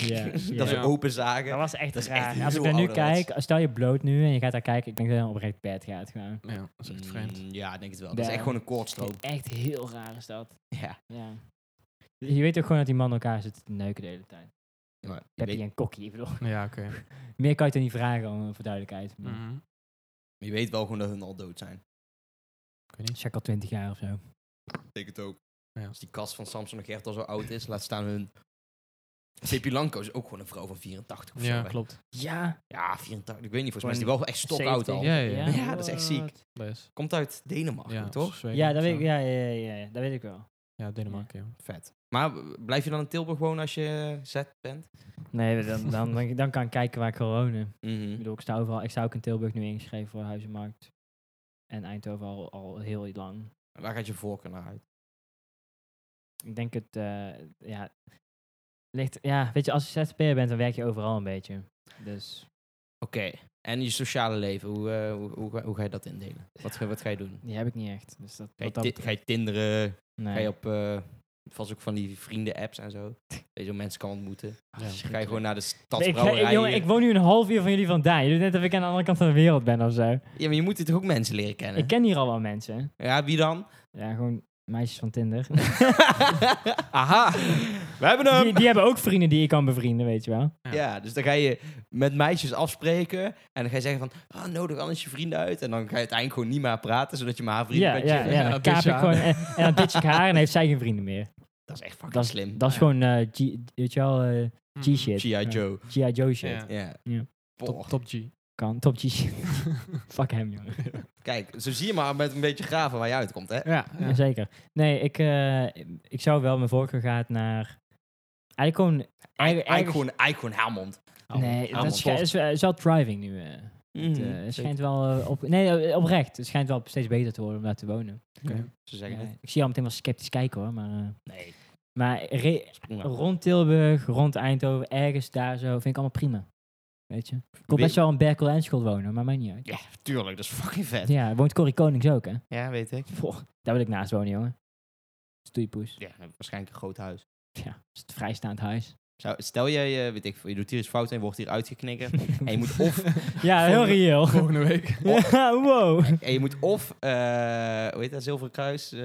Speaker 3: Ja, ja.
Speaker 1: dat ze
Speaker 2: Ja.
Speaker 1: open zagen.
Speaker 3: Dat was echt
Speaker 1: Dat is
Speaker 3: raar.
Speaker 1: echt
Speaker 3: Als ik
Speaker 1: heel
Speaker 3: daar nu
Speaker 1: ouderwets.
Speaker 3: kijk, stel je bloot nu en je gaat daar kijken, ik denk dat je dan oprecht bed gaat gewoon.
Speaker 2: Ja, dat is echt vreemd.
Speaker 1: Mm, ja, ik denk het wel. Dat is
Speaker 3: Ja.
Speaker 1: echt gewoon een koordstroop.
Speaker 3: Echt heel raar is dat.
Speaker 1: Ja.
Speaker 3: Ja. Je weet ook gewoon dat die mannen elkaar zitten te neuken de hele tijd.
Speaker 1: Maar je,
Speaker 3: Peppy
Speaker 1: weet,
Speaker 3: en Kokkie, ik bedoel.
Speaker 2: Ja, oké.
Speaker 3: Meer kan je toch niet vragen om voor duidelijkheid. maar
Speaker 2: Mhm.
Speaker 1: je weet wel gewoon dat hun al dood zijn.
Speaker 2: Ik weet niet.
Speaker 3: Zeg al twintig jaar of zo.
Speaker 1: Ik denk het ook.
Speaker 2: Ja.
Speaker 1: Als die kast van Samson en Gert al zo oud is, laat staan hun... Pepi Lanko is ook gewoon een vrouw van 84 of
Speaker 2: Ja,
Speaker 1: zo. hè.
Speaker 2: klopt.
Speaker 3: Ja.
Speaker 1: Ja, 84. Ik weet niet, volgens mij is die wel echt stokoud al.
Speaker 2: Ja, ja, ja.
Speaker 1: Ja, dat is echt ziek.
Speaker 3: What?
Speaker 2: Dat is.
Speaker 1: Komt uit Denemarken,
Speaker 2: Ja,
Speaker 1: toch?
Speaker 2: Zweden
Speaker 3: Ja,
Speaker 2: of
Speaker 3: dat
Speaker 2: zo.
Speaker 3: weet ik, ja, ja, ja, ja, ja, dat weet ik wel.
Speaker 2: Ja, Denemarken, ja.
Speaker 1: Vet. Maar eh, blijf je dan in Tilburg wonen als je eh, zet bent?
Speaker 3: Nee, dan, dan, dan, dan kan ik kijken waar ik wil wonen. Ik
Speaker 1: Mhm.
Speaker 3: bedoel, ik sta overal. Ik sta ook in Tilburg nu ingeschreven voor Huizenmarkt. En Eindhoven al, al heel lang.
Speaker 1: Waar gaat je voorkeur naar uit?
Speaker 3: Ik denk het, eh, ja, ligt, ja, weet je, als je ZZP'er bent, dan werk je overal een beetje. Dus,
Speaker 1: Oké. En je sociale leven, hoe, eh, hoe, hoe, ga- hoe ga je dat indelen? Wat, ga- wat ga je doen?
Speaker 3: die heb ik niet echt. Dus dat,
Speaker 1: Ga je,
Speaker 3: wat dat
Speaker 1: ti- ga je tinderen?
Speaker 3: nee.
Speaker 1: Ga je op eh, vast ook van die vrienden-apps en zo? Dat je zo mensen kan ontmoeten?
Speaker 3: Ah,
Speaker 2: Ja.
Speaker 1: Ga je
Speaker 3: verschrikkelijk.
Speaker 1: gewoon naar de
Speaker 3: ik, ga-
Speaker 1: stadsbrouwerij?
Speaker 3: ik- jongen, ik woon nu een half uur van jullie vandaan. Je doet net of ik aan de andere kant van de wereld ben of zo.
Speaker 1: Ja, maar je moet hier toch ook mensen leren kennen?
Speaker 3: Ik ken hier al wel mensen.
Speaker 1: Ja, wie dan?
Speaker 3: Ja, gewoon meisjes van Tinder.
Speaker 1: Aha! We hebben hem!
Speaker 3: die, die hebben ook vrienden die ik kan bevrienden, weet je wel.
Speaker 2: Ja.
Speaker 1: Ja, dus dan ga je met meisjes afspreken. En dan ga je zeggen van, ah, nodig anders je vrienden uit. En dan ga je uiteindelijk gewoon niet meer praten, zodat je maar haar vrienden
Speaker 3: Ja,
Speaker 1: bent.
Speaker 3: ja, ja,
Speaker 2: Ja,
Speaker 3: dan
Speaker 2: bitch
Speaker 3: kaap ik
Speaker 2: haar.
Speaker 3: gewoon. En, en dan ditch ik haar en heeft zij geen vrienden meer.
Speaker 1: Dat is echt fucking
Speaker 3: Dat is,
Speaker 1: slim.
Speaker 3: dat is
Speaker 2: Ja. Mhm.
Speaker 3: gewoon, eh, G, weet je wel, eh, G-shit.
Speaker 1: G.I. Joe.
Speaker 3: G.I. Joe shit.
Speaker 2: Ja.
Speaker 1: Ja.
Speaker 3: Ja.
Speaker 1: Boah.
Speaker 2: Top, top G.
Speaker 3: Kan, top G-shit. Fuck hem, jongen.
Speaker 1: Kijk, zo zie je maar met een beetje graven waar je uitkomt, hè?
Speaker 2: Ja, ja.
Speaker 3: Zeker. Nee, ik, eh, ik zou wel mijn voorkeur gaan naar... Eigenlijk gewoon...
Speaker 1: Eigenlijk
Speaker 3: Eigenlijk-
Speaker 1: eigenlijk gewoon, eigenlijk gewoon Helmond.
Speaker 3: nee, dat
Speaker 1: Helmond,
Speaker 3: is, is, is wel driving nu. eh. Het, eh, het schijnt wel eh, op, nee, eh, oprecht. Het schijnt wel steeds beter te worden om daar te wonen.
Speaker 2: Oké.
Speaker 1: Ze zeggen
Speaker 3: Ja,
Speaker 1: het.
Speaker 3: ik zie al meteen wel sceptisch kijken hoor. Maar, eh,
Speaker 1: Nee.
Speaker 3: maar re-
Speaker 1: prima.
Speaker 3: rond Tilburg, rond Eindhoven, ergens daar zo, vind ik allemaal prima. Weet je? Ik wil best wel in Berkel en School wonen, maar mij niet uit.
Speaker 1: Ja, tuurlijk. Dat is fucking vet.
Speaker 3: Ja, woont Corrie Konings ook hè?
Speaker 1: Ja, weet ik.
Speaker 3: Poh, daar wil ik naast wonen jongen. Stoeipoes.
Speaker 1: Ja, waarschijnlijk een groot huis.
Speaker 3: Ja, dat is het vrijstaand huis.
Speaker 1: Zou, stel jij, eh, weet ik, veel, je doet hier eens fout en wordt hier uitgeknikkerd. en je moet of,
Speaker 3: ja, heel
Speaker 2: Volgende-
Speaker 3: reëel.
Speaker 2: Volgende week.
Speaker 3: ja, wow.
Speaker 1: en je moet of eh hoe heet dat, Zilveren Kruis, eh,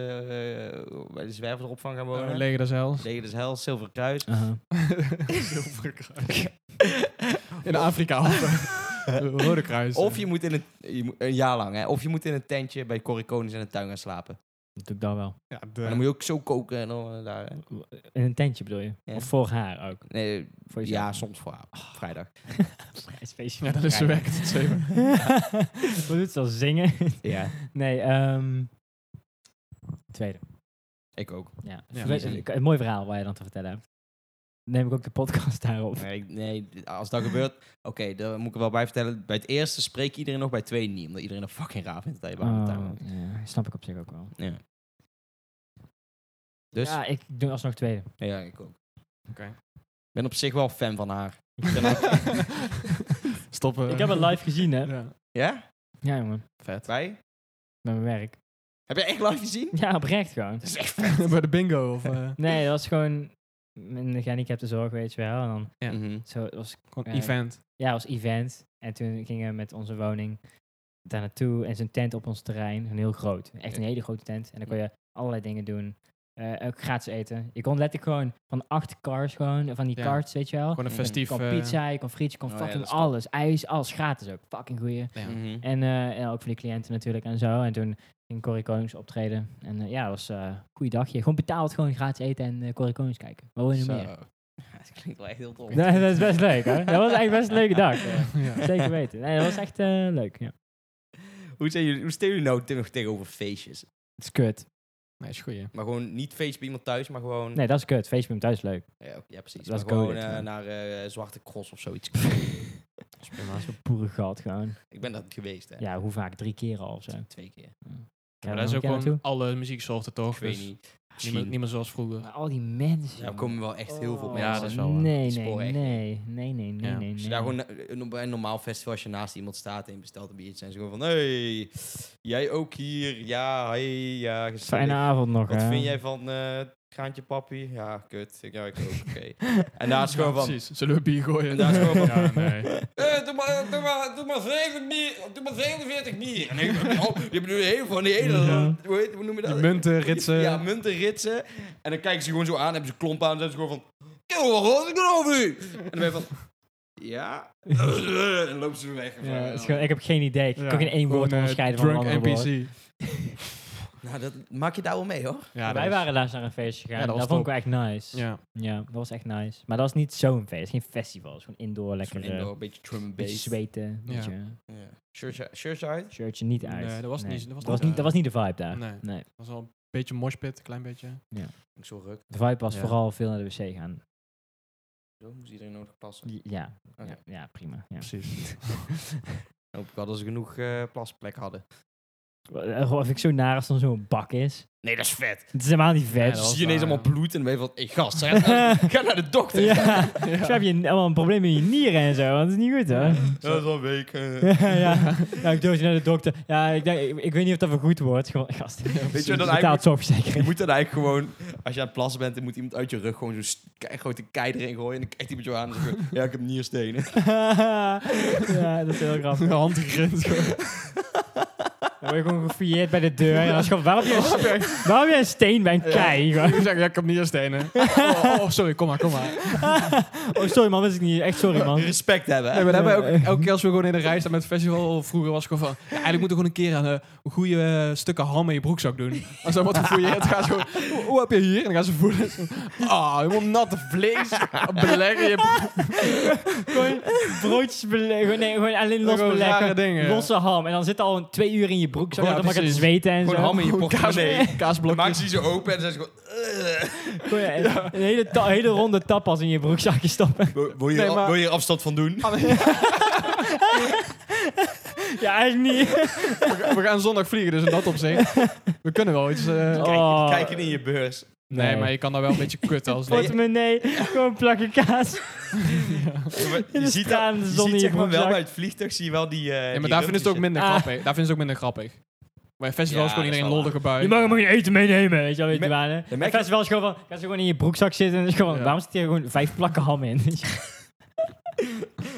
Speaker 1: bij de zwerveropvang gaan wonen.
Speaker 2: Oh, Leger des Heils.
Speaker 1: Tegen de hel, Zilveren Kruis.
Speaker 3: Aha.
Speaker 2: Zilveren kruis. In Afrika. Eh, Rode kruis. eh.
Speaker 1: Of je moet in een, je moet- een jaar lang, hè, of je moet in een tentje bij Corrie Konings in de tuin gaan slapen.
Speaker 3: Dat doe ik dan wel.
Speaker 2: Ja,
Speaker 1: Maar dan moet je ook zo koken en dan eh, daar. hè.
Speaker 3: In een tentje bedoel je?
Speaker 1: Ja.
Speaker 3: Of voor haar ook?
Speaker 1: Nee,
Speaker 3: Voor jezelf?
Speaker 1: ja, soms voor haar.
Speaker 2: Ah.
Speaker 1: Vrijdag.
Speaker 3: Speciaal.
Speaker 2: ja dat is ze weg. tot zeven.
Speaker 3: Wat doet ze al zingen?
Speaker 1: Ja,
Speaker 3: Nee, ehm tweede.
Speaker 1: ik ook.
Speaker 3: Ja.
Speaker 2: Ja.
Speaker 3: Verwe-
Speaker 1: Easy.
Speaker 3: Een mooi verhaal waar je dan te vertellen hebt. Neem ik ook de podcast daarop.
Speaker 1: Nee, ik- nee als dat gebeurt, oké, dan moet ik er wel bij vertellen. Bij het eerste spreekt iedereen nog, bij het tweede niet. Omdat iedereen een fucking raar vindt dat je bij hem in de tuin
Speaker 2: Ah.
Speaker 3: Oh,
Speaker 1: woont.
Speaker 3: ja, snap ik op zich ook wel.
Speaker 1: Ja. Dus, ja.
Speaker 3: Ja, ik doe alsnog tweede.
Speaker 1: ik ook.
Speaker 2: Oké.
Speaker 1: Ik ben op zich wel fan van haar.
Speaker 2: Stoppen.
Speaker 3: ik heb het live gezien, hè?
Speaker 2: Ja.
Speaker 1: Ja?
Speaker 3: Ja, jongen.
Speaker 2: Vet.
Speaker 1: Wij?
Speaker 3: Met mijn werk.
Speaker 1: Heb jij echt live gezien?
Speaker 3: Ja, oprecht gewoon.
Speaker 1: Dat is echt vet.
Speaker 2: Bij de bingo. Of, eh,
Speaker 3: Nee, dat was gewoon een gehandicapte zorg, weet je wel. En dan
Speaker 2: Ja.
Speaker 1: Mhm.
Speaker 3: zo, het was
Speaker 2: gewoon
Speaker 3: Ja.
Speaker 2: event.
Speaker 3: ja, als event. En toen gingen we met onze woning daar naartoe en zijn tent op ons terrein. Een heel groot. Echt een hele grote tent. En dan kon je allerlei dingen doen. Eh, ook gratis eten. Je kon letterlijk gewoon van acht cars gewoon, van die
Speaker 2: Ja.
Speaker 3: karts, weet je wel.
Speaker 2: Gewoon een
Speaker 1: Ja.
Speaker 3: Je
Speaker 2: festief...
Speaker 3: kon
Speaker 2: eh,
Speaker 3: pizza, je kon frietje, je kon
Speaker 1: Oh ja,
Speaker 3: fucking
Speaker 1: dat is top.
Speaker 3: alles. IJs, alles gratis ook. Fucking goeie.
Speaker 2: ja.
Speaker 1: Mhm.
Speaker 3: En, eh, en ook voor die cliënten natuurlijk en zo. En toen ging Corrie Konings optreden. En eh, ja, dat was eh, een goeie dagje. Gewoon betaald, gewoon gratis eten en eh Corrie Konings kijken. Wat wil je nog
Speaker 1: Zo.
Speaker 3: meer?
Speaker 1: Ja, Dat klinkt wel echt heel tof.
Speaker 3: Nee, dat is best leuk hoor. Dat was echt best een leuke dag. ja.
Speaker 2: Ja.
Speaker 3: Zeker weten. Nee, dat was echt eh, leuk. Ja.
Speaker 1: Hoe, zijn jullie, hoe staan jullie nou te- nog tegenover feestjes?
Speaker 3: Het is kut.
Speaker 2: Nee, is goed.
Speaker 1: Maar gewoon niet feest bij iemand thuis, maar gewoon...
Speaker 3: Nee, dat is kut. Feestje met hem thuis is leuk.
Speaker 1: Ja, ja, precies.
Speaker 3: Dat was
Speaker 1: Maar gewoon
Speaker 3: Golden,
Speaker 1: eh,
Speaker 3: ja.
Speaker 1: naar eh, Zwarte Cross of zoiets.
Speaker 3: Zo'n boerengat gewoon.
Speaker 1: ik ben dat geweest, hè.
Speaker 3: Ja, hoe vaak? Drie keer al of zo.
Speaker 1: Twee keer.
Speaker 2: Maar dat is ook gewoon alle muzieksoorten toch?
Speaker 1: Ik weet
Speaker 2: Dus niet,
Speaker 1: niet.
Speaker 2: meer, niet meer zoals vroeger.
Speaker 3: Maar al die mensen.
Speaker 1: Ja, er komen wel echt heel veel
Speaker 3: Oh,
Speaker 1: mensen.
Speaker 2: Ja, dat is wel waar.
Speaker 3: Nee,
Speaker 1: Die
Speaker 3: nee,
Speaker 1: sporen
Speaker 3: nee.
Speaker 1: echt
Speaker 3: Nee, nee, nee, nee.
Speaker 2: Ja.
Speaker 3: nee.
Speaker 1: Als je daar gewoon eh, een- bij een normaal festival, als je naast iemand staat en je bestelt een biertje, zijn ze gewoon van, hey, jij ook hier? Ja, hey, ja, gezellig.
Speaker 3: Fijne avond nog,
Speaker 1: Wat
Speaker 3: hè.
Speaker 1: vind jij van eh Graantje Papi? Ja, kut. Ik, ja, ik ook, oké. en daar is gewoon
Speaker 2: Ja,
Speaker 1: van,
Speaker 2: Precies. Zullen we bier gooien?
Speaker 1: en daar is gewoon van,
Speaker 2: Ja, nee.
Speaker 1: eh, doe maar, doe maar, doe maar, 7 bier, doe maar 47 bier. En ik, oh, je bedoelt heel van die hele,
Speaker 3: Ja.
Speaker 1: hoe, heet, hoe noem je dat?
Speaker 2: Die munten, ritsen.
Speaker 1: Ja, munten, ritsen. En dan kijken ze gewoon zo aan, hebben ze klomp aan, en zijn ze gewoon van... Kill, wat was ik nou over u? En dan ben je van... Ja? en lopen ze weer weg.
Speaker 3: Ja, het is gewoon, ik heb geen idee. Ik
Speaker 2: Ja,
Speaker 3: kan geen één woord
Speaker 2: gewoon, eh,
Speaker 3: onderscheiden van een ander
Speaker 2: Drunk
Speaker 3: woord.
Speaker 2: NPC.
Speaker 1: Nou, dat maak je daar wel mee, hoor.
Speaker 2: Ja,
Speaker 3: Wij waren laatst naar een feestje gegaan.
Speaker 2: Ja,
Speaker 3: dat
Speaker 2: dat was
Speaker 3: vond ik wel echt nice. Ja.
Speaker 2: Ja.
Speaker 3: dat was echt nice. Maar dat was niet zo'n feest. Geen festival. Het is gewoon indoor,
Speaker 1: Lekker
Speaker 3: lekker eh,
Speaker 1: indoor, een beetje drum and
Speaker 3: beetje
Speaker 1: bass.
Speaker 3: zweten.
Speaker 2: Ja.
Speaker 3: beetje-
Speaker 1: Ja. Shirtje shirtje uit?
Speaker 3: shirtje niet uit.
Speaker 2: Nee, dat was niet- dat was
Speaker 3: dat was
Speaker 2: niet- eh,
Speaker 3: niet, dat was niet de vibe daar.
Speaker 2: Nee.
Speaker 3: Nee.
Speaker 2: Dat was al een beetje moshpit, een klein beetje.
Speaker 1: Ik zo ruk.
Speaker 3: De vibe was
Speaker 2: Ja.
Speaker 3: vooral veel naar de wc gaan.
Speaker 1: Zo moest iedereen nou nodig plassen.
Speaker 3: Ja, ja,
Speaker 1: Oké.
Speaker 3: ja, prima. Ja.
Speaker 2: Precies.
Speaker 1: Hoop ik wel dat ze genoeg eh, plasplek hadden.
Speaker 3: Eh, Of ik zo naar als dan zo'n bak is.
Speaker 1: Nee, dat is vet.
Speaker 3: Het is helemaal niet
Speaker 2: Ja,
Speaker 3: vet.
Speaker 2: dat
Speaker 1: Dan
Speaker 2: was
Speaker 1: zie je ineens
Speaker 2: waar,
Speaker 1: allemaal
Speaker 2: ja.
Speaker 1: bloed en dan ben je van... Hey, gast, ga naar, ga naar de dokter.
Speaker 3: Ja, Zo heb je een- allemaal een probleem met je nieren en zo. Want dat is niet goed hoor.
Speaker 1: Dat is wel een week. eh.
Speaker 3: ja, nou, ik doe het naar de dokter. Ja, ik, denk, ik, ik weet niet of dat wel goed wordt. Gewoon, gast.
Speaker 1: Weet je wat dat
Speaker 3: betaalt
Speaker 1: eigenlijk... Je
Speaker 3: zorgverzekering.
Speaker 1: moet dan eigenlijk gewoon, als je aan het plassen bent, dan moet iemand uit je rug gewoon zo'n st- ke- grote kei erin gooien. En dan kijkt iemand jou aan en zegt: Ja, ik heb nierstenen.
Speaker 3: ja, dat is heel grappig.
Speaker 2: Handgegrins.
Speaker 3: Dan word je gewoon gefouilleerd bij de deur. En dan is gewoon, waarom heb je een, s- waarom heb je een steen bij een kei? Gewoon.
Speaker 2: Ik zeg, ja, ik heb niet een stenen. Oh, oh, sorry, kom maar, kom maar.
Speaker 3: oh, sorry man, wist ik niet. Echt sorry man.
Speaker 1: Respect hebben. hè?
Speaker 2: Nee, maar dan hebben we ook, elke keer als we gewoon in de rij staan met het festival, of vroeger was ik gewoon van, ja, eigenlijk moeten we gewoon een keer aan eh, goede eh, stukken ham in je broekzak doen. Als dan wat gefouilleerd gaat, gewoon, hoe, hoe heb je hier? En dan gaan ze voelen. Ah, helemaal natte vlees. Beleggen je broek.
Speaker 3: Gewoon broodjes beleggen. Nee, gewoon alleen los
Speaker 2: Gewoon rare
Speaker 3: beleggen.
Speaker 2: dingen.
Speaker 3: Losse ham. En dan zit al een twee uur in je broek. Zo,
Speaker 2: Ja,
Speaker 3: dan mag het
Speaker 2: precies.
Speaker 3: zweten en
Speaker 1: Gewoon
Speaker 3: zo.
Speaker 1: ham in je portemonnee.
Speaker 2: Kaas,
Speaker 1: Dan
Speaker 2: kaasblokjes.
Speaker 1: maken ze die zo open en dan zijn ze gewoon...
Speaker 3: Gewoon, ja, Een hele, ta- hele ronde tapas in je broekzakje stoppen.
Speaker 1: Wil, wil, je
Speaker 2: Nee,
Speaker 1: er-
Speaker 2: maar-
Speaker 1: wil je er afstand van doen?
Speaker 3: ja, eigenlijk niet.
Speaker 2: We gaan- we gaan zondag vliegen, dus in dat opzicht. We kunnen wel iets. eh,
Speaker 3: Oh.
Speaker 1: Kijk, kijken in je beurs.
Speaker 2: nee, maar je kan daar wel een beetje kut als
Speaker 1: Nee.
Speaker 3: Portemonnee, gewoon plakken kaas.
Speaker 1: Je
Speaker 3: de
Speaker 1: ziet,
Speaker 3: straat
Speaker 1: dat,
Speaker 3: in de
Speaker 1: je
Speaker 3: zon in
Speaker 1: ziet
Speaker 3: je
Speaker 1: zeg maar wel
Speaker 3: broekzak.
Speaker 1: bij het vliegtuig, zie je wel die... eh,
Speaker 2: Ja,
Speaker 1: die
Speaker 2: maar daar vinden ze het ook
Speaker 1: rundjes
Speaker 2: minder
Speaker 3: Ah.
Speaker 2: grappig. Daar vinden ze het ook minder grappig. Bij festivals
Speaker 1: Ja,
Speaker 2: kon
Speaker 1: dat is
Speaker 2: iedereen
Speaker 1: wel
Speaker 2: lollige bui.
Speaker 3: Je mag hem geen eten meenemen, weet je wel. Weet je
Speaker 1: Je
Speaker 3: wel hè?
Speaker 1: je
Speaker 3: En
Speaker 1: merkt-
Speaker 3: Fest wel eens gewoon van, ga ze gewoon in je broekzak zitten. En is gewoon,
Speaker 2: Ja.
Speaker 3: waarom zit hier gewoon vijf plakken ham in?
Speaker 1: zitten.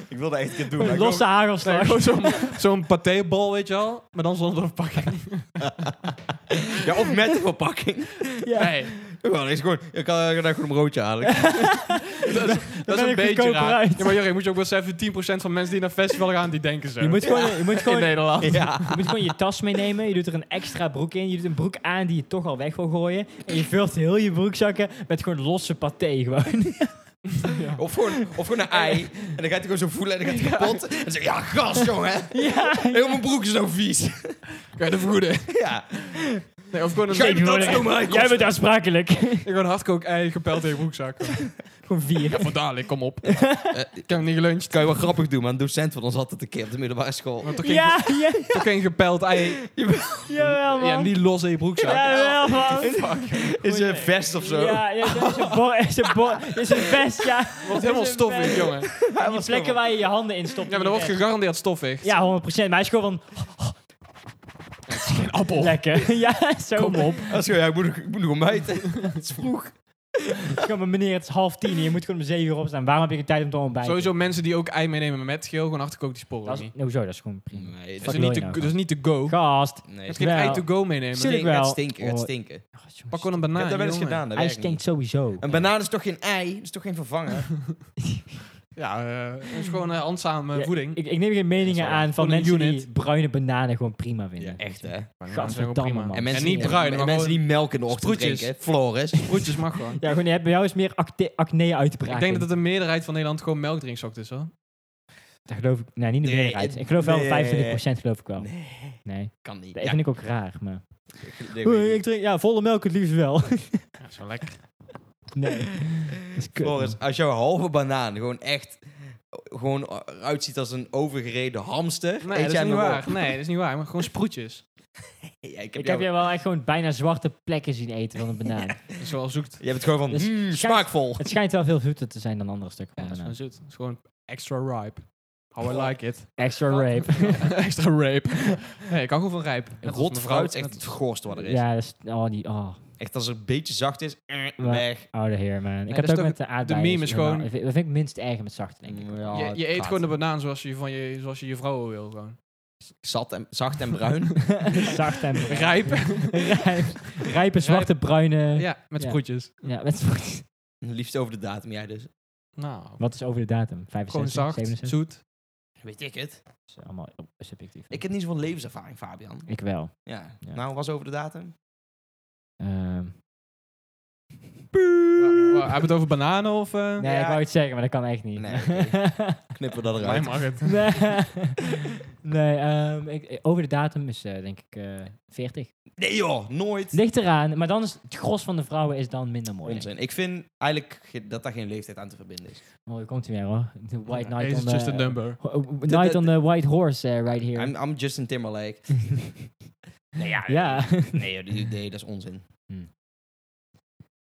Speaker 1: Ik wilde echt een keer doen. maar ik
Speaker 3: Losse
Speaker 2: Nee,
Speaker 3: hagelslag.
Speaker 2: gewoon zo'n zo'n patébal, weet je wel. Maar dan zonder verpakking.
Speaker 1: wil- ja, of met de verpakking.
Speaker 3: Ja.
Speaker 2: Nee,
Speaker 1: Gewoon, is gewoon, je kan eh, daar gewoon een broodje halen.
Speaker 2: dat is, dat is
Speaker 3: ben
Speaker 2: een
Speaker 3: ik
Speaker 2: beetje
Speaker 3: goedkoper
Speaker 2: raar.
Speaker 3: uit.
Speaker 2: Ja, maar Jorre, moet je ook beseffen, 10% van mensen die naar festivals gaan, die denken zo.
Speaker 3: Je moet gewoon, je moet
Speaker 2: in
Speaker 3: gewoon
Speaker 2: Nederland.
Speaker 1: ja.
Speaker 3: Je moet gewoon je tas meenemen. Je doet er een extra broek in. Je doet een broek aan die je toch al weg wil gooien. En je vult heel je broekzakken met gewoon losse paté. Gewoon.
Speaker 1: Of gewoon, of gewoon een ei. En dan gaat hij gewoon zo voelen en dan gaat hij kapot. En dan zeg je, ja, gas, jongen.
Speaker 3: Ja.
Speaker 1: Heel mijn broek is zo vies.
Speaker 2: Kan je de vergoeden?
Speaker 1: ja.
Speaker 2: Nee, of gewoon een,
Speaker 1: Ga je
Speaker 2: gewoon
Speaker 1: me dat doen, maar hij
Speaker 3: Jij
Speaker 1: kost-
Speaker 3: bent aansprakelijk.
Speaker 2: een hardkook ei gepeld in je broekzak.
Speaker 3: gewoon vier.
Speaker 2: Ja, van dadelijk, kom op. Eh, ik heb hem niet geluncht.
Speaker 1: Kan je wel grappig doen, maar een docent van ons had het een keer op de middelbare school.
Speaker 2: Maar toch geen,
Speaker 3: Ja, ja,
Speaker 2: toch geen gepeld ei.
Speaker 3: jawel man.
Speaker 2: Ja, niet los in je broekzak.
Speaker 3: Jawel man.
Speaker 1: Is een vest of zo.
Speaker 3: Ja, ja, dat is een bo- is een bo- is een vest, ja.
Speaker 2: Wordt helemaal
Speaker 3: Is een
Speaker 2: stoffig,
Speaker 3: vest.
Speaker 2: jongen.
Speaker 3: En Die plekken waar je je handen in stopt.
Speaker 2: Ja, maar dat wordt gegarandeerd stoffig.
Speaker 3: Ja, 100%. Maar hij is gewoon van,
Speaker 2: Geen appel.
Speaker 3: lekker. Ja, zo.
Speaker 2: Oh. Kom op.
Speaker 1: Dat is gewoon, ja, ik moet, nog- ik moet nog ontbijten. Het is vroeg.
Speaker 3: Kom maar, meneer, het is half tien. en Je moet gewoon om zeven uur opstaan. Waarom heb je geen tijd om te ontbijten?
Speaker 2: Sowieso mensen die ook ei meenemen met geel, gewoon achterkook die sporen
Speaker 3: Dat
Speaker 2: niet.
Speaker 3: is, nee, hoezo, dat is gewoon prima.
Speaker 1: Nee,
Speaker 2: Dat
Speaker 1: dat
Speaker 2: is
Speaker 3: fuck
Speaker 2: niet
Speaker 3: wil je
Speaker 2: te-
Speaker 3: nou
Speaker 2: dat is niet to go.
Speaker 3: Gast.
Speaker 1: nee.
Speaker 2: Dat is geen
Speaker 3: Wel.
Speaker 2: ei to go meenemen.
Speaker 3: Tuurlijk
Speaker 1: Het
Speaker 3: wel.
Speaker 1: gaat stinken, het gaat
Speaker 3: Oh.
Speaker 1: stinken. Ik
Speaker 2: Pak gewoon een banaan.
Speaker 1: heb dat wel eens
Speaker 2: jongen.
Speaker 1: gedaan, dat
Speaker 3: Hij
Speaker 1: werkt niet.
Speaker 3: stinkt sowieso.
Speaker 1: Een banaan is toch geen ei? Dat is toch geen vervanger?
Speaker 2: Ja, eh, dat is gewoon eh handzame
Speaker 3: Ja,
Speaker 2: voeding.
Speaker 3: Ik, ik neem geen meningen
Speaker 2: Sorry.
Speaker 3: aan van
Speaker 2: Gewoon een
Speaker 3: mensen die
Speaker 2: unit.
Speaker 3: bruine bananen gewoon prima vinden.
Speaker 1: Ja, echt hè.
Speaker 2: Dat is gewoon
Speaker 3: Gadverdamme,
Speaker 2: prima.
Speaker 3: man.
Speaker 2: En,
Speaker 3: mensen
Speaker 2: niet
Speaker 3: die-
Speaker 2: bruin,
Speaker 1: en
Speaker 2: maar
Speaker 1: mensen die melk in de ochtend
Speaker 2: sproetjes.
Speaker 1: drinken. Floris.
Speaker 2: gewoon broodjes mag gewoon.
Speaker 3: Ja, gewoon, je hebt bij jou is meer acte- acne uitbraak.
Speaker 2: Ik denk dat het de meerderheid van Nederland gewoon melk drinkt 's ochtends, hoor.
Speaker 3: Daar geloof ik... Nee, niet de
Speaker 1: Nee,
Speaker 3: meerderheid.
Speaker 1: het-
Speaker 3: Ik geloof wel
Speaker 1: nee.
Speaker 3: 25% geloof ik wel. Nee.
Speaker 1: Kan niet.
Speaker 3: Dat
Speaker 1: Ja,
Speaker 3: vind ik ook raar, maar...
Speaker 1: ik- nee,
Speaker 3: Oei,
Speaker 1: weet
Speaker 3: ik drink... Ja, volle melk het liefst wel.
Speaker 2: Ja, zo lekker.
Speaker 3: nee. Dat is
Speaker 1: niet.
Speaker 3: kut,
Speaker 1: Floris, als jouw halve banaan gewoon echt gewoon eruit ziet als een overgereden hamster.
Speaker 2: Nee,
Speaker 1: eet
Speaker 2: dat is
Speaker 1: jij
Speaker 2: niet
Speaker 1: hem nog
Speaker 2: waar.
Speaker 1: op?
Speaker 2: Nee, dat is niet waar. Maar gewoon sproetjes.
Speaker 1: Ja, ik heb
Speaker 3: Ik heb
Speaker 1: jou,
Speaker 3: jij wel echt gewoon bijna zwarte plekken zien eten van een banaan.
Speaker 2: Dat is wel zoet.
Speaker 1: je hebt het gewoon van
Speaker 3: Dus
Speaker 1: "Hmm,
Speaker 3: schijnt-
Speaker 1: smaakvol.
Speaker 3: Het schijnt wel veel zoeter te zijn dan andere stukken
Speaker 2: Ja,
Speaker 3: van
Speaker 2: dat is gewoon
Speaker 3: banaan.
Speaker 2: zoet. Dat is gewoon extra ripe. How I like it.
Speaker 3: Extra rape.
Speaker 2: extra rape. Nee, ik kan gewoon van rijp. Net als
Speaker 1: Rot
Speaker 2: mijn
Speaker 1: fruit is
Speaker 2: vrouw.
Speaker 1: echt het goorste wat er is.
Speaker 3: Ja, dat is... Oh, die... Oh.
Speaker 1: Echt als het een beetje zacht is, eh,
Speaker 3: Maar-
Speaker 1: weg.
Speaker 3: Oude heer, man. ik
Speaker 2: dat
Speaker 3: had
Speaker 2: is
Speaker 3: het ook
Speaker 2: toch
Speaker 3: met de aardbeien.
Speaker 2: meme is gewoon-
Speaker 3: Dat vind ik het minst erg met zachte, denk ik.
Speaker 1: Ja,
Speaker 2: je, je eet
Speaker 1: gaat.
Speaker 2: gewoon de banaan zoals je van je, zoals je, je vrouw wil. Gewoon.
Speaker 1: Zat en, zacht en bruin.
Speaker 3: Zacht en bruin.
Speaker 2: Rijp.
Speaker 3: Rijp. Rijpe, zwarte, bruine... Ja,
Speaker 2: ja, met
Speaker 3: Ja.
Speaker 2: sproetjes.
Speaker 3: met
Speaker 1: Liefst over de datum, jij dus.
Speaker 2: Nou,
Speaker 3: Wat is over de datum?
Speaker 2: gewoon
Speaker 3: 65,
Speaker 2: zacht,
Speaker 3: 67?
Speaker 2: zoet.
Speaker 1: Weet ik het.
Speaker 3: Dat is allemaal op- subjectief.
Speaker 1: Ik heb niet zoveel levenservaring, Fabian.
Speaker 3: Ik wel.
Speaker 1: Ja.
Speaker 3: Ja.
Speaker 1: Nou, was over de datum?
Speaker 3: Ehm,
Speaker 2: Wa- wa- Hebben we het over bananen of... eh?
Speaker 3: nee,
Speaker 1: Ja.
Speaker 3: ik wou het zeggen, maar dat kan echt niet.
Speaker 1: Nee, oké. Knippen we dat
Speaker 2: Mij
Speaker 1: eruit.
Speaker 2: mag het.
Speaker 3: nee, nee ehm, ik, over de datum is eh, denk ik eh 40.
Speaker 1: Nee joh, nooit.
Speaker 3: Ligt eraan, maar dan is het gros van de vrouwen is dan minder mooi.
Speaker 1: Onzin. Ik vind eigenlijk ge- dat daar geen leeftijd aan te verbinden is.
Speaker 3: Oh, hier komt hij weer hoor. The White
Speaker 2: Ja,
Speaker 3: Knight
Speaker 2: It's
Speaker 3: on
Speaker 2: just
Speaker 3: the...
Speaker 2: a number.
Speaker 3: Ho- ho- Knight on the White Horse eh, right here.
Speaker 1: I'm, I'm Justin Timberlake. nee, ja,
Speaker 3: ja.
Speaker 1: nou,
Speaker 3: Hmm.
Speaker 1: Nee, joh, die- nee, dat is onzin.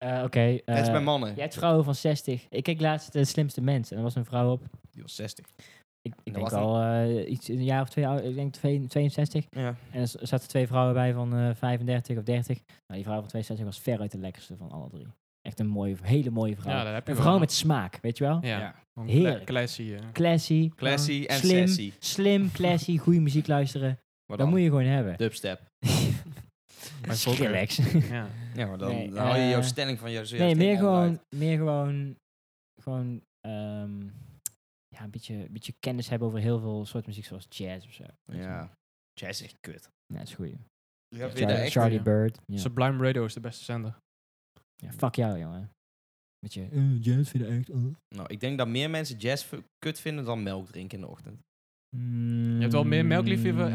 Speaker 3: Eh, Oké.
Speaker 1: dat is
Speaker 3: eh,
Speaker 1: bij mannen.
Speaker 3: Je hebt vrouwen van 60. Ik keek laatst de slimste mens en er was een vrouw op.
Speaker 1: Die was 60.
Speaker 3: Ik, ik
Speaker 1: Dat
Speaker 3: denk
Speaker 1: was
Speaker 3: al eh, iets, een jaar of twee oud. Ik denk twee- 62.
Speaker 1: Ja.
Speaker 3: En er z- zaten twee vrouwen bij van eh, 35 of 30. Maar die vrouw van 62 was veruit de lekkerste van alle drie. Echt een mooie, hele mooie vrouw.
Speaker 2: Ja, dat heb je
Speaker 3: een
Speaker 2: wel.
Speaker 3: vrouw met smaak, weet je wel?
Speaker 2: Ja,
Speaker 1: Ja.
Speaker 2: gewoon
Speaker 3: Heerlijk.
Speaker 2: cla- Classy. eh.
Speaker 3: Classy.
Speaker 1: Classy
Speaker 3: eh,
Speaker 1: en
Speaker 3: slim,
Speaker 1: sassy.
Speaker 3: Slim, classy, goede muziek luisteren.
Speaker 1: Maar
Speaker 3: Dat moet je gewoon hebben.
Speaker 1: dubstep.
Speaker 3: Skrillex.
Speaker 2: Ja.
Speaker 1: Ja, maar dan,
Speaker 3: Nee,
Speaker 1: dan haal je jouw
Speaker 3: eh,
Speaker 1: stelling van jouw
Speaker 3: Nee, meer gewoon, meer gewoon, gewoon ehm, ja, een beetje, een beetje kennis hebben over heel veel soorten muziek, zoals jazz of zo.
Speaker 1: Ja. Jazz is echt kut.
Speaker 3: Ja, dat is goed.
Speaker 1: Ja, vind je dat
Speaker 3: Charlie,
Speaker 1: echt?
Speaker 3: Charlie
Speaker 2: ja.
Speaker 3: Bird. Ja.
Speaker 2: Sublime Radio is de beste zender.
Speaker 3: Ja, fuck jou, jongen. Met je eh, jazz vind ik echt... eh.
Speaker 1: Nou, ik denk dat meer mensen jazz v- kut vinden dan melk drinken in de ochtend.
Speaker 2: Je hebt wel meer melkliefhebbers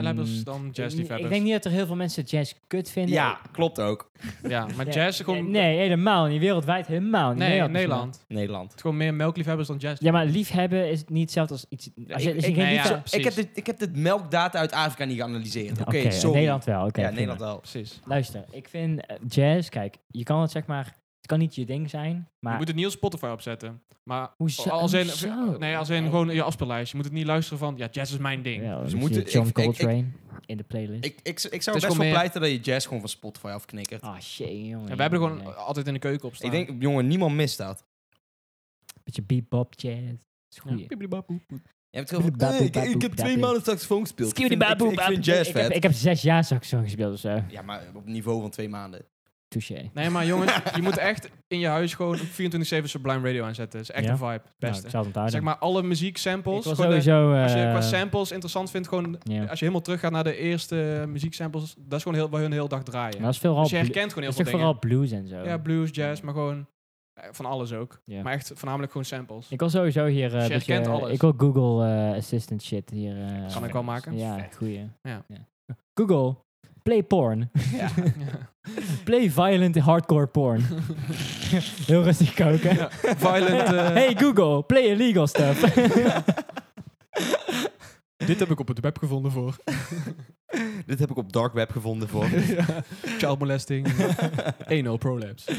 Speaker 2: dan
Speaker 3: Mm, Ik- Ik
Speaker 2: jazzliefhebbers.
Speaker 3: denk niet dat er heel veel mensen jazz kut vinden.
Speaker 1: Ja, klopt ook.
Speaker 2: Ja, maar
Speaker 3: Ja,
Speaker 2: jazz is gewoon...
Speaker 3: Nee, helemaal niet. Wereldwijd helemaal niet.
Speaker 2: nee, in
Speaker 3: misschien wel.
Speaker 2: Nederland. Het
Speaker 1: Nederland.
Speaker 2: is gewoon meer melkliefhebbers dan jazz.
Speaker 3: Ja, maar liefhebben is niet hetzelfde als iets... Als je, als je
Speaker 1: ik-
Speaker 3: geen
Speaker 2: nee, ja.
Speaker 3: liefde...
Speaker 1: Ik
Speaker 2: precies.
Speaker 1: heb, dit, ik heb dit melkdata uit Afrika niet geanalyseerd. Oké,
Speaker 3: in
Speaker 1: sorry.
Speaker 3: Nederland wel. oké
Speaker 1: ja,
Speaker 3: prima.
Speaker 1: Nederland wel.
Speaker 2: Precies.
Speaker 3: Luister, ik vind eh, jazz, kijk, je kan het zeg maar, het kan niet je ding zijn,
Speaker 2: Je
Speaker 3: maar
Speaker 2: moet het niet op Spotify opzetten. Maar
Speaker 3: hoezo?
Speaker 2: als in,
Speaker 3: hoezo?
Speaker 2: nee, als in gewoon in je afspeellijst. Je moet het niet luisteren van, ja, jazz is mijn ding.
Speaker 3: Ja,
Speaker 1: Ze
Speaker 3: dan
Speaker 1: moeten-
Speaker 3: zie je John
Speaker 1: ik- ik- ik-
Speaker 3: Coltrane in de playlist.
Speaker 1: Ik, ik, ik zou
Speaker 2: is
Speaker 1: best
Speaker 2: gewoon
Speaker 1: wel
Speaker 2: meer-
Speaker 1: pleiten dat je jazz gewoon van Spotify afknikkert.
Speaker 3: Ah, shit, jongen.
Speaker 2: En wij hebben er gewoon
Speaker 3: jongen.
Speaker 2: altijd in de keuken op staan.
Speaker 1: ik denk, jongen, niemand mist dat.
Speaker 3: Beetje bebop jazz. Dat is goed.
Speaker 2: Ja. Piepeliebapoe.
Speaker 1: Je hebt het heel veel-
Speaker 3: Baboe,
Speaker 1: Eh, ik,
Speaker 3: baboe,
Speaker 1: ik heb twee
Speaker 3: baboe.
Speaker 1: maanden saxofoon gespeeld. Ik vind, ik,
Speaker 3: Skibidi-baboe,
Speaker 1: ik vind
Speaker 3: baboe.
Speaker 1: jazz
Speaker 3: Ik heb,
Speaker 1: vet.
Speaker 3: ik heb zes jaar saxofoon gespeeld of zo.
Speaker 1: Ja, maar op niveau van twee maanden.
Speaker 3: Touché. Nou,
Speaker 2: Nee, maar jongens, je moet echt in je huis gewoon 24-7 Sublime Radio aanzetten. Dat is echt
Speaker 3: Ja?
Speaker 2: een vibe. Het
Speaker 3: Nou, ik
Speaker 2: Beste.
Speaker 3: zal het onthouden.
Speaker 2: zeg maar alle muziek
Speaker 3: ik
Speaker 2: samples.
Speaker 3: was
Speaker 2: gewoon de-
Speaker 3: sowieso...
Speaker 2: als je
Speaker 3: eh,
Speaker 2: qua samples interessant vindt, gewoon
Speaker 3: ja.
Speaker 2: als je helemaal teruggaat naar de eerste muzieksamples, dat is gewoon heel, waar hun de hele dag draaien.
Speaker 3: Maar Nou, dat is vooral,
Speaker 2: dus je
Speaker 3: blu-
Speaker 2: herkent gewoon heel
Speaker 3: dat is
Speaker 2: veel
Speaker 3: toch
Speaker 2: dingen.
Speaker 3: vooral blues en zo.
Speaker 2: Ja, blues, jazz, maar gewoon eh, van alles ook.
Speaker 3: Ja.
Speaker 2: Maar echt voornamelijk gewoon samples.
Speaker 3: Ik wil sowieso hier... eh,
Speaker 2: Dus je
Speaker 3: beetje-
Speaker 2: herkent alles.
Speaker 3: Ik wil Google eh, Assistant shit hier... eh,
Speaker 2: kan ik wel maken.
Speaker 3: Ja,
Speaker 1: Vet.
Speaker 3: goeie.
Speaker 2: Ja.
Speaker 3: Google, play porn.
Speaker 1: Ja.
Speaker 3: Play violent hardcore porn. Heel rustig koken.
Speaker 2: Ja, Violent. eh,
Speaker 3: Hey Google, play illegal stuff.
Speaker 2: Dit heb ik op het web gevonden voor.
Speaker 1: Dit heb ik op dark web gevonden voor.
Speaker 2: Ja, Child molesting. anal prolapse.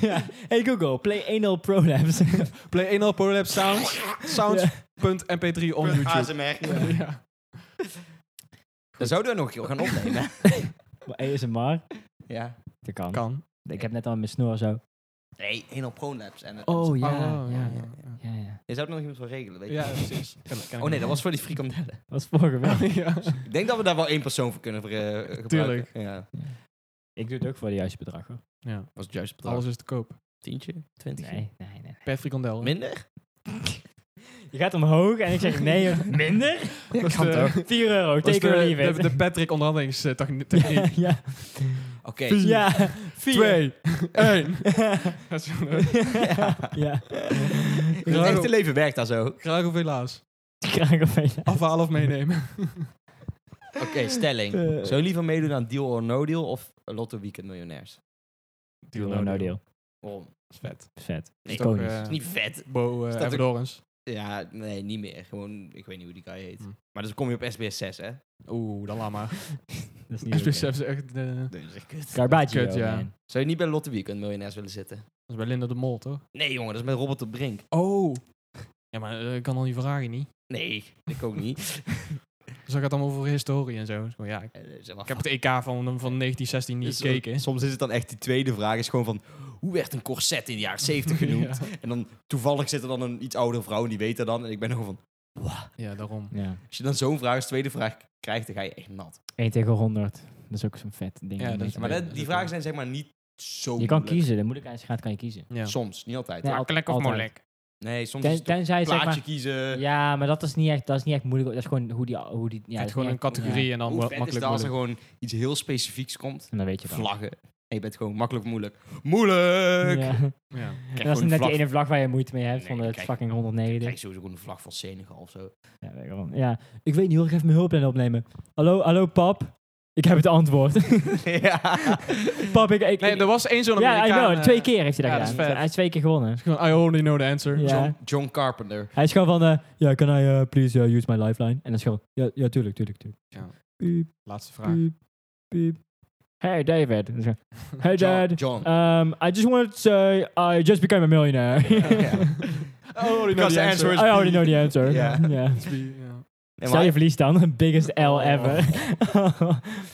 Speaker 3: ja. Hey Google, play anal prolapse.
Speaker 2: Play anal prolapse sounds. Sounds.mp3 on YouTube.
Speaker 1: ASMR.
Speaker 2: Ja.
Speaker 1: Dan zouden we nog een keer gaan opnemen.
Speaker 3: Maar ASMR,
Speaker 1: ja.
Speaker 3: dat kan.
Speaker 2: Kan.
Speaker 3: Ik heb net al mijn snor zo.
Speaker 1: Nee, helemaal prolapse. En, eh,
Speaker 3: Oh ja,
Speaker 2: Oh,
Speaker 3: ja,
Speaker 2: ja,
Speaker 3: ja. ja, ja.
Speaker 1: Je zou er nog iemand voor regelen, weet je.
Speaker 2: Ja, precies.
Speaker 1: Oh nee, dat was voor die frikandellen.
Speaker 3: Dat was vorige week.
Speaker 2: ja.
Speaker 1: Ik denk dat we daar wel één persoon voor kunnen eh, gebruiken.
Speaker 2: Tuurlijk.
Speaker 1: Ja,
Speaker 3: Ik doe het ook voor de juiste bedrag hoor.
Speaker 2: ja.
Speaker 1: was het juist bedrag.
Speaker 2: Alles is te koop.
Speaker 1: tientje, twintigje.
Speaker 3: Nee, nee, nee.
Speaker 2: Per frikandel.
Speaker 1: Minder?
Speaker 3: Je gaat omhoog en ik zeg nee, joh. minder?
Speaker 1: Ja,
Speaker 2: was
Speaker 1: kan
Speaker 2: de-
Speaker 1: toch?
Speaker 3: 4 euro,
Speaker 2: Dat is
Speaker 3: take it or leave
Speaker 2: de,
Speaker 3: it.
Speaker 2: de, de Patrick onderhandelingstechniek.
Speaker 3: ja, ja.
Speaker 1: Oké.
Speaker 3: ja, vier.
Speaker 2: Twee. Eén. Dat is een, eh,
Speaker 3: ja,
Speaker 1: In het echte leven werkt dat zo. Oké,
Speaker 2: Graag of helaas.
Speaker 3: graag of een.
Speaker 2: Afhalen of meenemen.
Speaker 1: stelling.
Speaker 3: Eh.
Speaker 1: Zou je liever meedoen aan Deal or No Deal of Lotto Weekend Miljonairs?
Speaker 3: Deal or no deal.
Speaker 1: Waarom?
Speaker 2: Dat is vet.
Speaker 3: Vet.
Speaker 1: Nee,
Speaker 2: Toch,
Speaker 3: Iconisch.
Speaker 2: eh,
Speaker 1: is niet vet.
Speaker 2: Bo eh
Speaker 1: Staat ook-
Speaker 2: Dorens.
Speaker 1: Ja, nee, niet meer. Gewoon, ik weet niet hoe die guy heet.
Speaker 2: Hm.
Speaker 1: Maar dan kom je op SBS 6, hè?
Speaker 2: Oeh, dan laat maar.
Speaker 3: Dat is niet
Speaker 2: SB7
Speaker 3: oké.
Speaker 2: is echt... eh, dat
Speaker 1: Dat is echt kut.
Speaker 3: Carbaggio,
Speaker 2: Kut, ja.
Speaker 3: man.
Speaker 1: Zou je niet bij Lotte Weekend Miljonairs willen zitten?
Speaker 2: is bij Linda de Mol, toch?
Speaker 1: Nee, jongen, dat is met Robert de Brink.
Speaker 2: Oh. Ja, maar eh, ik kan al die vragen niet.
Speaker 1: Nee, ik ook niet.
Speaker 2: Dus dat gaat allemaal over historie en zo. Dus gewoon, ja, ik,
Speaker 1: Eh, zeg maar,
Speaker 2: ik heb het EK van, van 1916 niet
Speaker 1: Dus, eh,
Speaker 2: gekeken.
Speaker 1: Soms is het dan echt die tweede vraag. Is gewoon van, hoe werd een corset in de jaren 70 genoemd?
Speaker 2: Ja.
Speaker 1: En dan toevallig zit er dan een iets oudere vrouw en die weet dat dan. En ik ben gewoon van,
Speaker 2: Ja, daarom.
Speaker 3: Ja.
Speaker 1: als je dan zo'n vraag als tweede vraag krijgt, dan ga je echt nat.
Speaker 3: 1 tegen 100. Dat is ook zo'n vet ding.
Speaker 2: Ja,
Speaker 3: om
Speaker 2: dat
Speaker 3: mee
Speaker 2: is-
Speaker 3: te
Speaker 1: Maar
Speaker 3: doen.
Speaker 1: dat-
Speaker 2: dat is
Speaker 1: die
Speaker 2: ook
Speaker 1: vragen
Speaker 2: wel.
Speaker 1: zijn zeg maar niet zo
Speaker 3: je kan
Speaker 1: moeilijk.
Speaker 3: kiezen. De moeilijkheid gaat, kan je kiezen.
Speaker 2: Ja.
Speaker 1: Soms, niet altijd.
Speaker 3: Nee,
Speaker 1: Nee,
Speaker 3: al-
Speaker 2: Makkelijk of
Speaker 3: altijd.
Speaker 2: moeilijk? dus
Speaker 1: soms is
Speaker 3: Ten,
Speaker 1: het toch
Speaker 3: tenzij, zeg
Speaker 1: plaatje
Speaker 3: maar...
Speaker 1: kiezen.
Speaker 3: Ja, maar dat is niet echt, dat is niet echt moeilijk. Dat is gewoon hoe die... Hoe die ja,
Speaker 2: het
Speaker 3: dat
Speaker 2: is
Speaker 3: is
Speaker 2: gewoon
Speaker 3: niet
Speaker 2: een
Speaker 3: echt-
Speaker 2: categorie
Speaker 3: ja.
Speaker 2: en dan
Speaker 1: Hoe
Speaker 2: ma-
Speaker 1: vet is
Speaker 2: makkelijk
Speaker 1: het als er
Speaker 2: moeilijk.
Speaker 1: gewoon iets heel specifieks komt?
Speaker 3: En dan weet je wel.
Speaker 1: Vlaggen. En je bent gewoon makkelijk moeilijk. Moeilijk!
Speaker 3: Ja.
Speaker 1: Ik
Speaker 2: Ja.
Speaker 1: krijg
Speaker 3: Dat is
Speaker 1: gewoon
Speaker 3: net
Speaker 1: vlag-
Speaker 3: die ene vlag waar je moeite mee hebt
Speaker 1: Nee,
Speaker 3: van de
Speaker 1: kijk.
Speaker 3: fucking
Speaker 1: Ik
Speaker 3: 190.
Speaker 1: krijg sowieso gewoon een vlag van Senegal of zo.
Speaker 3: Ja, weet ik wel. ja, ik weet niet hoor, ik ga even mijn hulplijn opnemen. Hallo, hallo pap. Ik heb het antwoord.
Speaker 1: ja.
Speaker 3: pap, ik... ik
Speaker 2: Nee,
Speaker 3: ik-
Speaker 2: er was één zo'n
Speaker 3: ja, I
Speaker 2: Amerikaan,
Speaker 3: know.
Speaker 2: eh,
Speaker 3: Twee keer heeft hij
Speaker 2: ja,
Speaker 3: dat
Speaker 2: dat is
Speaker 3: gedaan.
Speaker 2: vet.
Speaker 3: Hij is twee keer gewonnen.
Speaker 2: Gewoon, I only know the answer.
Speaker 3: Ja.
Speaker 1: John, John Carpenter.
Speaker 3: Hij is gewoon van, eh, ja, can I eh, please eh, use my lifeline? En dan is gewoon, ja, ja, tuurlijk, tuurlijk, tuurlijk.
Speaker 2: Ja.
Speaker 3: Piep,
Speaker 2: Laatste vraag.
Speaker 3: piep, piep. Hey, David. En dan is hij gewoon, hey,
Speaker 1: John.
Speaker 3: Dad.
Speaker 1: John.
Speaker 3: Um, I just wanted to say I just became a millionaire.
Speaker 2: I only
Speaker 1: Because
Speaker 2: know the
Speaker 1: the
Speaker 2: answer.
Speaker 1: answer
Speaker 3: I already know the answer.
Speaker 1: Ja.
Speaker 3: Ja.
Speaker 2: is B, ja.
Speaker 1: Nee,
Speaker 3: Stel
Speaker 1: maar-
Speaker 3: je verlies dan. Biggest L
Speaker 1: Oh.
Speaker 3: ever.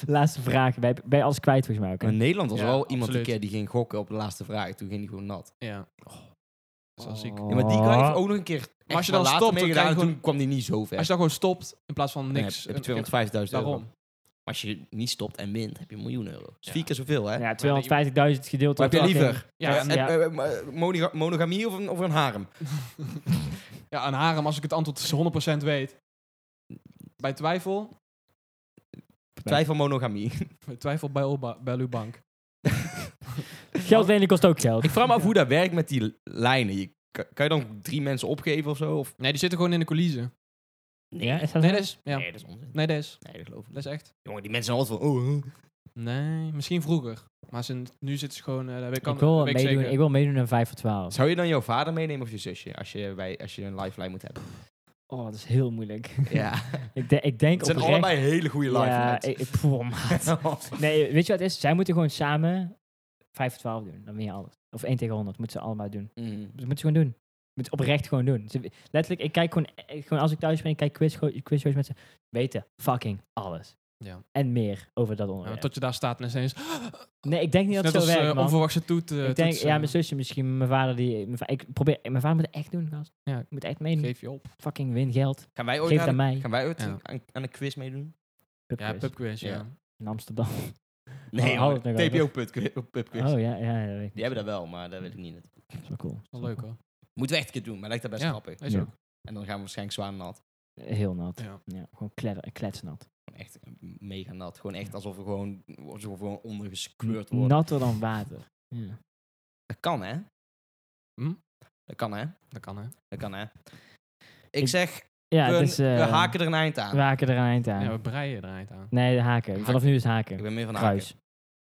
Speaker 3: Laatste vraag. Ben je- ben je alles kwijt volgens mij ook. hè?
Speaker 1: Maar in Nederland was
Speaker 2: Ja,
Speaker 1: wel iemand die,
Speaker 2: absoluut.
Speaker 1: keer die ging gokken op de laatste vraag. Toen ging hij gewoon nat.
Speaker 2: Ja. Dat is wel ziek.
Speaker 3: Oh.
Speaker 1: Ja, maar die guy heeft ook nog een keer
Speaker 2: Maar als
Speaker 1: echt
Speaker 2: je dan
Speaker 1: later
Speaker 2: stopt, dan
Speaker 1: mee
Speaker 2: krijg
Speaker 1: gedaan,
Speaker 2: je
Speaker 1: en
Speaker 2: gewoon...
Speaker 1: toen kwam die niet zo ver.
Speaker 2: Als je dan gewoon stopt, in plaats van
Speaker 1: Dan
Speaker 2: niks.
Speaker 1: heb, heb
Speaker 2: eh,
Speaker 1: je 250.000 euro.
Speaker 2: Daarom.
Speaker 1: Maar als je niet stopt en wint, heb je een miljoen euro. Dat is
Speaker 2: Ja.
Speaker 1: vier keer zoveel, hè?
Speaker 3: Ja, 250.000 gedeeld
Speaker 1: Wat heb je
Speaker 3: fucking-
Speaker 1: liever?
Speaker 2: Ja,
Speaker 1: Eh,
Speaker 2: en-
Speaker 3: ja.
Speaker 1: eh, eh, eh, monoga- monogamie of een, of een harem?
Speaker 2: Ja, een harem, als ik het antwoord 100% weet. Bij twijfel,
Speaker 1: Twijfel monogamie.
Speaker 2: bij twijfel bij, Olba- bij uw bank.
Speaker 3: Geld lenen kost ook geld.
Speaker 1: Ik vraag me af hoe dat werkt met die l- lijnen. Je, kan, kan je dan drie mensen opgeven of zo? Of?
Speaker 2: Nee, die zitten gewoon in de coulissen.
Speaker 3: Ja, is dat
Speaker 2: Nee,
Speaker 3: zo?
Speaker 2: dat is, ja.
Speaker 1: Nee, dat is onzin.
Speaker 2: nee, dat is,
Speaker 1: Nee, dat geloof ik
Speaker 2: dat is echt.
Speaker 1: Jongen, die mensen zijn altijd van... Oh, eh.
Speaker 2: Nee, misschien vroeger. Maar ze, nu zitten ze gewoon... eh, dat weet ik,
Speaker 3: Ik
Speaker 2: kan,
Speaker 3: wil,
Speaker 2: dat weet ik
Speaker 3: meedoen,
Speaker 2: zeker.
Speaker 3: ik wil meedoen aan 5 voor 12.
Speaker 1: Zou je dan jouw vader meenemen of je zusje? Als je, bij, als je een lifeline moet hebben.
Speaker 3: Oh, dat is heel moeilijk.
Speaker 1: Ja.
Speaker 3: ik, de- ik denk
Speaker 1: Het zijn
Speaker 3: oprecht...
Speaker 1: allebei hele goede
Speaker 3: Ja,
Speaker 1: lifelines.
Speaker 3: ik, ik- pff, maat. Nee, weet je wat het is? Zij moeten gewoon samen 5 voor 12 doen. Dan win je alles. Of 1 tegen 100 moeten ze allemaal doen.
Speaker 1: Mm.
Speaker 3: Dat moeten ze gewoon doen. Moet oprecht gewoon doen. Ze- letterlijk, ik kijk gewoon, eh, gewoon als ik thuis ben, ik kijk quiz, quizshows met ze. Weten fucking alles.
Speaker 2: Ja.
Speaker 3: En meer over dat
Speaker 2: Ja, maar
Speaker 3: onderwerp.
Speaker 2: tot je daar staat en ineens...
Speaker 3: nee, ik denk niet dat
Speaker 2: Net
Speaker 3: het
Speaker 2: als eh,
Speaker 3: zo werkt, man.
Speaker 2: onverwachte toet. eh,
Speaker 3: ik denk,
Speaker 2: toetsen.
Speaker 3: ja, mijn zusje misschien, mijn vader die... Mijn va- ik probeer, mijn vader moet het echt doen, gast.
Speaker 2: Ja.
Speaker 3: Ik moet echt meedoen.
Speaker 2: Geef je op.
Speaker 3: Fucking win geld.
Speaker 1: Gaan wij
Speaker 3: Geef
Speaker 1: ooit,
Speaker 3: het
Speaker 1: aan,
Speaker 3: aan mij.
Speaker 1: gaan wij ooit
Speaker 2: Ja.
Speaker 1: aan, aan een quiz meedoen?
Speaker 2: Ja,
Speaker 3: Pubquiz
Speaker 2: pubquiz, ja.
Speaker 1: Ja.
Speaker 3: in Amsterdam.
Speaker 1: Nee,
Speaker 3: hou het nog over.
Speaker 1: TPO pubquiz. pubquiz.
Speaker 3: Oh ja, ja, dat weet ik.
Speaker 1: Die hebben dat wel, maar dat weet ik niet.
Speaker 3: Dat is wel cool.
Speaker 2: Wel leuk hoor.
Speaker 1: Moeten we echt een keer doen, maar lijkt dat best
Speaker 2: Ja.
Speaker 1: grappig.
Speaker 2: Is
Speaker 3: Ja.
Speaker 2: ook.
Speaker 1: En dan gaan we waarschijnlijk zwaar nat.
Speaker 3: Heel nat.
Speaker 2: Ja.
Speaker 3: Ja, gewoon kledder, kletsnat.
Speaker 1: Gewoon Echt mega nat. Gewoon echt alsof we gewoon, alsof we gewoon ondergespeurd worden.
Speaker 3: Natter dan water. Ja.
Speaker 1: Dat kan, hè?
Speaker 2: Hm?
Speaker 1: Dat kan, hè?
Speaker 2: Dat kan hè.
Speaker 1: Dat kan, hè? Ik,
Speaker 3: Ik-
Speaker 1: zeg,
Speaker 3: Ja,
Speaker 1: we,
Speaker 3: dus, eh,
Speaker 1: we haken er een eind aan.
Speaker 3: we haken er een eind aan.
Speaker 2: Ja, we breien er eind aan.
Speaker 3: Nee, de haken. Vanaf nu is haken.
Speaker 1: Ik ben meer van haken.
Speaker 3: Kruis.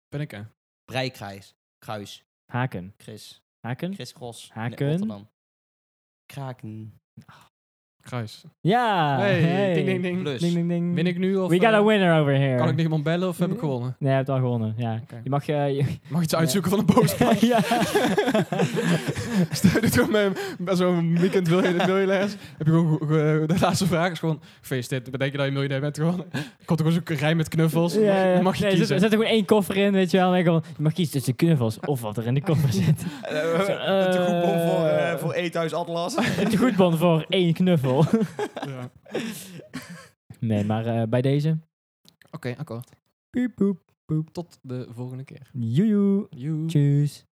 Speaker 2: Ben ik hè.
Speaker 1: Brijkruis. Kruis.
Speaker 3: Haken.
Speaker 1: Chris.
Speaker 3: Haken?
Speaker 1: Chris Gros.
Speaker 3: Haken.
Speaker 1: Nee, Rotterdam. Kraken.
Speaker 2: Kruis.
Speaker 3: Ja!
Speaker 2: Hey,
Speaker 3: Ah, hey.
Speaker 2: ding ding ding.
Speaker 1: Plus.
Speaker 3: Ding, ding, ding.
Speaker 2: Ben ik nu of...
Speaker 3: We got
Speaker 2: eh,
Speaker 3: a winner over here.
Speaker 2: Kan ik niemand bellen of heb ik gewonnen?
Speaker 3: Nee, je hebt al gewonnen. Ja.
Speaker 2: Oké.
Speaker 3: Je mag... eh, je-
Speaker 2: Mag je iets uitzoeken van een boosman?
Speaker 3: ja.
Speaker 2: Stel je dit gewoon mee, bij zo'n weekend wil je, wil je les. Heb je gewoon, eh, de laatste vraag is gewoon, gefeliciteerd, bedenk je dat je miljonair bent gewoon. Komt er gewoon zo'n rij met knuffels.
Speaker 3: Ja, ja.
Speaker 2: Dan mag je
Speaker 3: nee,
Speaker 2: kiezen.
Speaker 3: Er zit er gewoon één koffer in, weet je wel. En ik gewoon, je mag kiezen tussen de knuffels of wat er in de koffer zit.
Speaker 1: Het
Speaker 3: eh,
Speaker 1: een coupon voor, eh, voor Eethuis Atlas.
Speaker 3: Een goedbon voor één knuffel.
Speaker 2: Ja. Oké,
Speaker 3: Nee, maar eh, bij deze...
Speaker 2: akkoord.
Speaker 3: Piep, poep.
Speaker 2: Tot de volgende keer.
Speaker 3: Joejoe.
Speaker 2: Joe.
Speaker 3: Tjus.